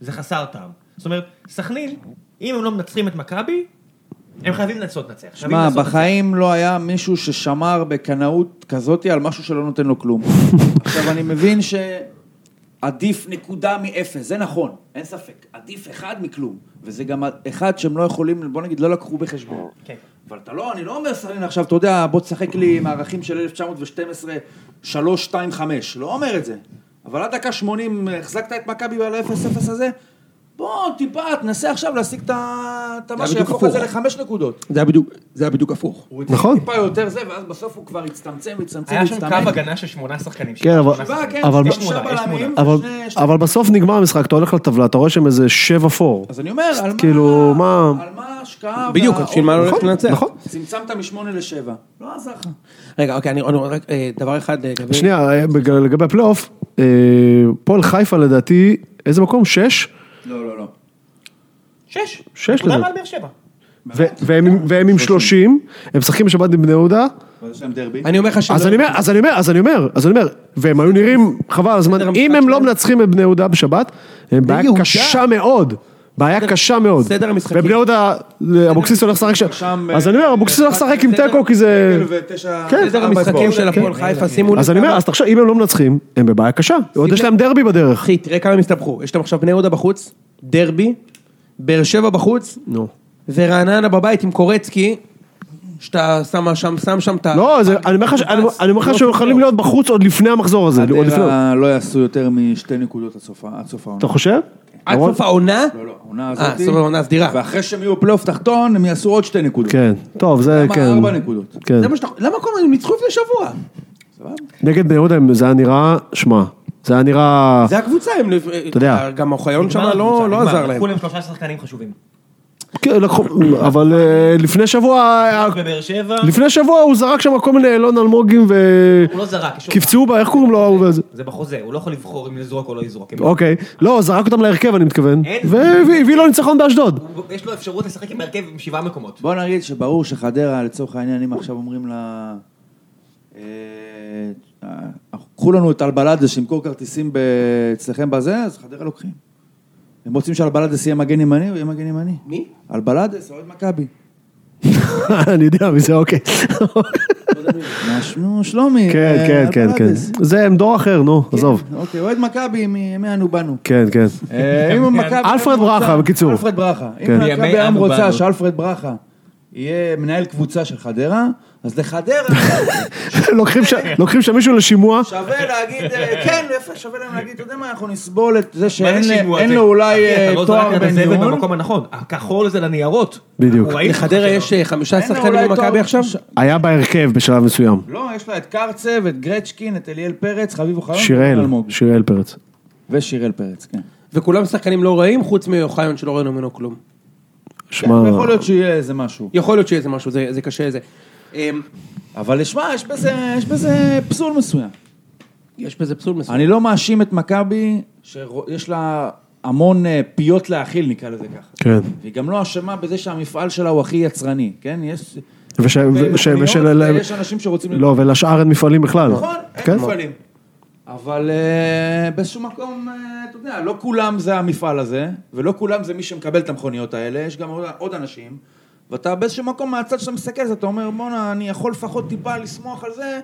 [SPEAKER 7] זה חסר טעם. זאת אומרת, סכנין, אם הם לא מנצחים את מכבי, הם חייבים לנסות לנצח. חייבים
[SPEAKER 4] שמע,
[SPEAKER 7] לנסות
[SPEAKER 4] בחיים לא היה מישהו ששמר בקנאות כזאתי על משהו שלא נותן לו כלום. עכשיו, אני מבין שעדיף נקודה מאפס, זה נכון, אין ספק. עדיף אחד מכלום, וזה גם אחד שהם לא יכולים, בוא נגיד, לא לקחו בחשבון.
[SPEAKER 7] כן.
[SPEAKER 4] אבל אתה לא, אני לא אומר סרין עכשיו, אתה יודע, בוא תשחק לי עם הערכים של 1912, 3, 2, 5, לא אומר את זה. אבל עד דקה 80 החזקת את מכבי על ה-0-0 הזה, בוא טיפה, תנסה עכשיו להשיג את ה- את מה
[SPEAKER 2] בדיוק
[SPEAKER 4] שיהפוך את זה
[SPEAKER 2] הפוך.
[SPEAKER 4] לחמש נקודות.
[SPEAKER 2] זה היה בדיוק, זה היה בדיוק הפוך.
[SPEAKER 4] הוא
[SPEAKER 3] נכון.
[SPEAKER 4] התחיל טיפה יותר זה, ואז בסוף הוא כבר הצטמצם, הצטמצם,
[SPEAKER 7] היה שם קו
[SPEAKER 4] הצטמצם.
[SPEAKER 7] הגנה של שמונה שחקנים.
[SPEAKER 3] כן, אבל-
[SPEAKER 7] שמונה שחקנים.
[SPEAKER 3] אבל-
[SPEAKER 7] יש תמונה, יש תמונה.
[SPEAKER 3] אבל-
[SPEAKER 4] שני- שני-
[SPEAKER 3] אבל בסוף נגמר המשחק, אתה הולך לטבלה, אתה רואה שהם איזה שבע פור.
[SPEAKER 4] אז אני אומר, על מה...
[SPEAKER 3] כאילו, מה-
[SPEAKER 4] על מה ההשקעה...
[SPEAKER 2] בדיוק,
[SPEAKER 4] וה-
[SPEAKER 2] אז בשביל מה לא הולך
[SPEAKER 3] נכון,
[SPEAKER 2] לנצח?
[SPEAKER 3] נכון.
[SPEAKER 4] צמצמת משמונה לשבע. לא עזר לך.
[SPEAKER 2] רגע, אוקיי, אני אני רואה רק אה, דבר אחד אה, לגבי...
[SPEAKER 3] שנייה, אה, בג- לגבי הפלייאוף, אה, הפועל חיפה לדעתי, איזה מקום? שש?
[SPEAKER 4] לא, לא, לא.
[SPEAKER 7] שש.
[SPEAKER 3] שש
[SPEAKER 7] נקודה
[SPEAKER 3] לזה.
[SPEAKER 7] מעל באר שבע.
[SPEAKER 3] ו- והם עם- והם עם שלושים, הם משחקים בשבת עם בני יהודה,
[SPEAKER 9] אבל יש להם דרבי.
[SPEAKER 2] אני אומר לך שלא...
[SPEAKER 3] אז אני אומר, אז אני אומר, אז אני אומר, אז אני אומר, והם היו נראים, חבל על הזמן,
[SPEAKER 2] בסדר,
[SPEAKER 3] אם
[SPEAKER 2] המשחק
[SPEAKER 3] הם לא
[SPEAKER 2] שלהם.
[SPEAKER 3] מנצחים את בני יהודה בשבת, הם בעיה
[SPEAKER 2] יהודה.
[SPEAKER 3] קשה מאוד. בעיה קשה מאוד.
[SPEAKER 2] סדר המשחקים.
[SPEAKER 3] ובני יהודה, אבוקסיס הולך לשחק שם. אז אני אומר, אבוקסיס הולך לשחק עם תיקו כי
[SPEAKER 4] כאילו,
[SPEAKER 3] זה... כן.
[SPEAKER 2] סדר המשחקים של הפועל חיפה, שימו לב.
[SPEAKER 3] אז אני אומר, אז תחשוב, אם הם לא מנצחים, הם בבעיה קשה. עוד יש להם דרבי בדרך.
[SPEAKER 2] אחי, תראה כמה הם הסתבכו. יש להם עכשיו בני יהודה בחוץ, דרבי, באר שבע בחוץ,
[SPEAKER 3] נו.
[SPEAKER 2] ורעננה בבית עם קורצקי, שאתה שם שם, שם שם את ה...
[SPEAKER 3] לא, זה- אני אומר לך ש- אני- אני אומר לך שהם יכולים להיות בחוץ עוד לפני המחזור הזה. אה, עוד לפני-
[SPEAKER 4] חדרה לא יעשו יותר משתי נקודות עד סוף ה- עד סוף העונה.
[SPEAKER 3] אתה חושב?
[SPEAKER 2] עד
[SPEAKER 3] למרות-
[SPEAKER 2] סוף העונה?
[SPEAKER 4] לא, לא, העונה
[SPEAKER 2] אה,
[SPEAKER 4] הזאת.
[SPEAKER 2] סוף העונה הסדירה.
[SPEAKER 4] ואחרי שהם יהיו בפלייאוף תחתון, הם יעשו עוד שתי נקודות.
[SPEAKER 3] כן. טוב, זה
[SPEAKER 4] למה
[SPEAKER 3] כן.
[SPEAKER 4] ארבע נקודות?
[SPEAKER 3] כן.
[SPEAKER 2] זה מה שאתה... למה כל הזמן הם ניצחו לפני שבוע?
[SPEAKER 3] נגד בני יהודה זה היה נראה, שמע, זה היה נראה...
[SPEAKER 2] זה הקבוצה, הם... אתה
[SPEAKER 3] יודע.
[SPEAKER 2] גם אוחיון שם
[SPEAKER 7] נגמר
[SPEAKER 2] לא
[SPEAKER 7] הקבוצה,
[SPEAKER 2] לא
[SPEAKER 7] נגמר.
[SPEAKER 2] עזר להם.
[SPEAKER 7] לקחו להם שלושה שחקנים חשובים.
[SPEAKER 3] כן, לקחו, אבל אה, לפני שבוע,
[SPEAKER 2] אה,
[SPEAKER 3] היה-
[SPEAKER 7] בבאר שבע,
[SPEAKER 3] לפני שבוע הוא זרק שם כל מיני אילון אלמוגים ו...
[SPEAKER 7] הוא לא זרק. יש לו-
[SPEAKER 3] קפצו בה, איך קוראים לו ההוא וזה?
[SPEAKER 7] זה בחוזה, הוא לא יכול לבחור אם לזרוק או לא לזרוק.
[SPEAKER 3] אוקיי. לא, זרק אותם להרכב אני מתכוון.
[SPEAKER 7] אין.
[SPEAKER 3] והביא לו ניצחון באשדוד.
[SPEAKER 7] *laughs* הוא- יש לו אפשרות לשחק עם הרכב עם שבעה מקומות.
[SPEAKER 4] בוא נגיד שברור שחדרה, לצורך העניין, אם עכשיו אומרים לה... אה, אה, קחו לנו את אלבלדה שימכור כרטיסים ב- אצלכם בזה, אז חדרה לוקחים. הם רוצים שאלבלדס יהיה מגן ימני, הוא יהיה מגן ימני.
[SPEAKER 2] מי?
[SPEAKER 4] אלבלדס, אוהד מכבי.
[SPEAKER 3] אני יודע מי זה, אוקיי.
[SPEAKER 4] נו, שלומי.
[SPEAKER 3] כן,
[SPEAKER 4] אה,
[SPEAKER 3] כן, כן, כן.
[SPEAKER 4] אלבלדס.
[SPEAKER 3] זה הם דור אחר, נו, עזוב.
[SPEAKER 4] כן, אוקיי, אוהד מכבי מימי אנו באנו.
[SPEAKER 3] כן, כן. *laughs*
[SPEAKER 4] אה, אם מכבי...
[SPEAKER 3] אלפרד
[SPEAKER 4] רוצה-
[SPEAKER 3] ברכה, בקיצור.
[SPEAKER 4] אלפרד ברכה. אם
[SPEAKER 3] כן.
[SPEAKER 4] מכבי
[SPEAKER 5] ימי
[SPEAKER 4] היום
[SPEAKER 5] אנו
[SPEAKER 4] רוצה
[SPEAKER 5] באנו.
[SPEAKER 4] שאלפרד ברכה יהיה מנהל קבוצה של חדרה, אז לחדרה
[SPEAKER 3] לוקחים ש- לוקחים שם מישהו לשימוע.
[SPEAKER 7] *laughs*
[SPEAKER 4] שווה להגיד, אה, כן, יפה, שווה להם להגיד, אתה יודע מה, אנחנו נסבול את זה
[SPEAKER 7] מה
[SPEAKER 4] שאין
[SPEAKER 7] זה שימוע
[SPEAKER 4] אין
[SPEAKER 7] הזה?
[SPEAKER 4] לו אולי
[SPEAKER 7] אחי,
[SPEAKER 4] אה,
[SPEAKER 7] אתה לא
[SPEAKER 4] תואר
[SPEAKER 7] זרקת את
[SPEAKER 4] בן
[SPEAKER 7] הזבל
[SPEAKER 4] ניהול.
[SPEAKER 7] במקום הנכון. הכחול זה לניירות.
[SPEAKER 3] בדיוק.
[SPEAKER 7] הוא ראיתי
[SPEAKER 2] לחדרה
[SPEAKER 7] אותך
[SPEAKER 2] יש אה, חמישה
[SPEAKER 4] אין לו
[SPEAKER 2] שחקנים
[SPEAKER 4] אולי
[SPEAKER 2] במכבי
[SPEAKER 4] תואר-
[SPEAKER 2] עכשיו?
[SPEAKER 4] ש-
[SPEAKER 3] היה בהרכב בשלב מסוים.
[SPEAKER 4] לא, יש לה את קרצה ואת גרצ'קין, את אליאל פרץ, חביב אוחיון.
[SPEAKER 3] שיראל,
[SPEAKER 4] ואלמוג.
[SPEAKER 3] שיראל
[SPEAKER 7] כן,
[SPEAKER 3] פרץ.
[SPEAKER 4] ושיראל פרץ, כן.
[SPEAKER 2] וכולם שחקנים לא רעים, חוץ מאוחיון שלא ראינו ממנו כלום.
[SPEAKER 3] שמע,
[SPEAKER 4] כן, יכול להיות שיהיה איזה משהו.
[SPEAKER 2] יכול להיות שיהיה איזה משהו, זה זה קשה זה. אמ,
[SPEAKER 4] אבל שמע, יש בזה- יש בזה פסול מסוים.
[SPEAKER 2] יש בזה פסול מסוים.
[SPEAKER 4] אני לא מאשים את מכבי, שיש לה המון אה, פיות להאכיל, נקרא לזה ככה.
[SPEAKER 3] כן.
[SPEAKER 4] והיא גם לא אשמה בזה שהמפעל שלה הוא הכי יצרני, כן? יש... לא
[SPEAKER 3] וש-
[SPEAKER 4] אה,
[SPEAKER 3] וש- ושל-
[SPEAKER 4] יש אנשים שרוצים...
[SPEAKER 3] לא, ולשאר אין מפעלים בכלל.
[SPEAKER 4] נכון,
[SPEAKER 3] כן.
[SPEAKER 4] אין מפעלים. אבל אה, באיזשהו מקום, אה, אתה יודע, לא כולם זה המפעל הזה, ולא כולם זה מי שמקבל את המכוניות האלה, יש גם עוד- עוד אנשים, ואתה באיזשהו מקום, מהצד שאתה מסתכל על זה, אתה אומר, בואנה, אני יכול לפחות טיפה לשמוח על זה.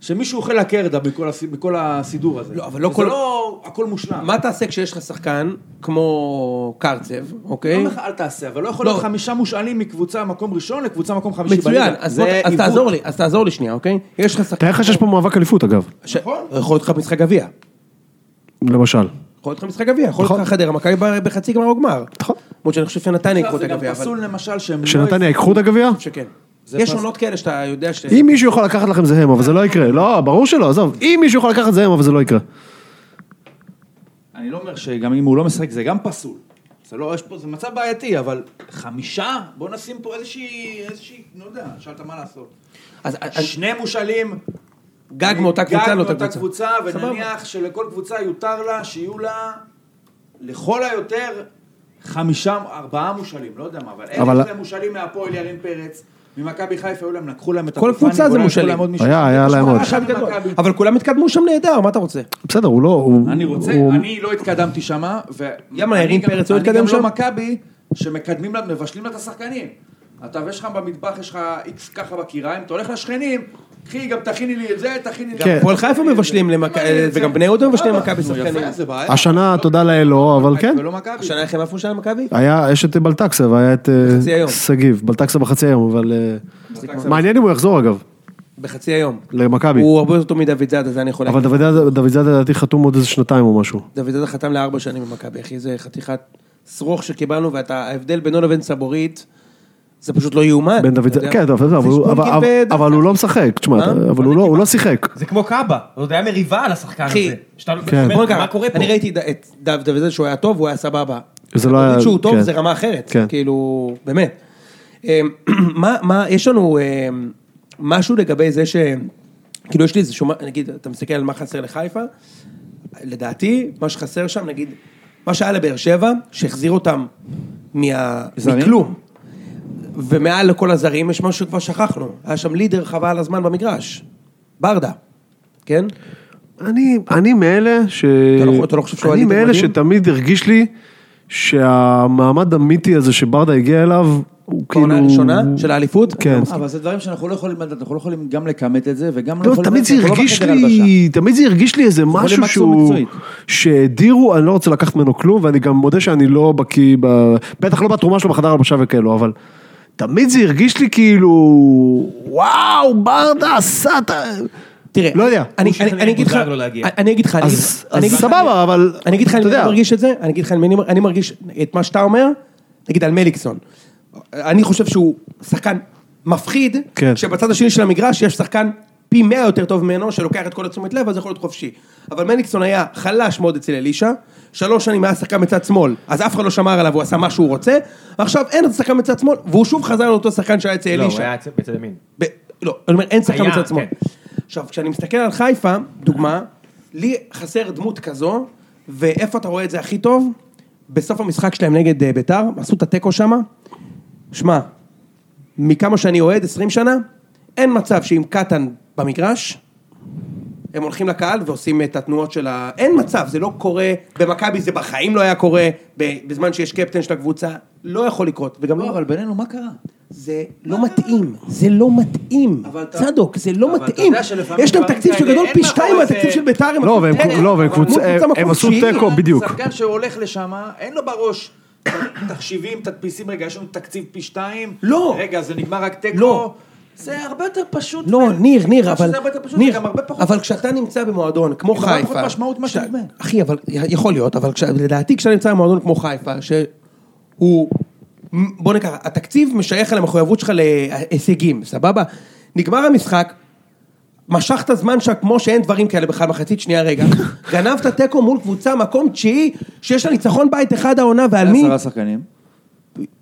[SPEAKER 4] שמישהו אוכל הקרדה בכל, הס... בכל הסידור הזה.
[SPEAKER 2] לא, אבל לא
[SPEAKER 4] וזה
[SPEAKER 2] כל-
[SPEAKER 4] לא הכל מושלם.
[SPEAKER 2] מה תעשה כשיש לך שחקן כמו קרצב,
[SPEAKER 4] לא
[SPEAKER 2] אוקיי?
[SPEAKER 4] מח... אל תעשה, אבל לא יכול
[SPEAKER 2] לא.
[SPEAKER 4] להיות חמישה מושאלים מקבוצה מקום ראשון לקבוצה מקום חמישי
[SPEAKER 2] מצוין,
[SPEAKER 4] בליגה.
[SPEAKER 2] אז
[SPEAKER 4] זה
[SPEAKER 2] בוא- אז
[SPEAKER 4] עיוות.
[SPEAKER 2] תעזור לי, אז תעזור לי שנייה, אוקיי? יש לך שחקן...
[SPEAKER 3] תאר לך שיש פה מאבק אליפות אגב,
[SPEAKER 2] ש- יכול להיות לך משחק גביע.
[SPEAKER 3] למשל.
[SPEAKER 2] יכול להיות לך משחק גביע, יכול להיות לך חדרה, מכבי ב- בחצי גמר או גמר.
[SPEAKER 3] נכון.
[SPEAKER 2] למרות שאני חושב שנתניה יקחו את
[SPEAKER 4] זה גם
[SPEAKER 2] הגביע, אבל...
[SPEAKER 4] פסול למשל שהם לא...
[SPEAKER 3] שנתניה יקחו את הגביע?
[SPEAKER 2] שכן.
[SPEAKER 4] זה
[SPEAKER 2] יש
[SPEAKER 4] פס-
[SPEAKER 2] עונות כאלה שאתה יודע ש...
[SPEAKER 3] אם מישהו יכול לקחת לכם זה הם, אבל זה לא יקרה. לא, ברור שלא, עזוב. אם מישהו יכול לקחת זה הם, אבל זה לא יקרה.
[SPEAKER 4] אני לא אומר שגם אם הוא לא משחק זה גם פסול. זה לא, יש פה, זה מצב בעייתי, אבל חמישה? בוא נשים פה איזושהי, איזושהי, לא יודע, שאלת מה לעשות.
[SPEAKER 2] אז אז-
[SPEAKER 4] שני מושאלים.
[SPEAKER 2] גג מאותה קבוצה, לא אותה קבוצה.
[SPEAKER 4] קבוצה, ונניח שלכל קבוצה יותר לה, שיהיו לה, לכל היותר, חמישה, ארבעה מושאלים, לא יודע מה, אבל
[SPEAKER 3] אבל-
[SPEAKER 4] אלה שזה מושאלים מהפועל ירין פרץ, ממכבי חיפה היו להם, לקחו להם את
[SPEAKER 2] כל
[SPEAKER 4] הפופני,
[SPEAKER 2] קבוצה
[SPEAKER 4] ואולי
[SPEAKER 2] זה
[SPEAKER 4] לקחו
[SPEAKER 2] מושאלים.
[SPEAKER 4] להם עוד מישהו.
[SPEAKER 3] היה, היה
[SPEAKER 4] יש
[SPEAKER 3] להם עוד.
[SPEAKER 4] פה אחד ממכבי.
[SPEAKER 2] אבל כולם התקדמו שם נהדר, מה אתה רוצה?
[SPEAKER 3] בסדר, הוא לא... הוא-
[SPEAKER 4] אני רוצה,
[SPEAKER 3] הוא-
[SPEAKER 4] אני לא התקדמתי שמה, ו...
[SPEAKER 2] ימה,
[SPEAKER 4] אני
[SPEAKER 2] ירין
[SPEAKER 4] גם-
[SPEAKER 2] פרץ לא התקדם
[SPEAKER 4] אני
[SPEAKER 2] שם?
[SPEAKER 4] גם לא מכבי, שמקדמים, לה- מבשלים לה את השחקנים. אתה ויש לך במטבח, יש לך איקס ככה בכיריים, אתה הולך לשכנים, קחי, גם תכיני לי את זה, תכיני לי את
[SPEAKER 3] כן.
[SPEAKER 4] זה.
[SPEAKER 2] הפועל חיפה מבשלים למכבי, וגם בני יהודה מבשלים למכבי
[SPEAKER 4] נו,
[SPEAKER 2] שחקנים.
[SPEAKER 4] יפה, זה בעיה.
[SPEAKER 3] השנה, תודה לאל, לא, אבל כן.
[SPEAKER 4] ולא מכבי.
[SPEAKER 2] השנה איך הם עפו שם למכבי?
[SPEAKER 3] היה, יש את בלטקסה והיה את אה,
[SPEAKER 2] בחצי היום.
[SPEAKER 3] שגיב. בלטקסה בחצי היום, אבל... אה, מעניין אם הוא יחזור אגב,
[SPEAKER 2] בחצי היום.
[SPEAKER 3] למכבי.
[SPEAKER 2] הוא הרבה יותר טוב מדוד זאדה, זה אני יכול
[SPEAKER 3] אבל
[SPEAKER 2] להגיד.
[SPEAKER 3] דוד- דוד זאדה לדעתי חתום עוד איזה שנתיים או משהו.
[SPEAKER 2] דוד זאדה חתם לארבע שנים במכבי, אחי, זה חתיכת שרוך שקיבלנו, וההבדל בינו לבין סבורית, זה פשוט לא יאומן.
[SPEAKER 3] בן דוד
[SPEAKER 2] אתה
[SPEAKER 3] זאדה,
[SPEAKER 2] יודע?
[SPEAKER 3] כן, אבל- אבל-
[SPEAKER 2] זה
[SPEAKER 3] אבל-
[SPEAKER 2] שפונקין ודוד
[SPEAKER 3] אבל הוא
[SPEAKER 2] זאדה.
[SPEAKER 3] לא משחק, תשמע,
[SPEAKER 2] אה? מה?
[SPEAKER 3] אתה- אבל הוא לא- הוא לא שיחק.
[SPEAKER 7] זה כמו קאבה, זה היה מריבה על השחקן
[SPEAKER 2] אחי.
[SPEAKER 7] הזה. שאתה לא-
[SPEAKER 3] כן.
[SPEAKER 7] אומר,
[SPEAKER 2] בוא נקרא,
[SPEAKER 7] מה קורה פה?
[SPEAKER 2] אני ראיתי ד- את דוד דוד זאדה שהוא היה טוב, הוא היה סבבה.
[SPEAKER 3] זה לא היה-
[SPEAKER 2] סבורית שהוא טוב
[SPEAKER 3] כן.
[SPEAKER 2] זה רמה אחרת,
[SPEAKER 3] כן.
[SPEAKER 2] כאילו, באמת. אמ, *clears throat* מה, מה, יש לנו אמ, משהו לגבי זה ש... כאילו יש לי איזה שומע, נגיד, אתה מסתכל על מה חסר לחיפה, לדעתי, מה שחסר שם, נגיד, מה שהיה לבאר שבע, שהחזיר אותם מה...
[SPEAKER 4] זרים?
[SPEAKER 2] מכלום. ומעל לכל הזרים יש משהו שכבר שכחנו, היה שם לידר חבל על הזמן במגרש, ברדה, כן?
[SPEAKER 3] אני, אני מאלה ש...
[SPEAKER 2] לא- אתה לא חושב שהוא היה
[SPEAKER 3] אני
[SPEAKER 2] ליגה
[SPEAKER 3] מאלה
[SPEAKER 2] מדהים?
[SPEAKER 3] שתמיד הרגיש לי שהמעמד המיתי הזה שברדה הגיע אליו, הוא כאילו...
[SPEAKER 2] בעונה הראשונה של האליפות?
[SPEAKER 3] כן.
[SPEAKER 4] אבל זה דברים שאנחנו לא יכולים לדעת, אנחנו לא יכולים גם לכמת את זה, וגם לא
[SPEAKER 3] לא,
[SPEAKER 4] יכולים...
[SPEAKER 3] תמיד זה
[SPEAKER 4] לדעת, אנחנו לא
[SPEAKER 3] הרגיש
[SPEAKER 4] בחדר הלבשה.
[SPEAKER 3] לי, תמיד זה הרגיש לי איזה משהו
[SPEAKER 4] מקסימום
[SPEAKER 3] שהוא,
[SPEAKER 4] מקצועית.
[SPEAKER 3] שהדירו, אני לא רוצה לקחת ממנו כלום, ואני גם מודה שאני לא בקיא, ב- בטח לא בתרומה שלו בחדר הלבשה וכאלו, אבל תמיד זה הרגיש לי כאילו, וואו, ברדה עשה את ה...
[SPEAKER 2] תראה,
[SPEAKER 3] לא יודע.
[SPEAKER 2] אני- אני- אני אגיד לך,
[SPEAKER 1] מודאג לא להגיע.
[SPEAKER 2] אני אגיד לך, אני אגיד-
[SPEAKER 3] אז
[SPEAKER 2] אני
[SPEAKER 3] אז
[SPEAKER 2] אגיד לך-
[SPEAKER 3] סבבה, אבל
[SPEAKER 2] אני אגיד לך על
[SPEAKER 3] אתה
[SPEAKER 2] מי אני
[SPEAKER 3] יודע,
[SPEAKER 2] מרגיש את זה, אני אגיד לך על מי אני מר- אני מרגיש את מה שאתה אומר, נגיד על מליקסון. אני חושב שהוא שחקן מפחיד,
[SPEAKER 3] כן.
[SPEAKER 2] שבצד השני של המגרש יש שחקן פי מאה יותר טוב ממנו, שלוקח את כל התשומת לב, אז יכול להיות חופשי. אבל מליקסון היה חלש מאוד אצל אלישע, שלוש שנים היה שחקן בצד שמאל, אז אף אחד לא שמר עליו, הוא עשה מה שהוא רוצה, עכשיו אין עוד שחקן בצד שמאל, והוא שוב חזר לאותו שחקן שהיה אצל
[SPEAKER 1] לא, הוא
[SPEAKER 2] אלישע.
[SPEAKER 1] היה אצל- בצד ימין.
[SPEAKER 2] ב... לא, אני אומר, אין שחקן
[SPEAKER 1] היה,
[SPEAKER 2] בצד שמאל.
[SPEAKER 1] כן.
[SPEAKER 2] עכשיו, כשאני מסתכל על חיפה, דוגמה, לי חסר דמות כזו, ואיפה אתה רואה את זה הכי טוב? בסוף המשחק שלהם נגד אה, ביתר, עשו את התיקו שמה. שמע, מכמה שאני אוהד, 20 שנה, אין מצב שעם קטן במגרש, הם הולכים לקהל ועושים את התנועות של ה... אין מצב, זה לא קורה, במכבי זה בחיים לא היה קורה, ב- בזמן שיש קפטן של הקבוצה, לא יכול לקרות, וגם
[SPEAKER 4] לא,
[SPEAKER 2] לא...
[SPEAKER 4] אבל בינינו, מה קרה?
[SPEAKER 2] זה לא מתאים, זה לא מתאים,
[SPEAKER 4] אבל אתה-
[SPEAKER 2] צדוק, זה לא
[SPEAKER 4] אבל אתה
[SPEAKER 2] מתאים.
[SPEAKER 4] יודע שלפעמים
[SPEAKER 2] יש להם
[SPEAKER 4] דברים
[SPEAKER 2] תקציב
[SPEAKER 4] כאלה,
[SPEAKER 2] שגדול
[SPEAKER 4] אין
[SPEAKER 2] פי
[SPEAKER 4] מאחורי
[SPEAKER 2] שתיים
[SPEAKER 4] זה-
[SPEAKER 2] מהתקציב של ביתר, הם
[SPEAKER 3] לא, והם
[SPEAKER 2] עשו
[SPEAKER 3] קו-
[SPEAKER 2] תיקו,
[SPEAKER 3] לא, והם
[SPEAKER 2] אבל
[SPEAKER 3] קבוצה-
[SPEAKER 2] מול קבוצה
[SPEAKER 3] הם- הם
[SPEAKER 2] מקום
[SPEAKER 3] עשו
[SPEAKER 2] תשיעי.
[SPEAKER 3] תיקו, בדיוק.
[SPEAKER 10] שחקן שהולך לשם, אין לו בראש תחשיבים, תדפיסים, רגע, יש לנו תקציב פי שתיים.
[SPEAKER 2] לא.
[SPEAKER 10] רגע, זה נגמר רק תיקו.
[SPEAKER 2] לא.
[SPEAKER 10] זה הרבה יותר פשוט.
[SPEAKER 2] לא, ניר, ניר, אבל...
[SPEAKER 10] זה הרבה יותר כן. פשוט, זה
[SPEAKER 2] ניר,
[SPEAKER 10] גם הרבה פחות.
[SPEAKER 2] אבל כשאתה נמצא במועדון כמו
[SPEAKER 4] הרבה
[SPEAKER 2] חיפה...
[SPEAKER 4] פחות משמעות מה
[SPEAKER 2] כשאתה-
[SPEAKER 4] שנדמה.
[SPEAKER 2] אחי, אבל יכול להיות, אבל כש- לדעתי כשאתה נמצא במועדון כמו חיפה, שהוא... מ- בוא נקרא, התקציב משייך על המחויבות שלך להישגים, סבבה? נגמר המשחק, משכת זמן שם כמו שאין דברים כאלה בכלל מחצית שנייה
[SPEAKER 4] *laughs*
[SPEAKER 2] רגע. גנבת תיקו מול קבוצה מקום תשיעי, שיש לה ניצחון בית אחד העונה, ועל מי?
[SPEAKER 4] עשרה שחקנים.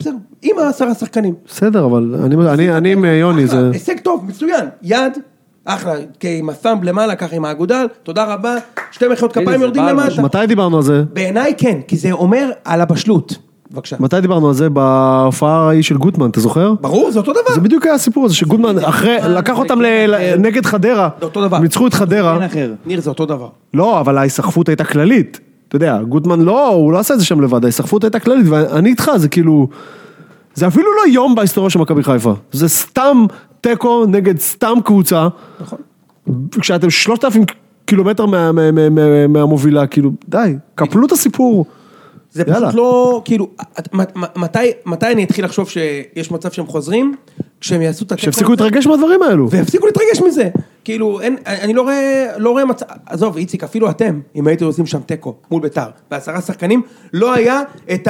[SPEAKER 2] בסדר, עם העשרה שחקנים.
[SPEAKER 3] בסדר, אבל אני- אני- אני עם אה, יוני,
[SPEAKER 2] אחלה, *laughs*
[SPEAKER 3] זה...
[SPEAKER 2] הישג טוב, מצוין, יד, אחלה, כי עם הסאמב למעלה, ככה עם האגודל, תודה רבה, שתי מחיאות כפיים
[SPEAKER 4] זה
[SPEAKER 2] יורדים
[SPEAKER 4] בא
[SPEAKER 2] למטה.
[SPEAKER 3] מתי דיברנו על זה?
[SPEAKER 2] בעיניי כן, כי זה אומר על הבשלות. בבקשה.
[SPEAKER 3] מתי דיברנו על זה? בהופעה ההיא של גוטמן, אתה זוכר?
[SPEAKER 2] ברור, זה אותו
[SPEAKER 3] זה
[SPEAKER 2] דבר.
[SPEAKER 3] בדיוק היה הסיפור הזה שגודמן אחרי, לקח אותם ל- ל- נגד חדרה,
[SPEAKER 2] זה אותו דבר.
[SPEAKER 3] הם ניצחו את חדרה,
[SPEAKER 4] אין אחר.
[SPEAKER 2] ניר, זה אותו דבר.
[SPEAKER 3] לא, אבל ההיסחפות הייתה כללית, אתה יודע, גוטמן לא, הוא לא עשה את זה שם לבד, ההיסחפות הייתה כללית, ואני איתך, זה כאילו, זה אפילו לא יום בהיסטוריה של מכבי חיפה, זה סתם תיקו נגד סתם קבוצה,
[SPEAKER 2] נכון.
[SPEAKER 3] כשאתם 3,000 קילומטר מה- מה- מה- מה- מהמובילה, כאילו, די, קפלו את הסיפור,
[SPEAKER 2] זה
[SPEAKER 3] יאללה.
[SPEAKER 2] פשוט לא, כאילו, את- מ- מ- מתי- מתי אני אתחיל לחשוב שיש מצב שהם חוזרים? כשהם יעשו את התיקו.
[SPEAKER 3] שיפסיקו
[SPEAKER 2] הזה?
[SPEAKER 3] להתרגש מהדברים האלו.
[SPEAKER 2] ויפסיקו להתרגש מזה. כאילו, אין, אני לא רואה, לא רואה מצב, עזוב, איציק, אפילו אתם, אם הייתם עושים שם תיקו מול ביתר, בעשרה שחקנים, לא היה את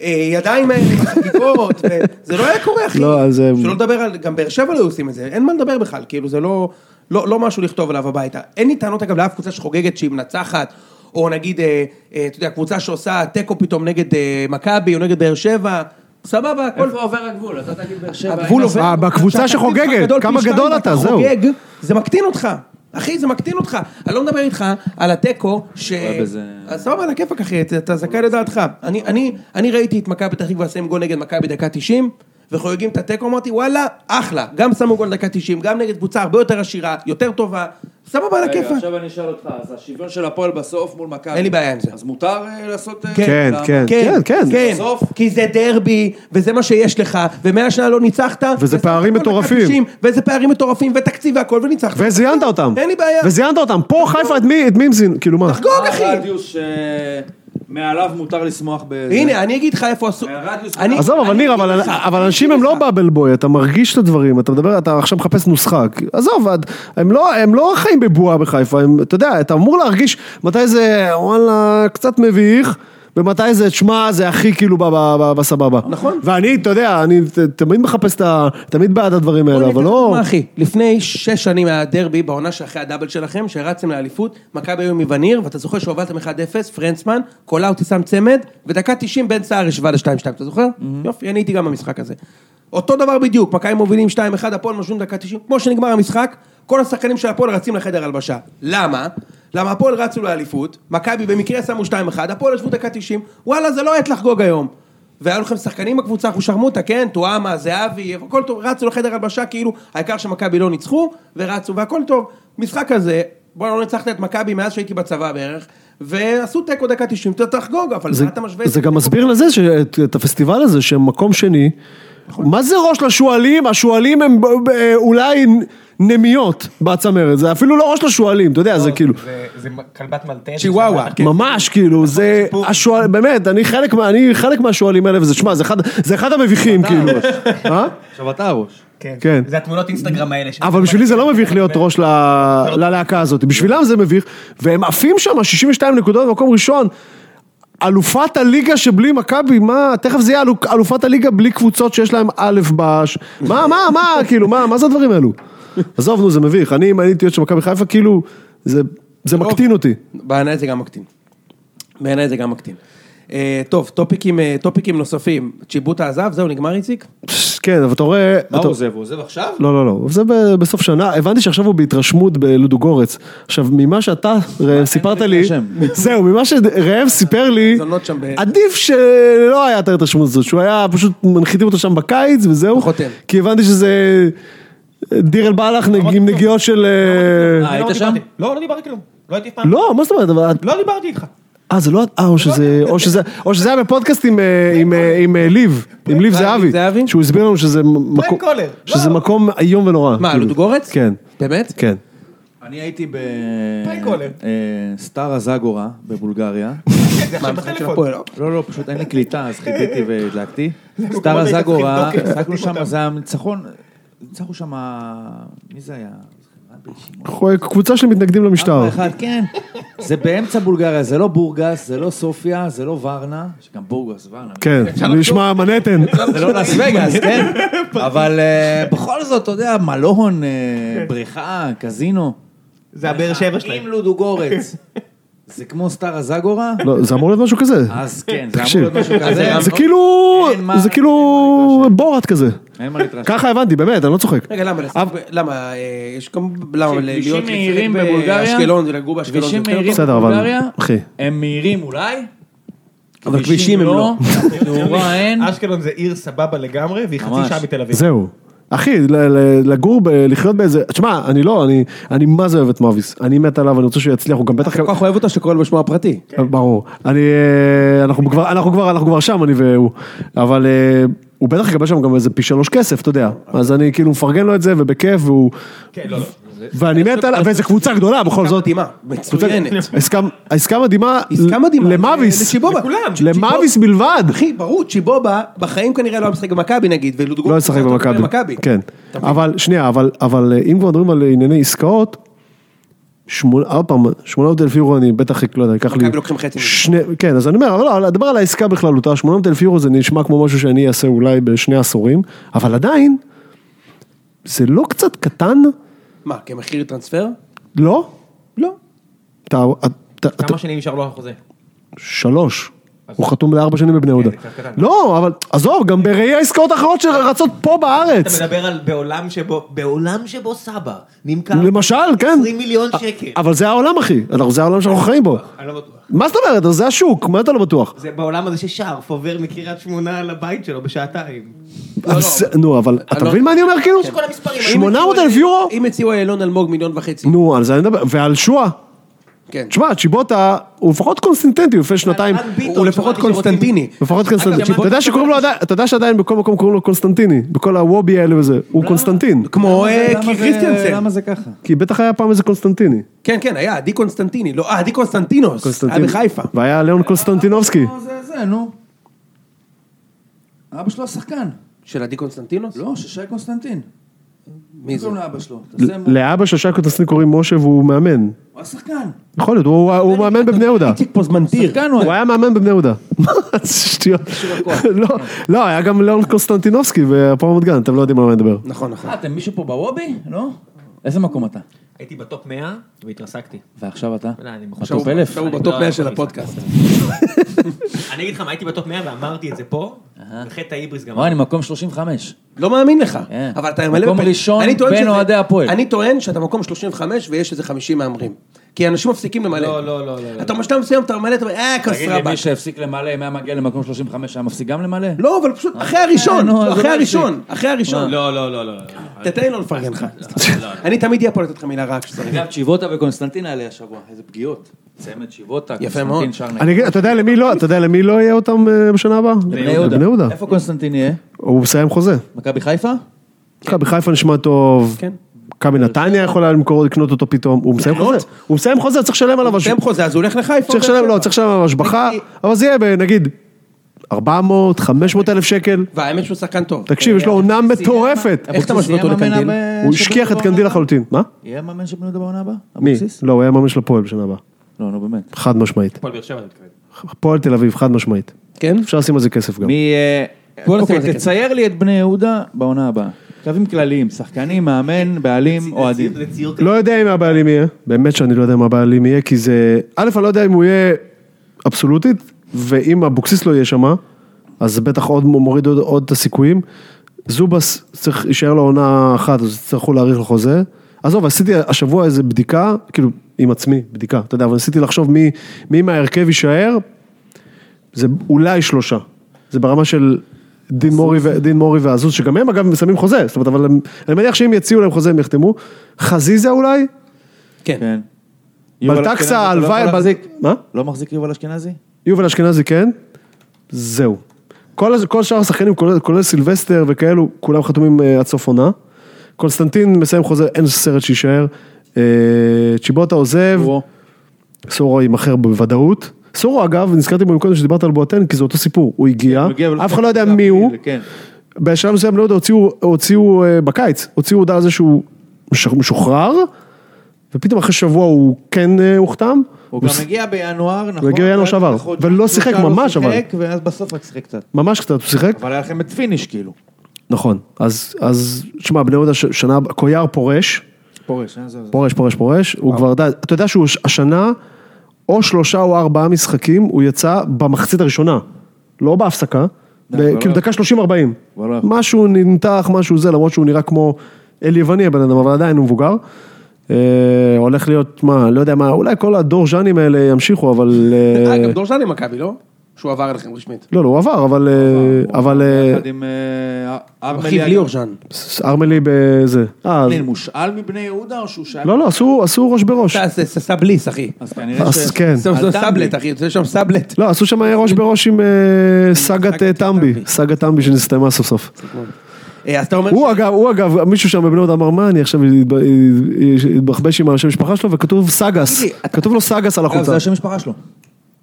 [SPEAKER 2] הידיים האלה, החגיגות, ו- זה לא היה קורה, אחי.
[SPEAKER 3] לא, אז זה-
[SPEAKER 2] שלא לדבר על, גם באר שבע לא היו עושים את זה, אין מה לדבר בכלל, כאילו, זה לא, לא, לא משהו לכתוב עליו הביתה. אין לי טענות, אגב, לאף קבוצה שחוגגת שהיא מנצחת. או נגיד, אה, אה, אתה יודע, קבוצה שעושה תיקו פתאום נגד אה, מכבי או נגד באר שבע, סבבה, הכל
[SPEAKER 4] איפה עובר הגבול? אתה תגיד באר שבע.
[SPEAKER 2] הגבול
[SPEAKER 4] אין
[SPEAKER 2] עובר.
[SPEAKER 3] אה, בקבוצה
[SPEAKER 2] כשהתקציב
[SPEAKER 3] שחוגגת,
[SPEAKER 2] שלך גדול
[SPEAKER 3] כמה
[SPEAKER 2] פי
[SPEAKER 3] גדול
[SPEAKER 2] שתיים
[SPEAKER 3] אתה,
[SPEAKER 2] ואתה
[SPEAKER 3] זהו.
[SPEAKER 2] חוגג, זה מקטין אותך. אחי, זה מקטין אותך. אני לא מדבר איתך על התיקו, ש...
[SPEAKER 4] בזה-
[SPEAKER 2] אז סבבה, על הכיפאק אחי, אתה- אתה זכאי לדעתך. אני- אני- אני ראיתי את מכבי פתח תקווה שמים גול נגד מכבי דקה 90, וחוגגים את התיקו, אמרתי וואלה, אחלה. גם שמו גול דקה 90, גם נגד קבוצה הרבה יותר עשירה, יותר טובה, סבבה על
[SPEAKER 4] רגע,
[SPEAKER 2] הכיפאק.
[SPEAKER 4] עכשיו אני אשאל אותך, אז השוויון של הפועל בסוף מול מכבי.
[SPEAKER 2] אין לי בעיה עם זה.
[SPEAKER 4] אז מותר אה, לעשות... אה,
[SPEAKER 3] כן,
[SPEAKER 4] למה?
[SPEAKER 3] כן, כן, כן.
[SPEAKER 2] כן,
[SPEAKER 4] בסוף.
[SPEAKER 2] כי זה דרבי, וזה מה שיש לך, ומאה שנה לא ניצחת.
[SPEAKER 3] וזה פערים
[SPEAKER 2] וסך הכל
[SPEAKER 3] מטורפים.
[SPEAKER 2] 90, וזה פערים מטורפים, ותקציב והכל, וניצחת.
[SPEAKER 3] וזיינת אותם,
[SPEAKER 2] אין לי בעיה.
[SPEAKER 3] וזיינת אותם, פה חיפה את מי, את מי הם זיינו, כאילו מה?
[SPEAKER 2] תחגוג,
[SPEAKER 4] מה
[SPEAKER 2] אחי.
[SPEAKER 4] הרדיוס
[SPEAKER 10] אה,
[SPEAKER 4] שמעליו מותר לשמוח בזה?
[SPEAKER 2] הנה, אני אגיד לך איפה עשו...
[SPEAKER 4] הרדיוס-
[SPEAKER 2] אני-
[SPEAKER 3] עזוב, אבל
[SPEAKER 2] אני
[SPEAKER 3] ניר,
[SPEAKER 2] אגיד
[SPEAKER 3] אבל,
[SPEAKER 2] לך,
[SPEAKER 3] אבל
[SPEAKER 2] אני
[SPEAKER 3] אנשים
[SPEAKER 2] אגיד
[SPEAKER 3] הם לא
[SPEAKER 2] לך.
[SPEAKER 3] באבל בוי, אתה מרגיש את הדברים, אתה מדבר, אתה עכשיו מחפש נוסחה. כי- עזוב, את- הם לא, הם לא חיים בבועה בחיפה, הם, אתה יודע, אתה אמור להרגיש מתי זה, וואלה, קצת מביך, ומתי זה, תשמע, זה הכי כאילו ב- ב- ב- בסבבה. נכון. ואני, אתה יודע, אני ת- תמיד מחפש את ה... תמיד בעד הדברים
[SPEAKER 2] בוא
[SPEAKER 3] האלה,
[SPEAKER 2] אני אתן
[SPEAKER 3] אבל
[SPEAKER 2] לך
[SPEAKER 3] לא...
[SPEAKER 2] דוגמה, אחי, לפני שש שנים היה דרבי, בעונה שאחרי הדאבל שלכם, שרצתם לאליפות, מכבי היו מווניר, ואתה זוכר שהובלתם 1-0, פרנצמן, קולאוטי שם צמד, ודקה 90 בן סער השווה ל-2-2, אתה זוכר? יופי, אני הייתי גם במשחק הזה. אותו דבר בדיוק, מכבי מובילים 2-1, הפועל משווים דקה 90, כמו שנגמר המשחק, כל השחקנים של הפועל רצים לחדר הלבשה. למה? למה הפועל רצו לאליפות, מכבי במקרה שמו 2-1, הפועל ישבו דקה 90, וואלה זה לא עת לחגוג היום. והיה לכם שחקנים בקבוצה, אנחנו שרמוטה, כן, טועמה, זהבי, הכל טוב, רצו לחדר הלבשה, כאילו, העיקר שמכבי לא ניצחו, ורצו, והכל טוב. משחק הזה, בואנה, לא ניצחת את מכבי מאז שהייתי בצבא בערך, ועשו תיקו דקה 90, אתה תחגוג, אבל
[SPEAKER 3] זה-
[SPEAKER 2] מה אתה משווה את
[SPEAKER 3] זה גם מסביר לזה, ש- את- את הפסטיבל הזה, שמקום שני,
[SPEAKER 2] נכון.
[SPEAKER 3] מה זה ראש לשועלים? השועלים הם ב- ב- אולי נמיות בצמרת, זה אפילו לא ראש לשועלים, אתה יודע, זה כאילו,
[SPEAKER 7] זה- זה כלבת מלטז.
[SPEAKER 2] צ'יוואווה. כן.
[SPEAKER 3] ממש כאילו, זה, השועל, באמת, אני חלק מה- אני חלק מהשועלים האלה, וזה, שמע, זה אחד- זה אחד המביכים,
[SPEAKER 2] *laughs*
[SPEAKER 3] כאילו, אה?
[SPEAKER 4] עכשיו אתה הראש.
[SPEAKER 3] כן.
[SPEAKER 7] זה התמונות אינסטגרם האלה. ש-
[SPEAKER 3] אבל בשבילי זה לא מביך להיות ראש ל-
[SPEAKER 4] לא-
[SPEAKER 3] ללהקה הזאת, בשבילם זה מביך, והם עפים שם, 62 נקודות במקום ראשון. אלופת הליגה שבלי מכבי, מה, תכף זה יהיה אלו- אלופת הליגה בלי קבוצות שיש להם א' בש, מה, מה, מה, כאילו, מה, מה זה הדברים האלו? עזוב, נו, זה מביך, אני, אם הייתי להיות של מכבי חיפה, כאילו, זה, זה מקטין אותי.
[SPEAKER 2] בעיניי זה גם מקטין. בעיניי זה גם מקטין. אה, טוב, טופיקים, אה, טופיקים נוספים. צ'יבוטה עזב, זהו, נגמר איציק?
[SPEAKER 3] פש, כן, אבל אתה רואה...
[SPEAKER 4] מה
[SPEAKER 3] אתה-
[SPEAKER 4] הוא עוזב? הוא עוזב עכשיו?
[SPEAKER 3] לא, לא, לא, זה ב- בסוף שנה, הבנתי שעכשיו הוא בהתרשמות בלודוגורץ. עכשיו, ממה שאתה, ראם, סיפרת לי,
[SPEAKER 4] השם.
[SPEAKER 3] זהו, ממה שראם סיפר לי,
[SPEAKER 2] זונות לא שם ב-
[SPEAKER 3] עדיף שלא היה את ההתרשמות הזאת, שהוא היה פשוט מנחיתים אותו שם בקיץ וזהו,
[SPEAKER 2] בחוטם.
[SPEAKER 3] כי הבנתי שזה דיר אל בלח נג- עם נגיעות של... אה,
[SPEAKER 4] אה, היית
[SPEAKER 7] לא
[SPEAKER 4] שם?
[SPEAKER 7] דיברתי. לא, לא דיברתי כלום. לא הייתי אף פעם.
[SPEAKER 3] לא, מה זאת אומרת, אבל... את-
[SPEAKER 7] לא דיברתי איתך.
[SPEAKER 3] אה, זה לא... את- אה, או שזה- או שזה- או שזה היה בפודקאסט עם, אה, עם, אה, עם אה, ליב, עם ליב זהבי,
[SPEAKER 2] זהבי?
[SPEAKER 3] שהוא הסביר לנו שזה מקום-
[SPEAKER 7] קולר,
[SPEAKER 3] שזה
[SPEAKER 7] לא.
[SPEAKER 3] מקום איום ונורא.
[SPEAKER 2] מה,
[SPEAKER 3] כאילו.
[SPEAKER 2] לודוגורץ?
[SPEAKER 3] כן,
[SPEAKER 2] באמת?
[SPEAKER 3] כן.
[SPEAKER 4] אני הייתי ב...
[SPEAKER 7] פייקולר.
[SPEAKER 4] אה, סטארה זאגורה בבולגריה.
[SPEAKER 2] מה, המשחק של הפועל?
[SPEAKER 4] לא, לא, פשוט אין לי קליטה, אז חיכיתי והדלקתי. סטארה זאגורה, הצחקנו שם, זה היה ניצחון, ניצחנו שם, מי זה היה?
[SPEAKER 3] קבוצה של מתנגדים למשטר.
[SPEAKER 4] ארבע אחד, כן. זה באמצע בולגריה, זה לא בורגס, זה לא סופיה, זה לא ורנה, שגם בורגס, ורנה.
[SPEAKER 3] כן, נשמע מנהטן.
[SPEAKER 4] זה לא לס וגאס, כן? אבל אה, בכל זאת, אתה יודע, מלון, אה, בריכה, קזינו.
[SPEAKER 7] זה הבאר שבע
[SPEAKER 4] עם
[SPEAKER 7] שלהם.
[SPEAKER 2] *laughs*
[SPEAKER 4] לודוגורץ. זה כמו סטארה זאגורה,
[SPEAKER 3] לא, זה אמור להיות משהו כזה.
[SPEAKER 4] אז כן, זה אמור
[SPEAKER 3] תקשיב.
[SPEAKER 4] להיות משהו
[SPEAKER 2] *laughs*
[SPEAKER 4] כזה.
[SPEAKER 3] זה כאילו,
[SPEAKER 4] אין מה-
[SPEAKER 3] זה כאילו בורת כזה.
[SPEAKER 4] אין מה להתרשם.
[SPEAKER 3] ככה הבנתי, באמת, אני לא צוחק.
[SPEAKER 2] רגע, למה? לשחק ב- למה? אה, יש גם... למה? ל-
[SPEAKER 4] כבישים
[SPEAKER 2] להיות
[SPEAKER 4] מהירים
[SPEAKER 2] לשחק
[SPEAKER 4] בבולגריה?
[SPEAKER 2] באשקלון ולגור באשקלון. זה
[SPEAKER 4] כבישים
[SPEAKER 2] יותר
[SPEAKER 4] מהירים
[SPEAKER 2] טוב?
[SPEAKER 3] בסדר, אבל-
[SPEAKER 4] בבולגריה,
[SPEAKER 3] אחי.
[SPEAKER 4] הם מהירים אולי,
[SPEAKER 2] אבל כבישים הם לא.
[SPEAKER 4] *laughs* תאורה אין,
[SPEAKER 7] אשקלון זה עיר סבבה לגמרי, והיא חצי
[SPEAKER 4] לא- ממש.
[SPEAKER 7] שעה מתל
[SPEAKER 2] כן.
[SPEAKER 7] אביב.
[SPEAKER 3] זהו. אחי, ל- ל- לגור, ב- לחיות באיזה... תשמע, אני לא, אני- אני מה זה אוהב את מאביס. אני מת עליו, אני רוצה שהוא יצליח, הוא גם בטח...
[SPEAKER 2] אתה כל כך אוהב אותו שאתה קורא לו בשמו הפרטי.
[SPEAKER 3] ברור. אני, אה, אנחנו כבר, אנחנו כבר, אנחנו כבר שם, אני והוא. אבל אה, הוא בטח יקבל שם גם איזה פי שלוש כסף, אתה יודע. אז אני כאילו מפרגן לו את זה, ובכיף, והוא...
[SPEAKER 7] כן, לא, לא.
[SPEAKER 3] ואני מת עליו, ואיזו קבוצה גדולה בכל זאת.
[SPEAKER 2] מדהימה, *laughs* מצוינת.
[SPEAKER 3] עסקה- העסקה מדהימה,
[SPEAKER 2] עסקה מדהימה.
[SPEAKER 3] למאביס,
[SPEAKER 2] לצ'יבובה.
[SPEAKER 3] למאביס בלבד,
[SPEAKER 2] אחי, ברור, צ'יבובה בחיים כנראה לא משחק במכבי נגיד, ולודוגורץ...
[SPEAKER 3] לא לשחק במכבי, כן, אבל שנייה, אבל- אבל אה, אם כבר מדברים על ענייני עסקאות, שמונה, עוד פעם, 800 אלף יורו אני בטח, לא יודע, ייקח לי,
[SPEAKER 2] מכבי לוקחים חצי מזה.
[SPEAKER 3] שני, כן, אז אני אומר, אבל לא, דבר על העסקה בכללותה, 800 אלף יורו זה נשמע כמו משהו שאני אעשה אולי בשני עשורים, אבל עדיין, זה לא קצת קטן,
[SPEAKER 2] מה, כמחיר טרנספר?
[SPEAKER 3] לא?
[SPEAKER 2] לא.
[SPEAKER 3] אתה, אתה, אתה,
[SPEAKER 7] כמה שנים נשאר לו החוזה?
[SPEAKER 3] שלוש. הוא חתום לארבע שנים בבני יהודה.
[SPEAKER 7] קצת קטן.
[SPEAKER 3] לא, אבל עזוב, גם בראי העסקאות האחרות שרצות פה בארץ.
[SPEAKER 7] אתה מדבר על בעולם שבו, בעולם שבו סבא נמכר
[SPEAKER 3] למשל, כן.
[SPEAKER 7] 20 מיליון שקל.
[SPEAKER 3] אבל זה העולם, אחי. אנחנו- זה העולם שאנחנו חיים בו.
[SPEAKER 7] אני לא בטוח.
[SPEAKER 3] מה זאת אומרת? זה השוק, מה אתה לא בטוח?
[SPEAKER 7] זה בעולם הזה ששרף עובר מקריית שמונה לבית שלו בשעתיים.
[SPEAKER 2] לא,
[SPEAKER 3] אבל זה- נו, אבל אתה מבין מה אני אומר כאילו?
[SPEAKER 7] כל המספרים.
[SPEAKER 3] 800 אלף יורו?
[SPEAKER 2] אם הציעו אילון אלמוג מיליון וחצי.
[SPEAKER 3] נו, על זה אני מדבר. ועל שואה.
[SPEAKER 2] כן.
[SPEAKER 3] תשמע, צ'יבוטה הוא לפחות קונסטנטנטי, הוא לפני שנתיים.
[SPEAKER 7] ערן ביטון,
[SPEAKER 2] הוא לפחות
[SPEAKER 7] שמעתי שרוצים-
[SPEAKER 2] קונסטנטיני.
[SPEAKER 3] לפחות קונסטנטין. אתה יודע שקוראים לו עדיין, אתה יודע שעדיין בכל מקום קוראים לו קונסטנטיני, בכל הוובי האלה וזה, הוא קונסטנטין,
[SPEAKER 2] לא. כמו אה,
[SPEAKER 4] למה זה-
[SPEAKER 2] קריסטיאנסן.
[SPEAKER 4] למה זה ככה?
[SPEAKER 3] כי בטח היה פעם איזה קונסטנטיני.
[SPEAKER 2] כן, כן, היה, עדי קונסטנטיני. לא, אה, עדי קונסטנטינוס. היה
[SPEAKER 3] קונסטנטין-
[SPEAKER 2] בחיפה.
[SPEAKER 3] והיה ליאון קונסטנטינובסקי.
[SPEAKER 4] לא, זה זה, נו. אבא שלו השחקן.
[SPEAKER 2] של עדי קונסטנטינוס?
[SPEAKER 4] לא, של שי קונסטנטין.
[SPEAKER 2] מי זה?
[SPEAKER 4] קוראים לאבא שלו. תעשה-
[SPEAKER 3] לאבא של שייקו טסלין קוראים משה והוא מאמן.
[SPEAKER 4] הוא השחקן.
[SPEAKER 3] יכול להיות, הוא- הוא מאמן בבני יהודה.
[SPEAKER 2] איציק פוזמנטיר.
[SPEAKER 4] שחקן הוא
[SPEAKER 3] הוא היה מאמן בבני יהודה. מה, זה שטויות. לא, לא, היה גם ליאון קונסטנטינובסקי בהפועל רמת גן, אתם לא יודעים על מה אני מדבר.
[SPEAKER 2] נכון, נכון.
[SPEAKER 4] אה, אתם מישהו פה בוובי? לא? איזה מקום אתה?
[SPEAKER 7] הייתי בטופ 100 והתרסקתי.
[SPEAKER 4] ועכשיו אתה?
[SPEAKER 7] לא, אני בחוץ.
[SPEAKER 4] בטופ אלף?
[SPEAKER 2] עכשיו הוא בטופ 100 של הפודקאסט.
[SPEAKER 7] אני אגיד לך מה, הייתי בטופ 100 ואמרתי את זה פה, וחטא ההיבריס גם.
[SPEAKER 4] וואי, אני מקום 35.
[SPEAKER 2] לא מאמין לך.
[SPEAKER 4] כן.
[SPEAKER 2] אבל אתה ממלא...
[SPEAKER 4] מקום
[SPEAKER 2] בפ-
[SPEAKER 4] ראשון
[SPEAKER 2] אני טוען
[SPEAKER 4] בין
[SPEAKER 2] שזה-
[SPEAKER 4] אוהדי הפועל.
[SPEAKER 2] אני טוען שאתה מקום 35 ויש איזה 50 מהמרים. כי אנשים מפסיקים למלא.
[SPEAKER 7] לא, לא, לא, לא.
[SPEAKER 2] אתה בשלב מסוים, אתה ממלא, אתה אומר, אה,
[SPEAKER 4] תגיד לי,
[SPEAKER 2] כסרבק.
[SPEAKER 4] מי שהפסיק למלא, אם היה מגיע למקום 35, היה מפסיק גם למלא?
[SPEAKER 2] לא, אבל
[SPEAKER 3] אה,
[SPEAKER 2] פשוט אחרי הראשון,
[SPEAKER 4] נו, אז הוא
[SPEAKER 2] אחרי
[SPEAKER 4] לא
[SPEAKER 2] הראשון, אחרי הראשון.
[SPEAKER 1] לא, לא, לא, לא.
[SPEAKER 2] תתן לו לפרגן לך.
[SPEAKER 3] לא,
[SPEAKER 2] *laughs* אני תמיד אהיה פה לתת לך מילה רעה כשצריך.
[SPEAKER 3] *laughs*
[SPEAKER 4] אגב, צ'יבוטה וקונסטנטין עליה השבוע, איזה פגיעות. צמד צ'יבוטה,
[SPEAKER 2] מאוד.
[SPEAKER 4] קונסטנטין שרנק.
[SPEAKER 3] אני אגיד, אתה יודע למי לא, אתה יודע למי לא יהיה אותם אה, בשנה הבאה? לבני יהודה.
[SPEAKER 4] איפה קונסטנטין יהיה?
[SPEAKER 3] הוא מסיים חוזה.
[SPEAKER 4] מכבי חיפה?
[SPEAKER 3] מכבי חיפה נשמע טוב.
[SPEAKER 2] כן.
[SPEAKER 3] מכבי נתניה יכולה למכור, לקנות אותו פתאום. הוא מסיים חוזה. הוא מסיים חוזה, צריך לשלם עליו השבחה.
[SPEAKER 2] שם חוזה, אז הוא הולך לחיפה.
[SPEAKER 3] צריך לשלם, לא, צריך לשלם עליו השבחה, אבל זה יהיה נגיד 400, 500 אלף שקל.
[SPEAKER 2] והאמת שהוא שחקן טוב.
[SPEAKER 3] תקשיב, יש לו עונה מטורפת.
[SPEAKER 2] אה, איך אתה משווה אותו
[SPEAKER 4] אבוקסיס יהיה
[SPEAKER 2] לקנדיל?
[SPEAKER 4] מאמן ב-
[SPEAKER 3] הוא
[SPEAKER 4] של
[SPEAKER 3] השכיח
[SPEAKER 4] בני
[SPEAKER 2] לא
[SPEAKER 3] את
[SPEAKER 4] יהודה
[SPEAKER 3] קנדיל
[SPEAKER 4] בעונה
[SPEAKER 3] לחלוטין. מה?
[SPEAKER 4] הבאה? יהיה מאמן של בני יהודה בעונה הבאה?
[SPEAKER 3] מי?
[SPEAKER 4] אבוקסיס?
[SPEAKER 3] לא, הוא היה מאמן של הפועל בשנה הבאה.
[SPEAKER 4] לא, נו באמת.
[SPEAKER 3] חד משמעית.
[SPEAKER 1] הפועל באר שבע, אני מתכוון.
[SPEAKER 3] הפועל תל אביב, חד משמעית.
[SPEAKER 2] כן?
[SPEAKER 3] אפשר לשים על זה כסף גם.
[SPEAKER 4] מי... אה,
[SPEAKER 2] בוא נשים על זה
[SPEAKER 3] כן.
[SPEAKER 4] אוקיי,
[SPEAKER 2] כסף.
[SPEAKER 4] תצייר לי את בני יהודה בעונה הבאה. כלבים כלליים, שחקנים, מאמן, בעלים, אוהדים.
[SPEAKER 3] לא יודע אם הבעלים יהיה, באמת שאני לא יודע אם הבעלים יהיה, כי זה... א', אני לא יודע אם הוא יהיה אבסולוטית, ואם אבוקסיס לא יהיה שמה, אז זה בטח עוד מוריד עוד, עוד את הסיכויים. זובס צריך להישאר לו עונה אחת, אז יצטרכו להאריך לו חוזה. עזוב, עשיתי השבוע איזה בדיקה, כאילו, עם עצמי, בדיקה, אתה יודע, אבל ניסיתי לחשוב מי, מי מההרכב יישאר, זה אולי שלושה. זה ברמה של דין מורי, ו... דין מורי והזוז, שגם הם אגב מסיימים חוזה, זאת אומרת, אבל הם... אני מניח שאם יציעו להם חוזה הם יחתמו. חזיזה אולי?
[SPEAKER 2] כן.
[SPEAKER 4] כן. יובל אשכנזי,
[SPEAKER 3] בלטקסה,
[SPEAKER 4] אתה לא
[SPEAKER 3] הלוואי,
[SPEAKER 4] יכול
[SPEAKER 3] בל-
[SPEAKER 4] להחזיק-
[SPEAKER 3] מה?
[SPEAKER 4] לא מחזיק יובל אשכנזי?
[SPEAKER 3] יובל אשכנזי כן, זהו. כל, הז- כל שאר השחקנים, כולל, כולל סילבסטר וכאלו, כולם חתומים אה, עד סוף עונה. קונסטנטין מסיים חוזה, אין סרט שיישאר. אה, צ'יבוטה עוזב,
[SPEAKER 4] הוא-
[SPEAKER 3] סורו יימכר בוודאות. סורו אגב, נזכרתי בו קודם שדיברת על בואטן, כי זה אותו סיפור, הוא הגיע,
[SPEAKER 4] הוא הגיע ולא-
[SPEAKER 3] אף אחד לא יודע מי הוא.
[SPEAKER 4] כן.
[SPEAKER 3] בשלב מסוים, לא יודע, הוציאו, הוציאו אה, בקיץ, הוציאו הודעה על זה שהוא מש- משוחרר, ופתאום אחרי שבוע הוא כן אה, הוחתם.
[SPEAKER 4] הוא גם הגיע בינואר, נכון?
[SPEAKER 3] הגיע בינואר
[SPEAKER 4] ואז
[SPEAKER 3] שעבר,
[SPEAKER 4] בחודש-
[SPEAKER 3] ולא שיחק
[SPEAKER 4] שלושה לא
[SPEAKER 3] ממש, אבל.
[SPEAKER 4] שיחק, ואז בסוף רק שיחק קצת.
[SPEAKER 3] ממש קצת, הוא שיחק.
[SPEAKER 4] אבל היה לכם את פיניש כאילו.
[SPEAKER 3] נכון. אז, אז, תשמע, בני יהודה ש- שנה, הבאה- קויאר פורש,
[SPEAKER 4] פורש, אה, זה- זה-
[SPEAKER 3] פורש, פורש, פורש, הוא כבר, די- אתה יודע שהוא ש- השנה, או שלושה או ארבעה משחקים, הוא יצא במחצית הראשונה, לא בהפסקה, ב-
[SPEAKER 4] כבר לא
[SPEAKER 3] כאילו דקה 30-40.
[SPEAKER 4] כבר לא יכול.
[SPEAKER 3] משהו נמתח, משהו זה, למרות שהוא נראה כמו אל יווני הבן אדם, אבל עדיין הוא מבוגר. אה, הולך להיות, מה, לא יודע מה, אולי כל הדור ז'אנים האלה ימשיכו, אבל... אה,
[SPEAKER 4] *laughs*
[SPEAKER 2] אה, גם דורז'ני מכבי, לא? שהוא עבר אליכם רשמית.
[SPEAKER 3] לא, לא, הוא עבר, אבל... אה, אבל... אה,
[SPEAKER 4] יחד עם אה, ארמלי.
[SPEAKER 2] אחיו ליאור ז'אן.
[SPEAKER 3] ארמלי בזה. אה,
[SPEAKER 4] ארמלי מושאל מבני יהודה או שהוא שייך?
[SPEAKER 3] לא, לא, עשו, עשו ראש בראש.
[SPEAKER 2] אתה זה סבליס, אחי.
[SPEAKER 4] אז כנראה
[SPEAKER 3] אז כן.
[SPEAKER 2] אה, זה זה
[SPEAKER 4] אל
[SPEAKER 2] סבלט, אחי, זה שם סבלט.
[SPEAKER 3] לא, עשו שם ראש בראש עם אה, סאגת אה, טמבי. סאגת טמבי שנסתיימה סוף סוף.
[SPEAKER 2] אה, אז אתה אומר...
[SPEAKER 3] הוא אגב, הוא אגב, מישהו שם בבני יהודה אמר, מה, אני עכשיו אתבחבש עם השם משפחה שלו, וכתוב סאגס.
[SPEAKER 2] תגיד לי,
[SPEAKER 3] כתוב לו סאגס על
[SPEAKER 4] אגב,
[SPEAKER 3] החולצה.
[SPEAKER 4] זה השם משפחה שלו.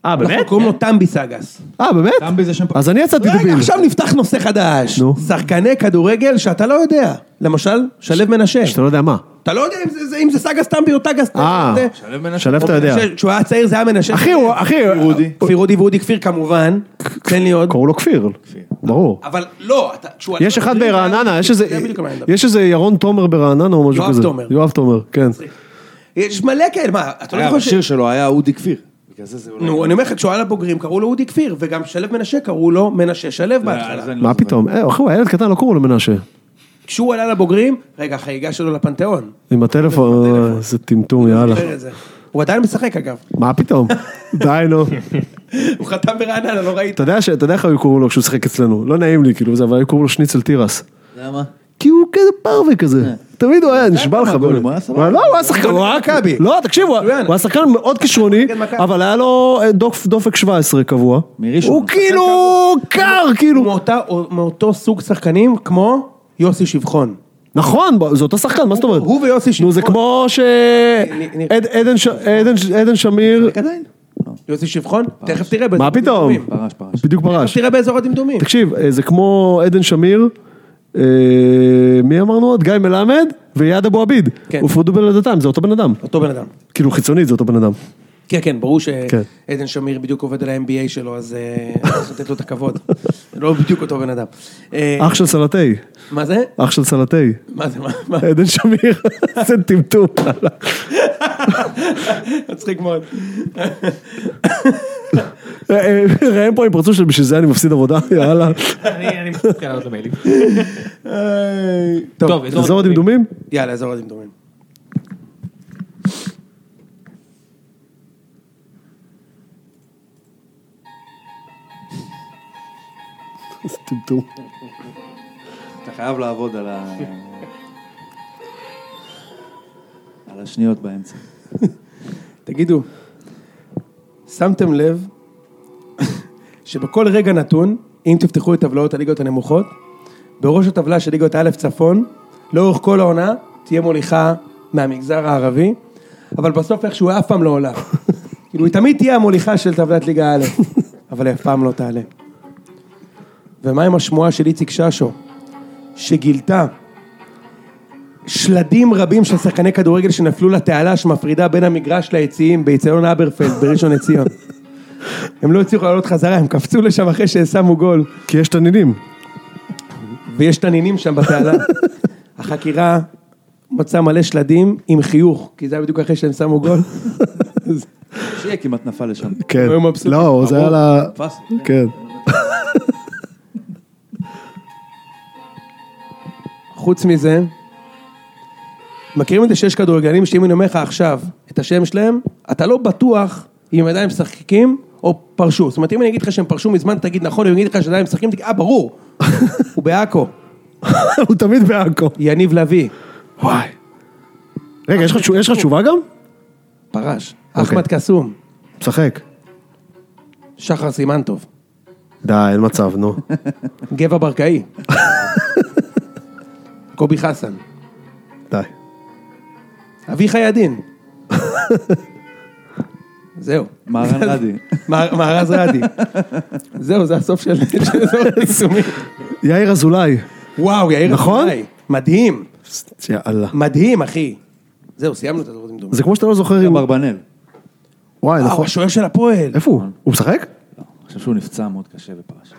[SPEAKER 3] אה,
[SPEAKER 2] אנחנו קוראים לו טמבי סגס.
[SPEAKER 3] אה, באמת?
[SPEAKER 4] טמבי זה שם...
[SPEAKER 3] אז אני יצאתי
[SPEAKER 2] לא, רגע,
[SPEAKER 3] דביל.
[SPEAKER 2] עכשיו נפתח נושא חדש.
[SPEAKER 3] נו.
[SPEAKER 2] שחקני כדורגל שאתה לא יודע. למשל, שלו מנשה.
[SPEAKER 3] שאתה לא יודע מה.
[SPEAKER 2] אתה לא יודע אם זה- זה- אם זה סגס טמבי או טגס טמבי.
[SPEAKER 3] אה,
[SPEAKER 2] זה-
[SPEAKER 3] שלו אתה יודע.
[SPEAKER 2] מנשה, כשהוא היה צעיר זה היה מנשה.
[SPEAKER 3] אחי, הוא, אחי,
[SPEAKER 2] אה, כפיר אודי ואודי כפיר כמובן. תן לי עוד.
[SPEAKER 3] קראו לו כפיר. ברור.
[SPEAKER 2] אבל לא, אתה... כשהוא היה
[SPEAKER 3] יש אחד
[SPEAKER 2] צעיר, זה היה-
[SPEAKER 3] ברעננה, יש איזה,
[SPEAKER 2] זה בדיוק על מה אני מדבר.
[SPEAKER 3] יש איזה ירון תומר ברעננה או משהו
[SPEAKER 2] יואב
[SPEAKER 3] כזה.
[SPEAKER 2] תומר.
[SPEAKER 3] יואב תומר, כן.
[SPEAKER 2] יש מלא כאלה, מה, אתה לא
[SPEAKER 4] אגב,
[SPEAKER 2] זוכר ש...
[SPEAKER 4] השיר שלו היה אודי כפיר. בגלל זה זה אולי...
[SPEAKER 2] נו, אני אומר לך, כשהוא היה לבוגרים קראו לו אודי כפיר, וגם שלו מנשה קראו לו מנשה שלו בהתחלה.
[SPEAKER 4] אז אני לא
[SPEAKER 3] מה
[SPEAKER 4] זוכר.
[SPEAKER 3] פתאום? אה, אחי, הוא היה ילד קטן, לא קראו לו מנשה.
[SPEAKER 2] כשהוא עלה לבוגרים, רגע, החגיגה שלו לפנתיאון.
[SPEAKER 3] עם הטלפון, אה, איזה טמטום,
[SPEAKER 4] *laughs*
[SPEAKER 3] יאללה.
[SPEAKER 2] זוכר את זה. הוא עדיין משחק אגב,
[SPEAKER 3] מה פתאום? די, נו.
[SPEAKER 2] הוא חתם ברעננה, לא ראית.
[SPEAKER 3] אתה יודע ש- אתה יודע איך היו קוראים לו כשהוא שיחק אצלנו? לא נעים לי, כאילו, זה, אבל היו קוראים לו שניצל תירס.
[SPEAKER 4] למה?
[SPEAKER 3] כי הוא כזה פרווה כזה. תמיד הוא היה, נשבע לך.
[SPEAKER 4] מהגולים,
[SPEAKER 3] באמת.
[SPEAKER 4] הוא היה סבבה.
[SPEAKER 3] לא, הוא היה שחקן.
[SPEAKER 2] הוא היה מכבי.
[SPEAKER 3] לא, תקשיב, הוא היה
[SPEAKER 2] מצוין.
[SPEAKER 3] הוא היה שחקן מאוד כישרוני,
[SPEAKER 2] נגד מכבי.
[SPEAKER 3] אבל היה לו אה, דופ- דופק 17 קבוע.
[SPEAKER 4] מראשון.
[SPEAKER 3] הוא כאילו קר,
[SPEAKER 2] הוא
[SPEAKER 3] כאילו.
[SPEAKER 2] מאותה- הוא מאותו סוג שחקנים כמו יוסי שבחון.
[SPEAKER 3] נכון, ב- זה אותו שחקן, מה זאת אומרת?
[SPEAKER 2] הוא ויוסי שבחון.
[SPEAKER 3] נו, זה כמו ש...
[SPEAKER 2] נ- נ-
[SPEAKER 3] עד- עדן ש- עדן ש- עדן שמיר,
[SPEAKER 4] עדיין?
[SPEAKER 2] יוסי שבחון? תכף תראה באזור
[SPEAKER 3] מה פתאום?
[SPEAKER 2] הדמדומים.
[SPEAKER 4] פרש, פרש.
[SPEAKER 3] בדיוק פרש.
[SPEAKER 2] תראה באזור הדמדומים.
[SPEAKER 3] תקשיב, אה, זה כמו עדן שמיר, אה, מי אמרנו עוד? גיא מלמד ויעד אבו עביד.
[SPEAKER 2] כן.
[SPEAKER 3] הופרדו בלידתם, זה אותו בן אדם.
[SPEAKER 2] אותו בן אדם.
[SPEAKER 3] כאילו חיצונית זה אותו בן אדם.
[SPEAKER 2] כן, כן, ברור
[SPEAKER 3] כן.
[SPEAKER 2] שעדן שמיר בדיוק עובד על ה-MBA שלו, אז אה, צריך לתת לו את הכבוד. לא בדיוק אותו בן אדם. אה,
[SPEAKER 3] אח של סלטי,
[SPEAKER 2] מה זה?
[SPEAKER 3] אח של סלטי.
[SPEAKER 2] מה זה? מה? מה?
[SPEAKER 3] עדן שמיר, *laughs* זה טמטום.
[SPEAKER 2] מצחיק מאוד.
[SPEAKER 3] אה, אה, ראם פה עם פרצוף של בשביל זה אני מפסיד עבודה, *laughs* יאללה.
[SPEAKER 1] אני אני מתחיל לעלות למיילים.
[SPEAKER 2] טוב,
[SPEAKER 1] טוב,
[SPEAKER 3] אזור הדמדומים?
[SPEAKER 2] יאללה, אזור הדמדומים.
[SPEAKER 3] איזה טמטום.
[SPEAKER 4] אתה חייב לעבוד על ה... על השניות באמצע.
[SPEAKER 2] תגידו, שמתם לב שבכל רגע נתון, אם תפתחו את טבלאות הליגות הנמוכות, בראש הטבלה של ליגות א' צפון, לאורך כל העונה, תהיה מוליכה מהמגזר הערבי, אבל בסוף איכשהו אף פעם לא עולה. כאילו, היא תמיד תהיה המוליכה של טבלת ליגה א', אבל היא אף פעם לא תעלה. ומה עם השמועה של איציק ששו, שגילתה שלדים רבים של שחקני כדורגל שנפלו לתעלה שמפרידה בין המגרש ליציעים באיצטדיון אברפלד בראשון לציון. הם לא הצליחו לעלות חזרה, הם קפצו לשם אחרי ששמו גול,
[SPEAKER 3] כי יש תנינים.
[SPEAKER 2] ויש תנינים שם בתעלה. החקירה מצאה מלא שלדים עם חיוך, כי זה היה בדיוק אחרי שהם שמו גול. אז
[SPEAKER 4] *laughs* שיהיה כמעט נפל לשם.
[SPEAKER 3] כן.
[SPEAKER 2] היו מבסוטים.
[SPEAKER 3] לא, זה היה לה...
[SPEAKER 4] תפס.
[SPEAKER 3] כן.
[SPEAKER 2] חוץ מזה, מכירים את זה שיש כדורגלנים שאם אני אומר לך עכשיו את השם שלהם, אתה לא בטוח אם הם עדיין משחקים או פרשו. זאת אומרת, אם אני אגיד לך שהם פרשו מזמן, תגיד נכון, אם אני אגיד לך שעדיין משחקים, תגיד, אה, ברור, הוא בעכו,
[SPEAKER 3] *laughs* הוא תמיד בעכו.
[SPEAKER 2] יניב לביא,
[SPEAKER 3] וואי. רגע, יש לך תשוב- יש לך תשובה גם?
[SPEAKER 2] פרש,
[SPEAKER 3] אוקיי.
[SPEAKER 2] אחמד קסום,
[SPEAKER 3] משחק.
[SPEAKER 2] שחר סימנטוב,
[SPEAKER 3] די, אין מצב, נו.
[SPEAKER 2] גבע
[SPEAKER 3] *laughs*
[SPEAKER 2] ברקאי, קובי חסן,
[SPEAKER 3] די.
[SPEAKER 2] אביחי
[SPEAKER 3] *laughs*
[SPEAKER 2] עדין. זהו. *laughs*
[SPEAKER 4] מהרן
[SPEAKER 2] אה,
[SPEAKER 4] רדי.
[SPEAKER 2] מה- מארז רדי. זהו, זה הסוף של של אזור הפרסומים.
[SPEAKER 3] יאיר אזולאי.
[SPEAKER 2] וואו, יאיר
[SPEAKER 3] נכון?
[SPEAKER 2] אזולאי. מדהים,
[SPEAKER 3] יאללה.
[SPEAKER 2] מדהים, אחי. זהו, סיימנו את הדברים דומים.
[SPEAKER 3] זה כמו שאתה לא זוכר אם...
[SPEAKER 4] אברבנאל. אה.
[SPEAKER 3] וואי,
[SPEAKER 2] וואו,
[SPEAKER 3] נכון.
[SPEAKER 2] השוער של הפועל.
[SPEAKER 3] איפה הוא? הוא משחק?
[SPEAKER 4] לא, אני חושב שהוא נפצע מאוד קשה ופרש.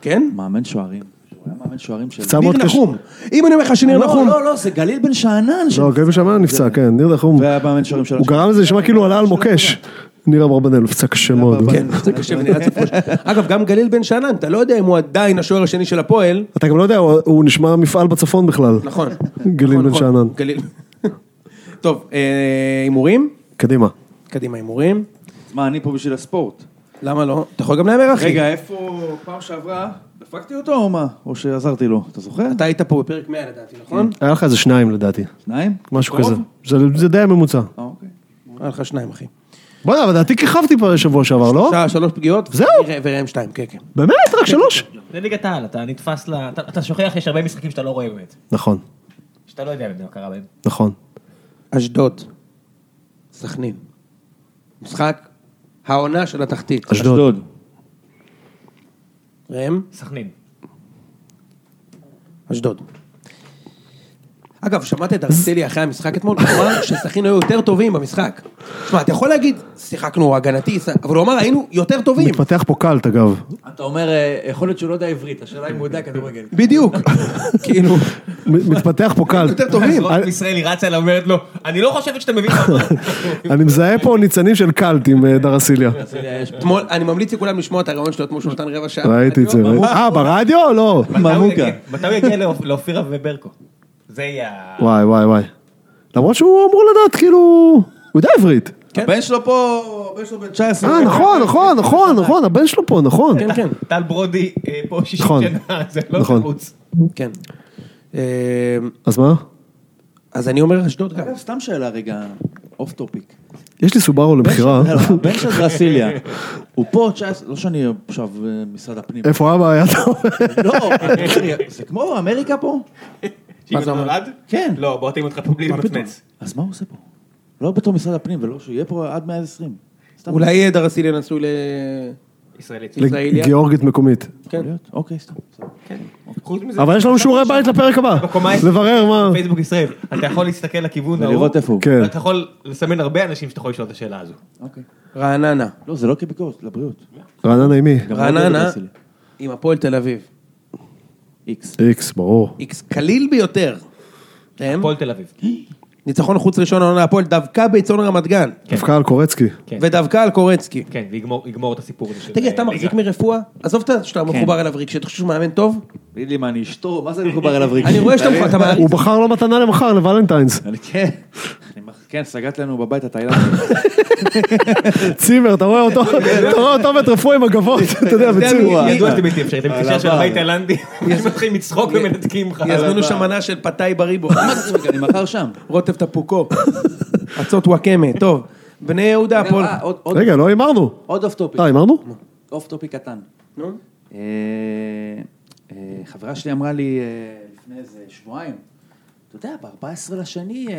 [SPEAKER 2] כן?
[SPEAKER 4] מאמן שוערים. הוא היה מאמן שוערים של...
[SPEAKER 3] נפצע
[SPEAKER 2] ניר
[SPEAKER 3] מאוד קשה.
[SPEAKER 2] נחום. אם אני אומר לך שניר
[SPEAKER 4] לא,
[SPEAKER 10] נכון.
[SPEAKER 2] נחום,
[SPEAKER 4] לא, לא, זה גליל בן שאנן. ש-
[SPEAKER 3] לא, גבי שמן נפצע, כן, ניר נחום.
[SPEAKER 4] והיה מאמן שוערים של...
[SPEAKER 3] הוא גרם לזה נשמע כאילו עלה על מוקש. ניר אברבנאל, הוא נפצע קשה מאוד. כן.
[SPEAKER 4] אברבנאל.
[SPEAKER 2] זה קשה ונראה צפוש. אגב, גם גליל בן שאנן, אתה לא יודע אם הוא עדיין השוער השני של הפועל.
[SPEAKER 3] אתה גם לא יודע, הוא- הוא נשמע מפעל בצפון בכלל.
[SPEAKER 2] נכון.
[SPEAKER 3] גליל
[SPEAKER 2] נכון,
[SPEAKER 3] בן
[SPEAKER 2] נכון.
[SPEAKER 3] שאנן.
[SPEAKER 2] גליל. טוב, אה, הימורים?
[SPEAKER 3] קדימה.
[SPEAKER 2] קדימה, הימורים.
[SPEAKER 4] מה, אני פה בשביל הספורט.
[SPEAKER 2] למה לא? אתה יכול גם להמר, אחי.
[SPEAKER 4] רגע, איפה פעם שעברה? דפקתי אותו או מה? או שעזרתי לו? אתה זוכר?
[SPEAKER 2] אתה היית פה בפרק 100 לדעתי, נכון?
[SPEAKER 3] היה לך איזה שניים לדעתי,
[SPEAKER 4] שניים?
[SPEAKER 3] משהו
[SPEAKER 4] קרוב?
[SPEAKER 3] כזה. זה- זה די הממוצע.
[SPEAKER 4] אה, אוקיי.
[SPEAKER 3] כן.
[SPEAKER 2] היה לך שניים, אחי.
[SPEAKER 3] בוא'נה, אבל לדעתי כיכבתי פה שבוע שעבר, לא?
[SPEAKER 2] שעה, שלוש פגיעות.
[SPEAKER 3] זהו.
[SPEAKER 2] וראם- וראם שתיים, כן, כן.
[SPEAKER 3] באמת? רק שלוש?
[SPEAKER 7] זה ליגת העל, אתה נתפס ל... אתה- אתה שוכח שיש הרבה משחקים שאתה לא רואה באמת.
[SPEAKER 3] נכון,
[SPEAKER 7] שאתה לא יודע מה קרה בהם.
[SPEAKER 3] נכון.
[SPEAKER 2] אשדוד. סכנין. משחק העונה של התחתית.
[SPEAKER 3] אשדוד.
[SPEAKER 2] ראם?
[SPEAKER 7] סכנין.
[SPEAKER 2] אשדוד. אגב, שמעת את ארסלי אחרי המשחק אתמול? הוא אמר שסכין היו יותר טובים במשחק. שמע, אתה יכול להגיד, שיחקנו הגנתי, ש- אבל הוא אמר, היינו יותר טובים.
[SPEAKER 3] מתפתח פה קלט, אגב.
[SPEAKER 10] אתה אומר, אה, יכול להיות שהוא לא יודע עברית, השאלה אם הוא יודע כדורגל.
[SPEAKER 2] בדיוק. כאילו,
[SPEAKER 3] מ- מתפתח פה קלט.
[SPEAKER 2] יותר טובים.
[SPEAKER 3] אני-
[SPEAKER 7] ישראלי רצה אליו ואומרת לו, אני לא חושבת שאתה מבין מה הוא אומר."
[SPEAKER 3] אני מזהה פה ניצנים של קלט עם אה, דרסיליה.
[SPEAKER 2] אתמול, אני ממליץ לכולם לשמוע את הרעיון שלו אתמול שהוא נתן רבע שעה.
[SPEAKER 3] ראיתי את זה. ראיתי. אה, ברדיו? לא.
[SPEAKER 7] מתי הוא
[SPEAKER 4] מרמוקה.
[SPEAKER 7] יגיע- מתי הוא יגיע לאופ- לאופירה וברקו? זה יהיה... ה-
[SPEAKER 3] וואי, וואי, וואי. למרות שהוא אמור לדעת, כאילו... הוא יודע עברית.
[SPEAKER 4] הבן שלו פה, הבן שלו בן 19.
[SPEAKER 3] אה, נכון, נכון, נכון, נכון, הבן שלו פה, נכון.
[SPEAKER 2] כן, כן.
[SPEAKER 7] טל ברודי אה, פה 60
[SPEAKER 3] נכון.
[SPEAKER 7] שנה, זה לא
[SPEAKER 3] נכון.
[SPEAKER 7] תירוץ.
[SPEAKER 2] כן. אה,
[SPEAKER 3] אז מה?
[SPEAKER 2] אז אני אומר אשדוד גם.
[SPEAKER 4] אגב, סתם שאלה רגע, אוף טופיק.
[SPEAKER 10] אה?
[SPEAKER 3] יש לי סובארו למכירה.
[SPEAKER 4] הבן
[SPEAKER 10] *laughs*
[SPEAKER 4] של דרסיליה, הוא פה 19, לא שאני עכשיו אה,
[SPEAKER 10] *laughs*
[SPEAKER 4] משרד הפנים.
[SPEAKER 3] איפה אבא היה? אתה אומר?
[SPEAKER 4] לא, זה כמו אמריקה פה?
[SPEAKER 7] שאם
[SPEAKER 2] זה
[SPEAKER 7] אתה
[SPEAKER 2] אומר?
[SPEAKER 7] נולד?
[SPEAKER 4] כן.
[SPEAKER 7] לא, בוא תראו אותך פה בלי למצמץ.
[SPEAKER 4] אז מה הוא עושה פה? לא בתור משרד הפנים, ולא שהוא יהיה פה עד 120. סתם.
[SPEAKER 2] אולי דרסיליה נשוי ל...
[SPEAKER 7] ישראלית.
[SPEAKER 2] ישראליה.
[SPEAKER 3] לגיאורגית מקומית.
[SPEAKER 2] כן.
[SPEAKER 4] יכול להיות? אוקיי, סתם. בסדר.
[SPEAKER 7] חוץ מזה,
[SPEAKER 3] אבל יש לנו שיעורי בית לפרק הבא.
[SPEAKER 7] בקומה-
[SPEAKER 3] לברר מה...
[SPEAKER 7] פייסבוק ישראל, אתה יכול להסתכל לכיוון ההוא,
[SPEAKER 4] ולראות איפה הוא.
[SPEAKER 3] כן.
[SPEAKER 7] ואתה יכול לסמן הרבה אנשים שאתה יכול לשאול את השאלה הזו.
[SPEAKER 4] אוקיי.
[SPEAKER 2] רעננה.
[SPEAKER 4] לא, זה לא כביקורת, לבריאות.
[SPEAKER 3] רעננה עם מי?
[SPEAKER 4] גם לא
[SPEAKER 2] רעננה
[SPEAKER 4] דרסיליה.
[SPEAKER 2] עם הפועל תל אביב.
[SPEAKER 4] איקס.
[SPEAKER 3] איקס, ברור.
[SPEAKER 2] איקס קליל ביותר. ראם?
[SPEAKER 7] הפועל תל אביב.
[SPEAKER 2] ניצחון חוץ ראשון העונה הפועל דווקא בצאן רמת גן.
[SPEAKER 3] דווקא על קורצקי.
[SPEAKER 7] כן.
[SPEAKER 2] ודווקא על קורצקי.
[SPEAKER 7] כן, ויגמור יגמור את הסיפור הזה של...
[SPEAKER 2] תגיד, אתה
[SPEAKER 7] אה,
[SPEAKER 2] מחזיק
[SPEAKER 7] ליגה.
[SPEAKER 2] מרפואה? עזוב את ה- שאתה מחובר אליו רגשי, אתה חושב שהוא מאמן טוב?
[SPEAKER 4] תגיד לי מה,
[SPEAKER 2] *laughs*
[SPEAKER 4] אני אשתו? מה זה אני מחובר אליו רגשי?
[SPEAKER 2] אני רואה שאתה אתה מעריץ.
[SPEAKER 3] הוא בחר לו מתנה למחר, לא לוולנטיינס.
[SPEAKER 4] אני כן. אני מח- כן, סגרת לנו בבית התאילנדי.
[SPEAKER 3] צימר, אתה רואה אותו, אתה רואה אותו ואת רפואה עם הגבות, אתה יודע,
[SPEAKER 2] כן,
[SPEAKER 3] בצימר.
[SPEAKER 7] ידוע שאתם בלתי אפשרי, אתם מתקשר של הבית תאילנדי, מתחילים לצחוק ומנתקים לך.
[SPEAKER 2] יזמינו שם מנה של פתאי בריבו,
[SPEAKER 4] אני מחר שם.
[SPEAKER 2] רוטב *laughs* תפוקו, אצות וואקמה, טוב. בני יהודה, הפועל.
[SPEAKER 4] אה, עוד- עוד-
[SPEAKER 3] רגע, לא הימרנו.
[SPEAKER 4] עוד אוף טופיק.
[SPEAKER 3] אה, הימרנו?
[SPEAKER 4] אוף טופי קטן. נו? חברה שלי אמרה לי אה, לפני איזה שבועיים, אתה יודע, ב-14 לשני אה,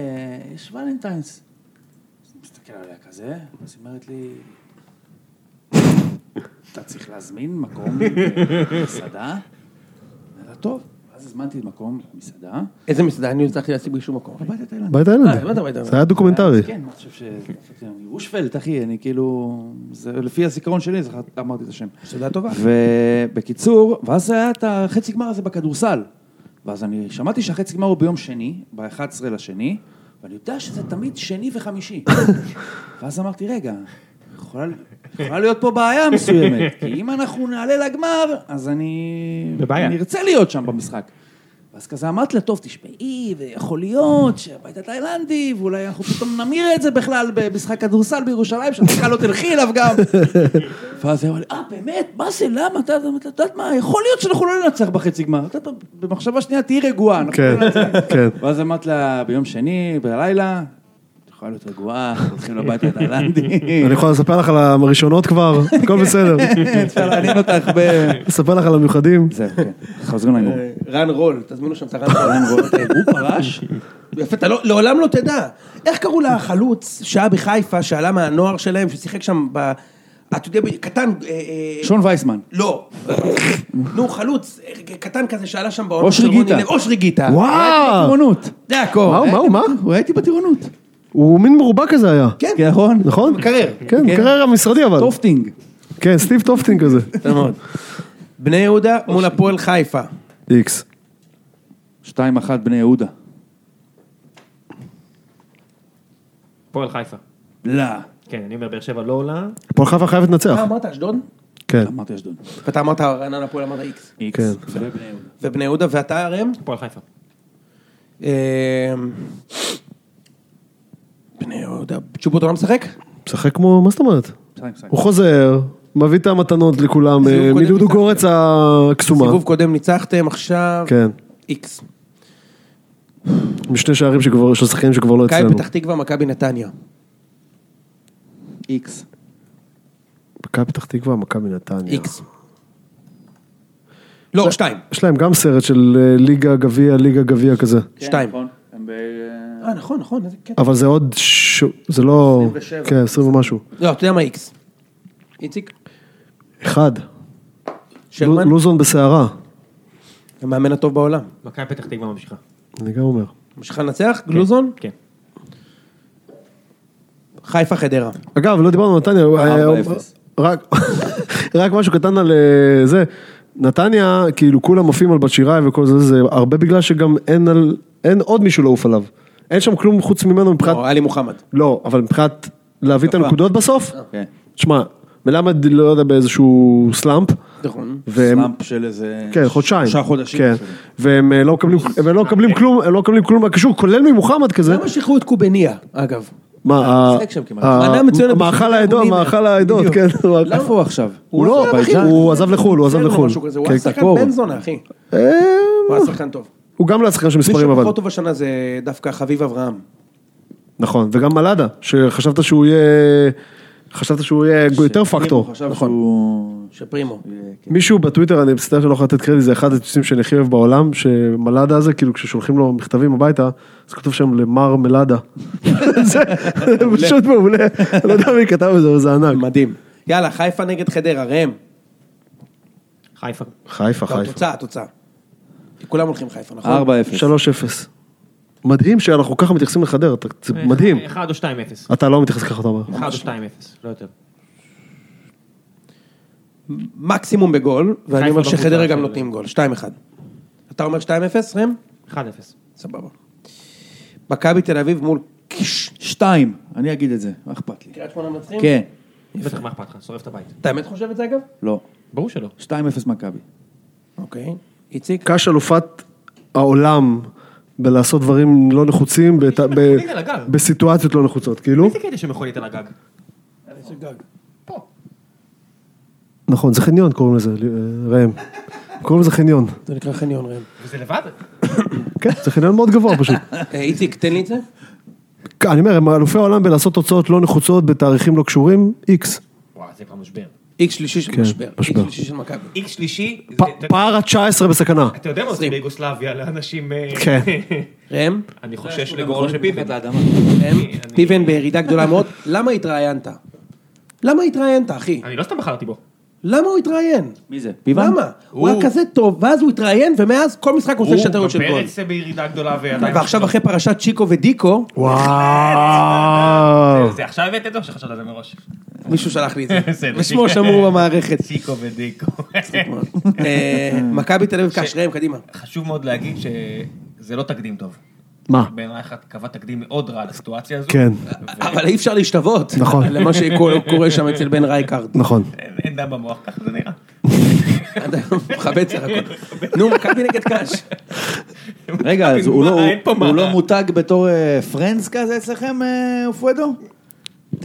[SPEAKER 4] יש ולנטיינס. אז אני מסתכל עליה כזה, אז היא אומרת לי, אתה צריך להזמין מקום במסעדה? אמרתי לה, טוב. אז הזמנתי מקום במסעדה.
[SPEAKER 2] איזה מסעדה, אני הצלחתי להשיג בשום מקום.
[SPEAKER 4] בבית התאילנד.
[SPEAKER 3] בית
[SPEAKER 2] אה, הבנת, הבנת,
[SPEAKER 3] האילנד.
[SPEAKER 2] הבנת.
[SPEAKER 3] זה היה דוקומנטרי.
[SPEAKER 4] כן, אני חושב ש... אני רושפלד, אחי, אני כאילו... זה- לפי הזיכרון שלי, זכרת- אמרתי את השם.
[SPEAKER 2] מסעדה טובה.
[SPEAKER 4] ובקיצור, ואז היה את החצי גמר הזה בכדורסל. ואז אני שמעתי שהחצי גמר הוא ביום שני, ב-11 לשני, ואני יודע שזה תמיד שני וחמישי. ואז אמרתי, רגע, יכולה, יכולה להיות פה בעיה מסוימת, כי אם אנחנו נעלה לגמר, אז אני...
[SPEAKER 7] בבעיה.
[SPEAKER 4] אני ארצה להיות שם במשחק. ואז כזה אמרתי לה, טוב, תשמעי, ויכול להיות שהבית התאילנדי, ואולי אנחנו פתאום נמיר את זה בכלל במשחק כדורסל בירושלים, שאת בכלל לא תלכי אליו
[SPEAKER 3] *laughs*
[SPEAKER 4] גם. ואז היא אמרה לי, אה, באמת? מה זה? למה? אתה אתה- אתה יודעת מה? יכול להיות שאנחנו לא ננצח בחצי גמר. אתה יודע, במחשבה שנייה תהיי רגועה. אנחנו
[SPEAKER 3] כן,
[SPEAKER 4] לא ננצח."
[SPEAKER 3] כן.
[SPEAKER 4] ואז אמרת לה, ביום שני, בלילה, את יכולה להיות רגועה, אנחנו הולכים
[SPEAKER 2] *laughs*
[SPEAKER 4] לבית התאילנדי.
[SPEAKER 3] אני יכול לספר לך על הראשונות כבר, הכל בסדר.
[SPEAKER 4] אפשר לעניין "לא, אותך ב...
[SPEAKER 3] לספר לך על המיוחדים.
[SPEAKER 4] זהו, כן. חוזרים לגמור.
[SPEAKER 2] רן רול, תזמינו שם את הרן רול. *laughs*
[SPEAKER 4] הוא פרש?
[SPEAKER 2] יפה, אתה לא- לעולם לא תדע. איך קראו לחלוץ שהיה בחיפה, שעלה מהנוער שלהם, ששיחק שם ב... אתה יודע, ב- קטן... אה, אה,
[SPEAKER 4] שון וייסמן.
[SPEAKER 2] *laughs* לא. נו, חלוץ, אה, קטן כזה שעלה שם בעונה
[SPEAKER 4] אושרי גיטה.
[SPEAKER 2] אושרי גיטה.
[SPEAKER 3] וואו!
[SPEAKER 4] טירונות.
[SPEAKER 2] זה הכל.
[SPEAKER 3] מה הוא, מה הוא, מה?
[SPEAKER 4] הוא הייתי בטירונות.
[SPEAKER 3] הוא מין מרובע כזה היה.
[SPEAKER 2] כן.
[SPEAKER 4] נכון?
[SPEAKER 3] נכון? מקרר. כן, מקרר המשרדי אבל.
[SPEAKER 4] טופטינג.
[SPEAKER 3] כן, סטיב טופטינג כזה.
[SPEAKER 2] יפה מאוד. בני יהודה מול הפועל חיפה.
[SPEAKER 3] איקס.
[SPEAKER 4] 2-1 בני יהודה.
[SPEAKER 5] הפועל חיפה.
[SPEAKER 4] לא.
[SPEAKER 5] כן, אני אומר, באר שבע לא עולה.
[SPEAKER 3] הפועל חיפה חייבת לנצח.
[SPEAKER 2] מה אמרת, אשדוד?
[SPEAKER 3] כן.
[SPEAKER 4] אמרתי אשדוד.
[SPEAKER 2] ואתה אמרת רעננה הפועל, אמרת איקס.
[SPEAKER 4] איקס.
[SPEAKER 2] כן.
[SPEAKER 4] ובני יהודה.
[SPEAKER 2] ובני יהודה ואתה, ראם?
[SPEAKER 5] הפועל חיפה.
[SPEAKER 2] אמ, בני יהודה, צ'ובוט לא משחק?
[SPEAKER 3] משחק כמו, מה זאת אומרת?
[SPEAKER 4] משחק, משחק.
[SPEAKER 3] הוא חוזר, מביא את המתנות לכולם,
[SPEAKER 2] סיבוב
[SPEAKER 3] אה,
[SPEAKER 2] קודם
[SPEAKER 3] מדודו
[SPEAKER 2] ניצחתם.
[SPEAKER 3] גורץ הקסומה.
[SPEAKER 2] סיבוב קודם ניצחתם, עכשיו
[SPEAKER 3] כן.
[SPEAKER 2] איקס.
[SPEAKER 3] משני שערים שכבר, של שחקנים שכבר לא
[SPEAKER 2] מכבי
[SPEAKER 3] אצלנו.
[SPEAKER 2] פתח תקווה, מכבי נתניה.
[SPEAKER 4] איקס.
[SPEAKER 3] מכבי פתח תקווה, מכבי נתניה.
[SPEAKER 2] איקס. לא, שתיים.
[SPEAKER 3] יש להם גם סרט של אה, ליגה, גביע, ליגה, גביע כזה.
[SPEAKER 2] שתיים.
[SPEAKER 4] נכון. הם ב...
[SPEAKER 2] אה, נכון, נכון, איזה קטע.
[SPEAKER 3] אבל זה עוד, ש... זה לא...
[SPEAKER 4] 27.
[SPEAKER 3] כן, 20 ומשהו.
[SPEAKER 2] לא, אתה יודע מה איקס. איציק?
[SPEAKER 3] אחד. לא-
[SPEAKER 2] שרמן?
[SPEAKER 3] ל- לוזון בסערה.
[SPEAKER 2] המאמן הטוב בעולם.
[SPEAKER 5] מכבי פתח תקווה ממשיכה.
[SPEAKER 3] אני גם אומר.
[SPEAKER 2] ממשיכה לנצח? גלוזון?
[SPEAKER 5] כן.
[SPEAKER 2] חיפה חדרה.
[SPEAKER 3] אגב, לא דיברנו על נתניה, אה,
[SPEAKER 4] 4-0.
[SPEAKER 3] רק, *laughs* רק משהו קטן על אה, זה, נתניה, כאילו כולם עפים על בת שיראי וכל זה, זה הרבה בגלל שגם אין, על, אין עוד מישהו לעוף עליו. אין שם כלום חוץ ממנו מבחינת,
[SPEAKER 2] או עלי מוחמד.
[SPEAKER 3] לא, אבל מבחינת להביא את הנקודות בסוף,
[SPEAKER 4] אוקיי.
[SPEAKER 3] שמע, מלמד לא יודע באיזשהו סלאמפ,
[SPEAKER 2] נכון.
[SPEAKER 3] והם,
[SPEAKER 4] סלאמפ של איזה...
[SPEAKER 3] כן, חודשיים,
[SPEAKER 4] שלושה חודשים.
[SPEAKER 3] כן, והם אה, לא מקבלים, הם לא מקבלים כלום, הם לא מקבלים כלום מהקישור, כולל ממוחמד כזה,
[SPEAKER 2] למה שחררו לא את קובניה, אגב?
[SPEAKER 3] מה, ה-
[SPEAKER 4] משחק שם כמעט.
[SPEAKER 3] ה-
[SPEAKER 2] מנה מצוינת
[SPEAKER 3] מאכל
[SPEAKER 2] בשביל
[SPEAKER 3] העדות,
[SPEAKER 2] הארגונים.
[SPEAKER 3] מאכל העדות,
[SPEAKER 2] בדיוק. לא,
[SPEAKER 3] כן,
[SPEAKER 4] איפה הוא עכשיו?
[SPEAKER 3] הוא לא, הוא עזב לחו"ל, הוא עזב לחו"ל.
[SPEAKER 2] הוא
[SPEAKER 3] כן,
[SPEAKER 2] היה שחקן
[SPEAKER 3] כן.
[SPEAKER 2] בן זונה, אחי.
[SPEAKER 3] אה,
[SPEAKER 2] הוא היה שחקן טוב.
[SPEAKER 3] הוא גם לא השחקן של
[SPEAKER 2] מי
[SPEAKER 3] מספרים אבל.
[SPEAKER 2] שפחות טוב השנה זה דווקא חביב אברהם.
[SPEAKER 3] נכון, וגם מלאדה, שחשבת שהוא יהיה... חשבת שהוא יהיה יותר פקטור.
[SPEAKER 4] עכשיו שהוא...
[SPEAKER 2] נכון. שפרימו.
[SPEAKER 3] מישהו בטוויטר, אני מצטער שאני לא יכול לתת קרדיט, זה אחד הטיפסים שאני הכי אוהב בעולם, שמלאדה הזה, כאילו כששולחים לו מכתבים הביתה, אז כתוב שם למר מלאדה. *laughs* זה זה פשוט מעולה, אני לא יודע מי כתב את זה, אבל זה ענק.
[SPEAKER 2] מדהים. יאללה, חיפה נגד חדרה, ראם.
[SPEAKER 5] חיפה.
[SPEAKER 3] חיפה,
[SPEAKER 2] לא,
[SPEAKER 3] חיפה. אה.
[SPEAKER 2] התוצאה, התוצאה. כי כולם הולכים חיפה, נכון?
[SPEAKER 4] 4-0.
[SPEAKER 3] 3-0. מדהים שאנחנו ככה מתייחסים לחדרה, אתה- זה מדהים.
[SPEAKER 5] אחד או שתיים אפס.
[SPEAKER 3] אתה לא מתייחס ככה, אתה אומר.
[SPEAKER 5] אחד או שתיים אפס, לא יותר.
[SPEAKER 2] מקסימום בגול, ואני
[SPEAKER 5] חיפה
[SPEAKER 4] לא
[SPEAKER 2] אומר
[SPEAKER 5] בקבוצה
[SPEAKER 2] שחדרה גם
[SPEAKER 5] של-
[SPEAKER 2] נותנים גול, 2-1. אתה אומר 2-0, ראם?
[SPEAKER 5] אחד אפס.
[SPEAKER 2] סבבה. מכבי תל אביב מול קיש.
[SPEAKER 4] 2. אני אגיד את זה, מה אכפת לי?
[SPEAKER 2] קריית שמונה מנצחים?
[SPEAKER 4] כן.
[SPEAKER 5] בטח מה אכפת לך, שורף את הבית.
[SPEAKER 2] אתה באמת חושב את זה אגב?
[SPEAKER 4] לא.
[SPEAKER 5] ברור שלא.
[SPEAKER 4] 2-0 מכבי.
[SPEAKER 2] אוקיי. איציק?
[SPEAKER 3] קש אלופת העולם בלעשות דברים לא נחוצים, בת- ב-
[SPEAKER 1] מכונית על הגג.
[SPEAKER 3] בסיטואציות לא נחוצות, כאילו.
[SPEAKER 1] איזה קטע של מכונית על הגג?
[SPEAKER 3] נכון, זה חניון קוראים לזה, אה, ראם. קוראים לזה חניון.
[SPEAKER 2] זה נקרא חניון ראם.
[SPEAKER 7] וזה לבד?
[SPEAKER 3] כן, זה חניון מאוד גבוה פשוט.
[SPEAKER 2] אה, איציק, תן לי את זה.
[SPEAKER 3] אני אומר, הם אלופי העולם בלעשות תוצאות לא נחוצות בתאריכים לא קשורים, איקס.
[SPEAKER 7] וואו, זה כבר משבר.
[SPEAKER 2] איקס שלישי של משבר. איקס
[SPEAKER 3] כן, משבר.
[SPEAKER 2] שלישי של מכבי.
[SPEAKER 7] איקס שלישי, זה- אתה-
[SPEAKER 3] פ- פער ה-19 בסכנה.
[SPEAKER 7] אתה יודע מה עושים
[SPEAKER 2] עשרים.
[SPEAKER 7] ביוגוסלביה לאנשים... אה,
[SPEAKER 3] כן.
[SPEAKER 2] ראם,
[SPEAKER 7] אני חושש לגורלו של פיבן.
[SPEAKER 2] ראם, פיבן בירידה גדולה מאוד. למה התראיינת? למה התראיינת, אחי?
[SPEAKER 7] אני לא סתם בחרתי בו.
[SPEAKER 2] למה הוא התראיין?
[SPEAKER 4] מי זה?
[SPEAKER 2] למה? הוא היה כזה טוב, ואז הוא התראיין, ומאז כל משחק הוא עושה שתי טעויות של גול.
[SPEAKER 7] פרץ בירידה גדולה ועדיין... לא
[SPEAKER 2] ועכשיו אחרי פרשת צ'יקו ודיקו,
[SPEAKER 3] וואו.
[SPEAKER 7] זה עכשיו הבאת את זה או שחשבת על זה מראש?
[SPEAKER 2] מישהו שלח לי את זה.
[SPEAKER 7] *laughs* בסדר.
[SPEAKER 2] ושמו שמור במערכת.
[SPEAKER 7] ציקו ודיקו.
[SPEAKER 2] *laughs* אה, מכבי תל אביב קש, ראם, קדימה.
[SPEAKER 7] חשוב מאוד להגיד שזה לא תקדים טוב.
[SPEAKER 3] מה?
[SPEAKER 7] בעיניי אחד קבע תקדים מאוד רע לסיטואציה הזו.
[SPEAKER 3] כן.
[SPEAKER 7] ו-
[SPEAKER 2] אבל אי אפשר להשתוות.
[SPEAKER 3] נכון.
[SPEAKER 2] *laughs* למה שקורה שם אצל בן רייקארד.
[SPEAKER 3] נכון.
[SPEAKER 7] אין אין דם במוח, ככה זה נראה.
[SPEAKER 2] אתה מכבד סך הכל. נו, מכבי נגד
[SPEAKER 3] *laughs*
[SPEAKER 2] קש.
[SPEAKER 4] רגע, אז הוא
[SPEAKER 7] מה,
[SPEAKER 4] לא-
[SPEAKER 7] אין פה
[SPEAKER 4] הוא לא
[SPEAKER 7] מה.
[SPEAKER 4] מותג בתור אה, פרנדס כזה אצלכם, אה, אופואדו?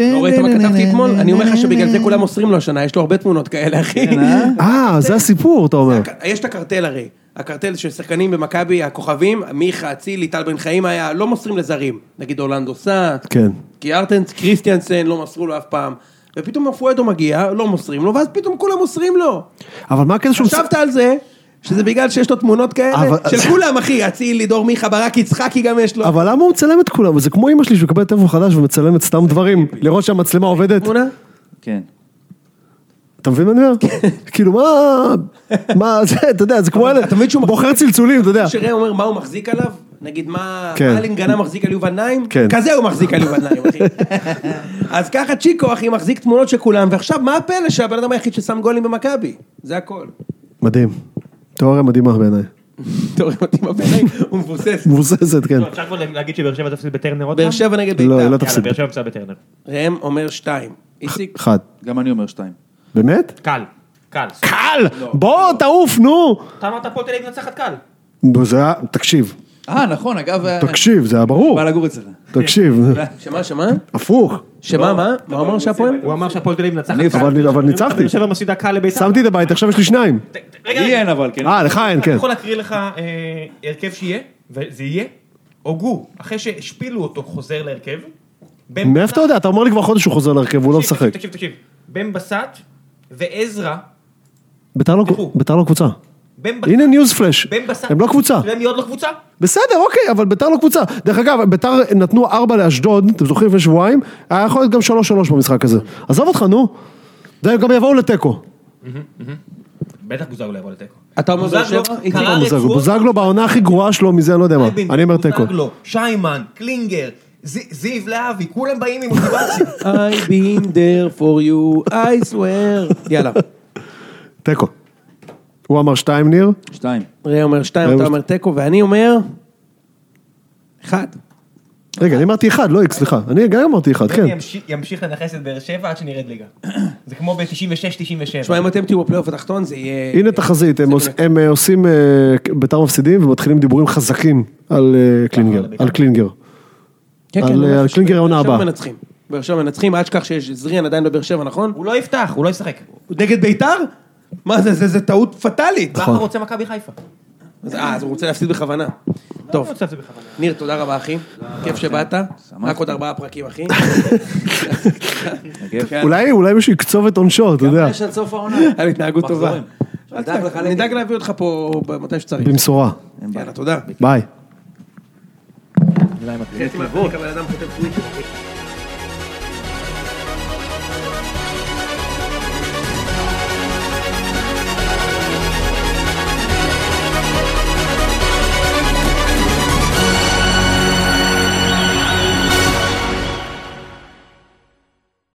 [SPEAKER 2] לא ראית מה כתבתי אתמול? אני אומר לך שבגלל זה כולם מוסרים לו השנה, יש לו הרבה תמונות כאלה, אחי. *laughs*
[SPEAKER 3] אה, זה הסיפור, אתה אומר.
[SPEAKER 2] יש את הקרטל הרי. הקרטל של שחקנים במכבי, הכוכבים, מיכה, אצילי, טל בן חיים היה, לא מוסרים לזרים. נגיד אורלנדו סע,
[SPEAKER 3] כן.
[SPEAKER 2] קיארטנס, קריסטיאנסן, לא מסרו לו אף פעם. ופתאום אפואדו מגיע, לא מוסרים לו, ואז פתאום כולם מוסרים לו.
[SPEAKER 3] אבל מה הקטע שהוא...
[SPEAKER 2] חשבת על זה, שזה בגלל שיש לו תמונות כאלה?
[SPEAKER 3] אבל-
[SPEAKER 2] של כולם, אחי, אצילי, דור מיכה, ברק, יצחקי גם יש לו.
[SPEAKER 3] אבל למה הוא מצלם את כולם? זה כמו אמא שלי שמקבלת טלפון חדש ומצלמת סתם דברים, לראות שהמצלמה עובדת.
[SPEAKER 2] תמונה?
[SPEAKER 4] כן.
[SPEAKER 3] אתה מבין מה אני אומר? כאילו מה... מה זה, אתה יודע, זה כמו אלה,
[SPEAKER 2] אתה מבין שהוא
[SPEAKER 3] בוחר צלצולים, אתה יודע.
[SPEAKER 2] שראם אומר מה הוא מחזיק עליו? נגיד מה,
[SPEAKER 3] כן.
[SPEAKER 2] מה אלינגנה מחזיק על יובל נעים?
[SPEAKER 3] כן.
[SPEAKER 2] כזה הוא מחזיק על יובל
[SPEAKER 3] *laughs*
[SPEAKER 2] נעים, אחי. אז ככה צ'יקו, אחי, מחזיק תמונות של כולם, ועכשיו מה הפלא שהבן אדם היחיד ששם גולים במכבי? זה הכל. *laughs*
[SPEAKER 3] מדהים. תיאוריה מדהימה בעיניי.
[SPEAKER 2] אתה רואה אותי
[SPEAKER 3] *laughs*
[SPEAKER 2] בפלא? הוא מבוסס.
[SPEAKER 3] מבוססת, כן.
[SPEAKER 5] לא, אפשר כבר להגיד שבאר שבע תפסיד בטרנר עוד פעם?
[SPEAKER 2] באר שבע נגד
[SPEAKER 3] לא, היא לא
[SPEAKER 2] בית"ר.
[SPEAKER 3] תפסיד.
[SPEAKER 5] יאללה, באר שבע תפסיד בטרנר.
[SPEAKER 2] ראם אומר שתיים.
[SPEAKER 3] *laughs*
[SPEAKER 2] איציק,
[SPEAKER 3] אחד.
[SPEAKER 4] גם אני אומר שתיים.
[SPEAKER 3] באמת?
[SPEAKER 5] קל. קל. לא.
[SPEAKER 3] קל! בוא, תעוף, נו!
[SPEAKER 5] אתה אמרת הפועל תל אביב מנצחת קל.
[SPEAKER 3] זה היה... תקשיב.
[SPEAKER 4] אה, נכון, אגב... אה,
[SPEAKER 3] תקשיב, זה היה ברור.
[SPEAKER 4] בא לגור אצלך.
[SPEAKER 3] תקשיב.
[SPEAKER 2] שמה, שמה?
[SPEAKER 3] הפוך.
[SPEAKER 2] שמה,
[SPEAKER 3] לא,
[SPEAKER 2] מה? מה הוא אמר שהפועל?
[SPEAKER 5] הוא אמר שהפועל תל אביב מנצחת
[SPEAKER 3] אני- אבל-
[SPEAKER 5] באר
[SPEAKER 3] אבל
[SPEAKER 5] שבע-
[SPEAKER 3] ניצחתי.
[SPEAKER 5] באר שבע מפסידה קל לביתר.
[SPEAKER 3] שמתי את הבית, עכשיו יש לי שניים.
[SPEAKER 5] רגע,
[SPEAKER 4] לי
[SPEAKER 5] רגע. נכון.
[SPEAKER 4] אין אבל, כן.
[SPEAKER 3] אה, לך אין,
[SPEAKER 5] אני
[SPEAKER 3] כן.
[SPEAKER 5] יכול להקריא לך אה, הרכב שיהיה, וזה יהיה, הוגו, אחרי שהשפילו אותו חוזר להרכב. בן
[SPEAKER 3] מאיפה אתה יודע? אתה אומר לי כבר חודש שהוא חוזר להרכב, הוא לא
[SPEAKER 5] תקשיב,
[SPEAKER 3] משחק.
[SPEAKER 5] תקשיב, תקשיב. בן בסט ועזרא,
[SPEAKER 3] ביתר לא-
[SPEAKER 5] תפתחו.
[SPEAKER 3] ביתר לא קבוצה.
[SPEAKER 5] בן בסט.
[SPEAKER 3] הנה ניוז פלאש.
[SPEAKER 5] בן בסט.
[SPEAKER 3] הם לא קבוצה.
[SPEAKER 5] אתה יודע מי עוד לא קבוצה?
[SPEAKER 3] בסדר, אוקיי, אבל ביתר לא קבוצה. דרך אגב, ביתר נתנו ארבע לאשדוד, אתם זוכרים לפני שבועיים, היה יכול להיות גם שלוש שלוש במשחק הזה. עזוב אותך, נו. זה גם יבואו לתיקו.
[SPEAKER 5] בטח בוזגלו יבוא לתיקו.
[SPEAKER 3] לא.
[SPEAKER 2] אתה אומר באר
[SPEAKER 1] לא.
[SPEAKER 2] שבע? איציק?
[SPEAKER 5] קרה
[SPEAKER 3] בוזגלו-
[SPEAKER 5] רצועות.
[SPEAKER 3] בוזגלו בעונה הכי גרועה שלו מזה, אני לא יודע מה.
[SPEAKER 5] רבין,
[SPEAKER 3] אני אומר תיקו.
[SPEAKER 5] בוזגלו, שיימן, קלינגר, זי- זיו להבי, כולם באים עם מוטיבציה.
[SPEAKER 2] I been there for you, I swear. יאללה.
[SPEAKER 3] תיקו. הוא אמר שתיים ניר,
[SPEAKER 4] שתיים.
[SPEAKER 2] ראם אומר שתיים,
[SPEAKER 3] ראם
[SPEAKER 2] אתה
[SPEAKER 3] אומר-
[SPEAKER 2] אומר תיקו, ואני אומר... אחד.
[SPEAKER 3] רגע אני אמרתי אחד, לא איקס, סליחה, אני גם אמרתי אחד, כן,
[SPEAKER 7] אני אמשיך- ימשיך לנכס את באר שבע עד שנרד ליגה. זה כמו ב-96-97.
[SPEAKER 2] תשמע, אם אתם תהיו בפלייאוף התחתון, זה יהיה...
[SPEAKER 3] הנה תחזית, הם
[SPEAKER 2] זה
[SPEAKER 3] עוש-
[SPEAKER 2] בדיוק.
[SPEAKER 3] הם אה, עושים, אה, ביתר מפסידים ומתחילים דיבורים חזקים על אה, קלינגר, על קלינגר,
[SPEAKER 2] כן, כן,
[SPEAKER 3] על, אה,
[SPEAKER 2] אני אומר
[SPEAKER 3] על
[SPEAKER 2] לך
[SPEAKER 3] קלינגר
[SPEAKER 2] שבאר
[SPEAKER 3] העונה
[SPEAKER 2] שבע
[SPEAKER 3] הבאה.
[SPEAKER 2] מנצחים. באר שבע מנצחים, עד שכח שיש זריאן עדיין בבאר שבע, נכון?
[SPEAKER 7] הוא לא יפתח, הוא לא ישחק.
[SPEAKER 2] נגד ביתר? מה זה, זה, זה טעות פטאלית.
[SPEAKER 3] נכון.
[SPEAKER 5] לא
[SPEAKER 3] אה.
[SPEAKER 7] בכר רוצה מכבי חיפה.
[SPEAKER 2] אז- אה, אז הוא רוצה להפסיד בכוונה. טוב,
[SPEAKER 5] אני רוצה את זה בכוונה.
[SPEAKER 2] ניר, תודה רבה, אחי. כיף שבאת. רק עוד ארבעה פרקים, אחי. כן.
[SPEAKER 3] אולי אולי מישהו יקצוב את עונשו, אתה יודע,
[SPEAKER 4] יש עד סוף העונה.
[SPEAKER 2] היה לי התנהגות *laughs* טובה.
[SPEAKER 4] מחזורים.
[SPEAKER 2] אל תדאג, נדאג להביא אותך פה ב- מתי שצריך.
[SPEAKER 3] במשורה,
[SPEAKER 2] יאללה, תודה.
[SPEAKER 3] ביי.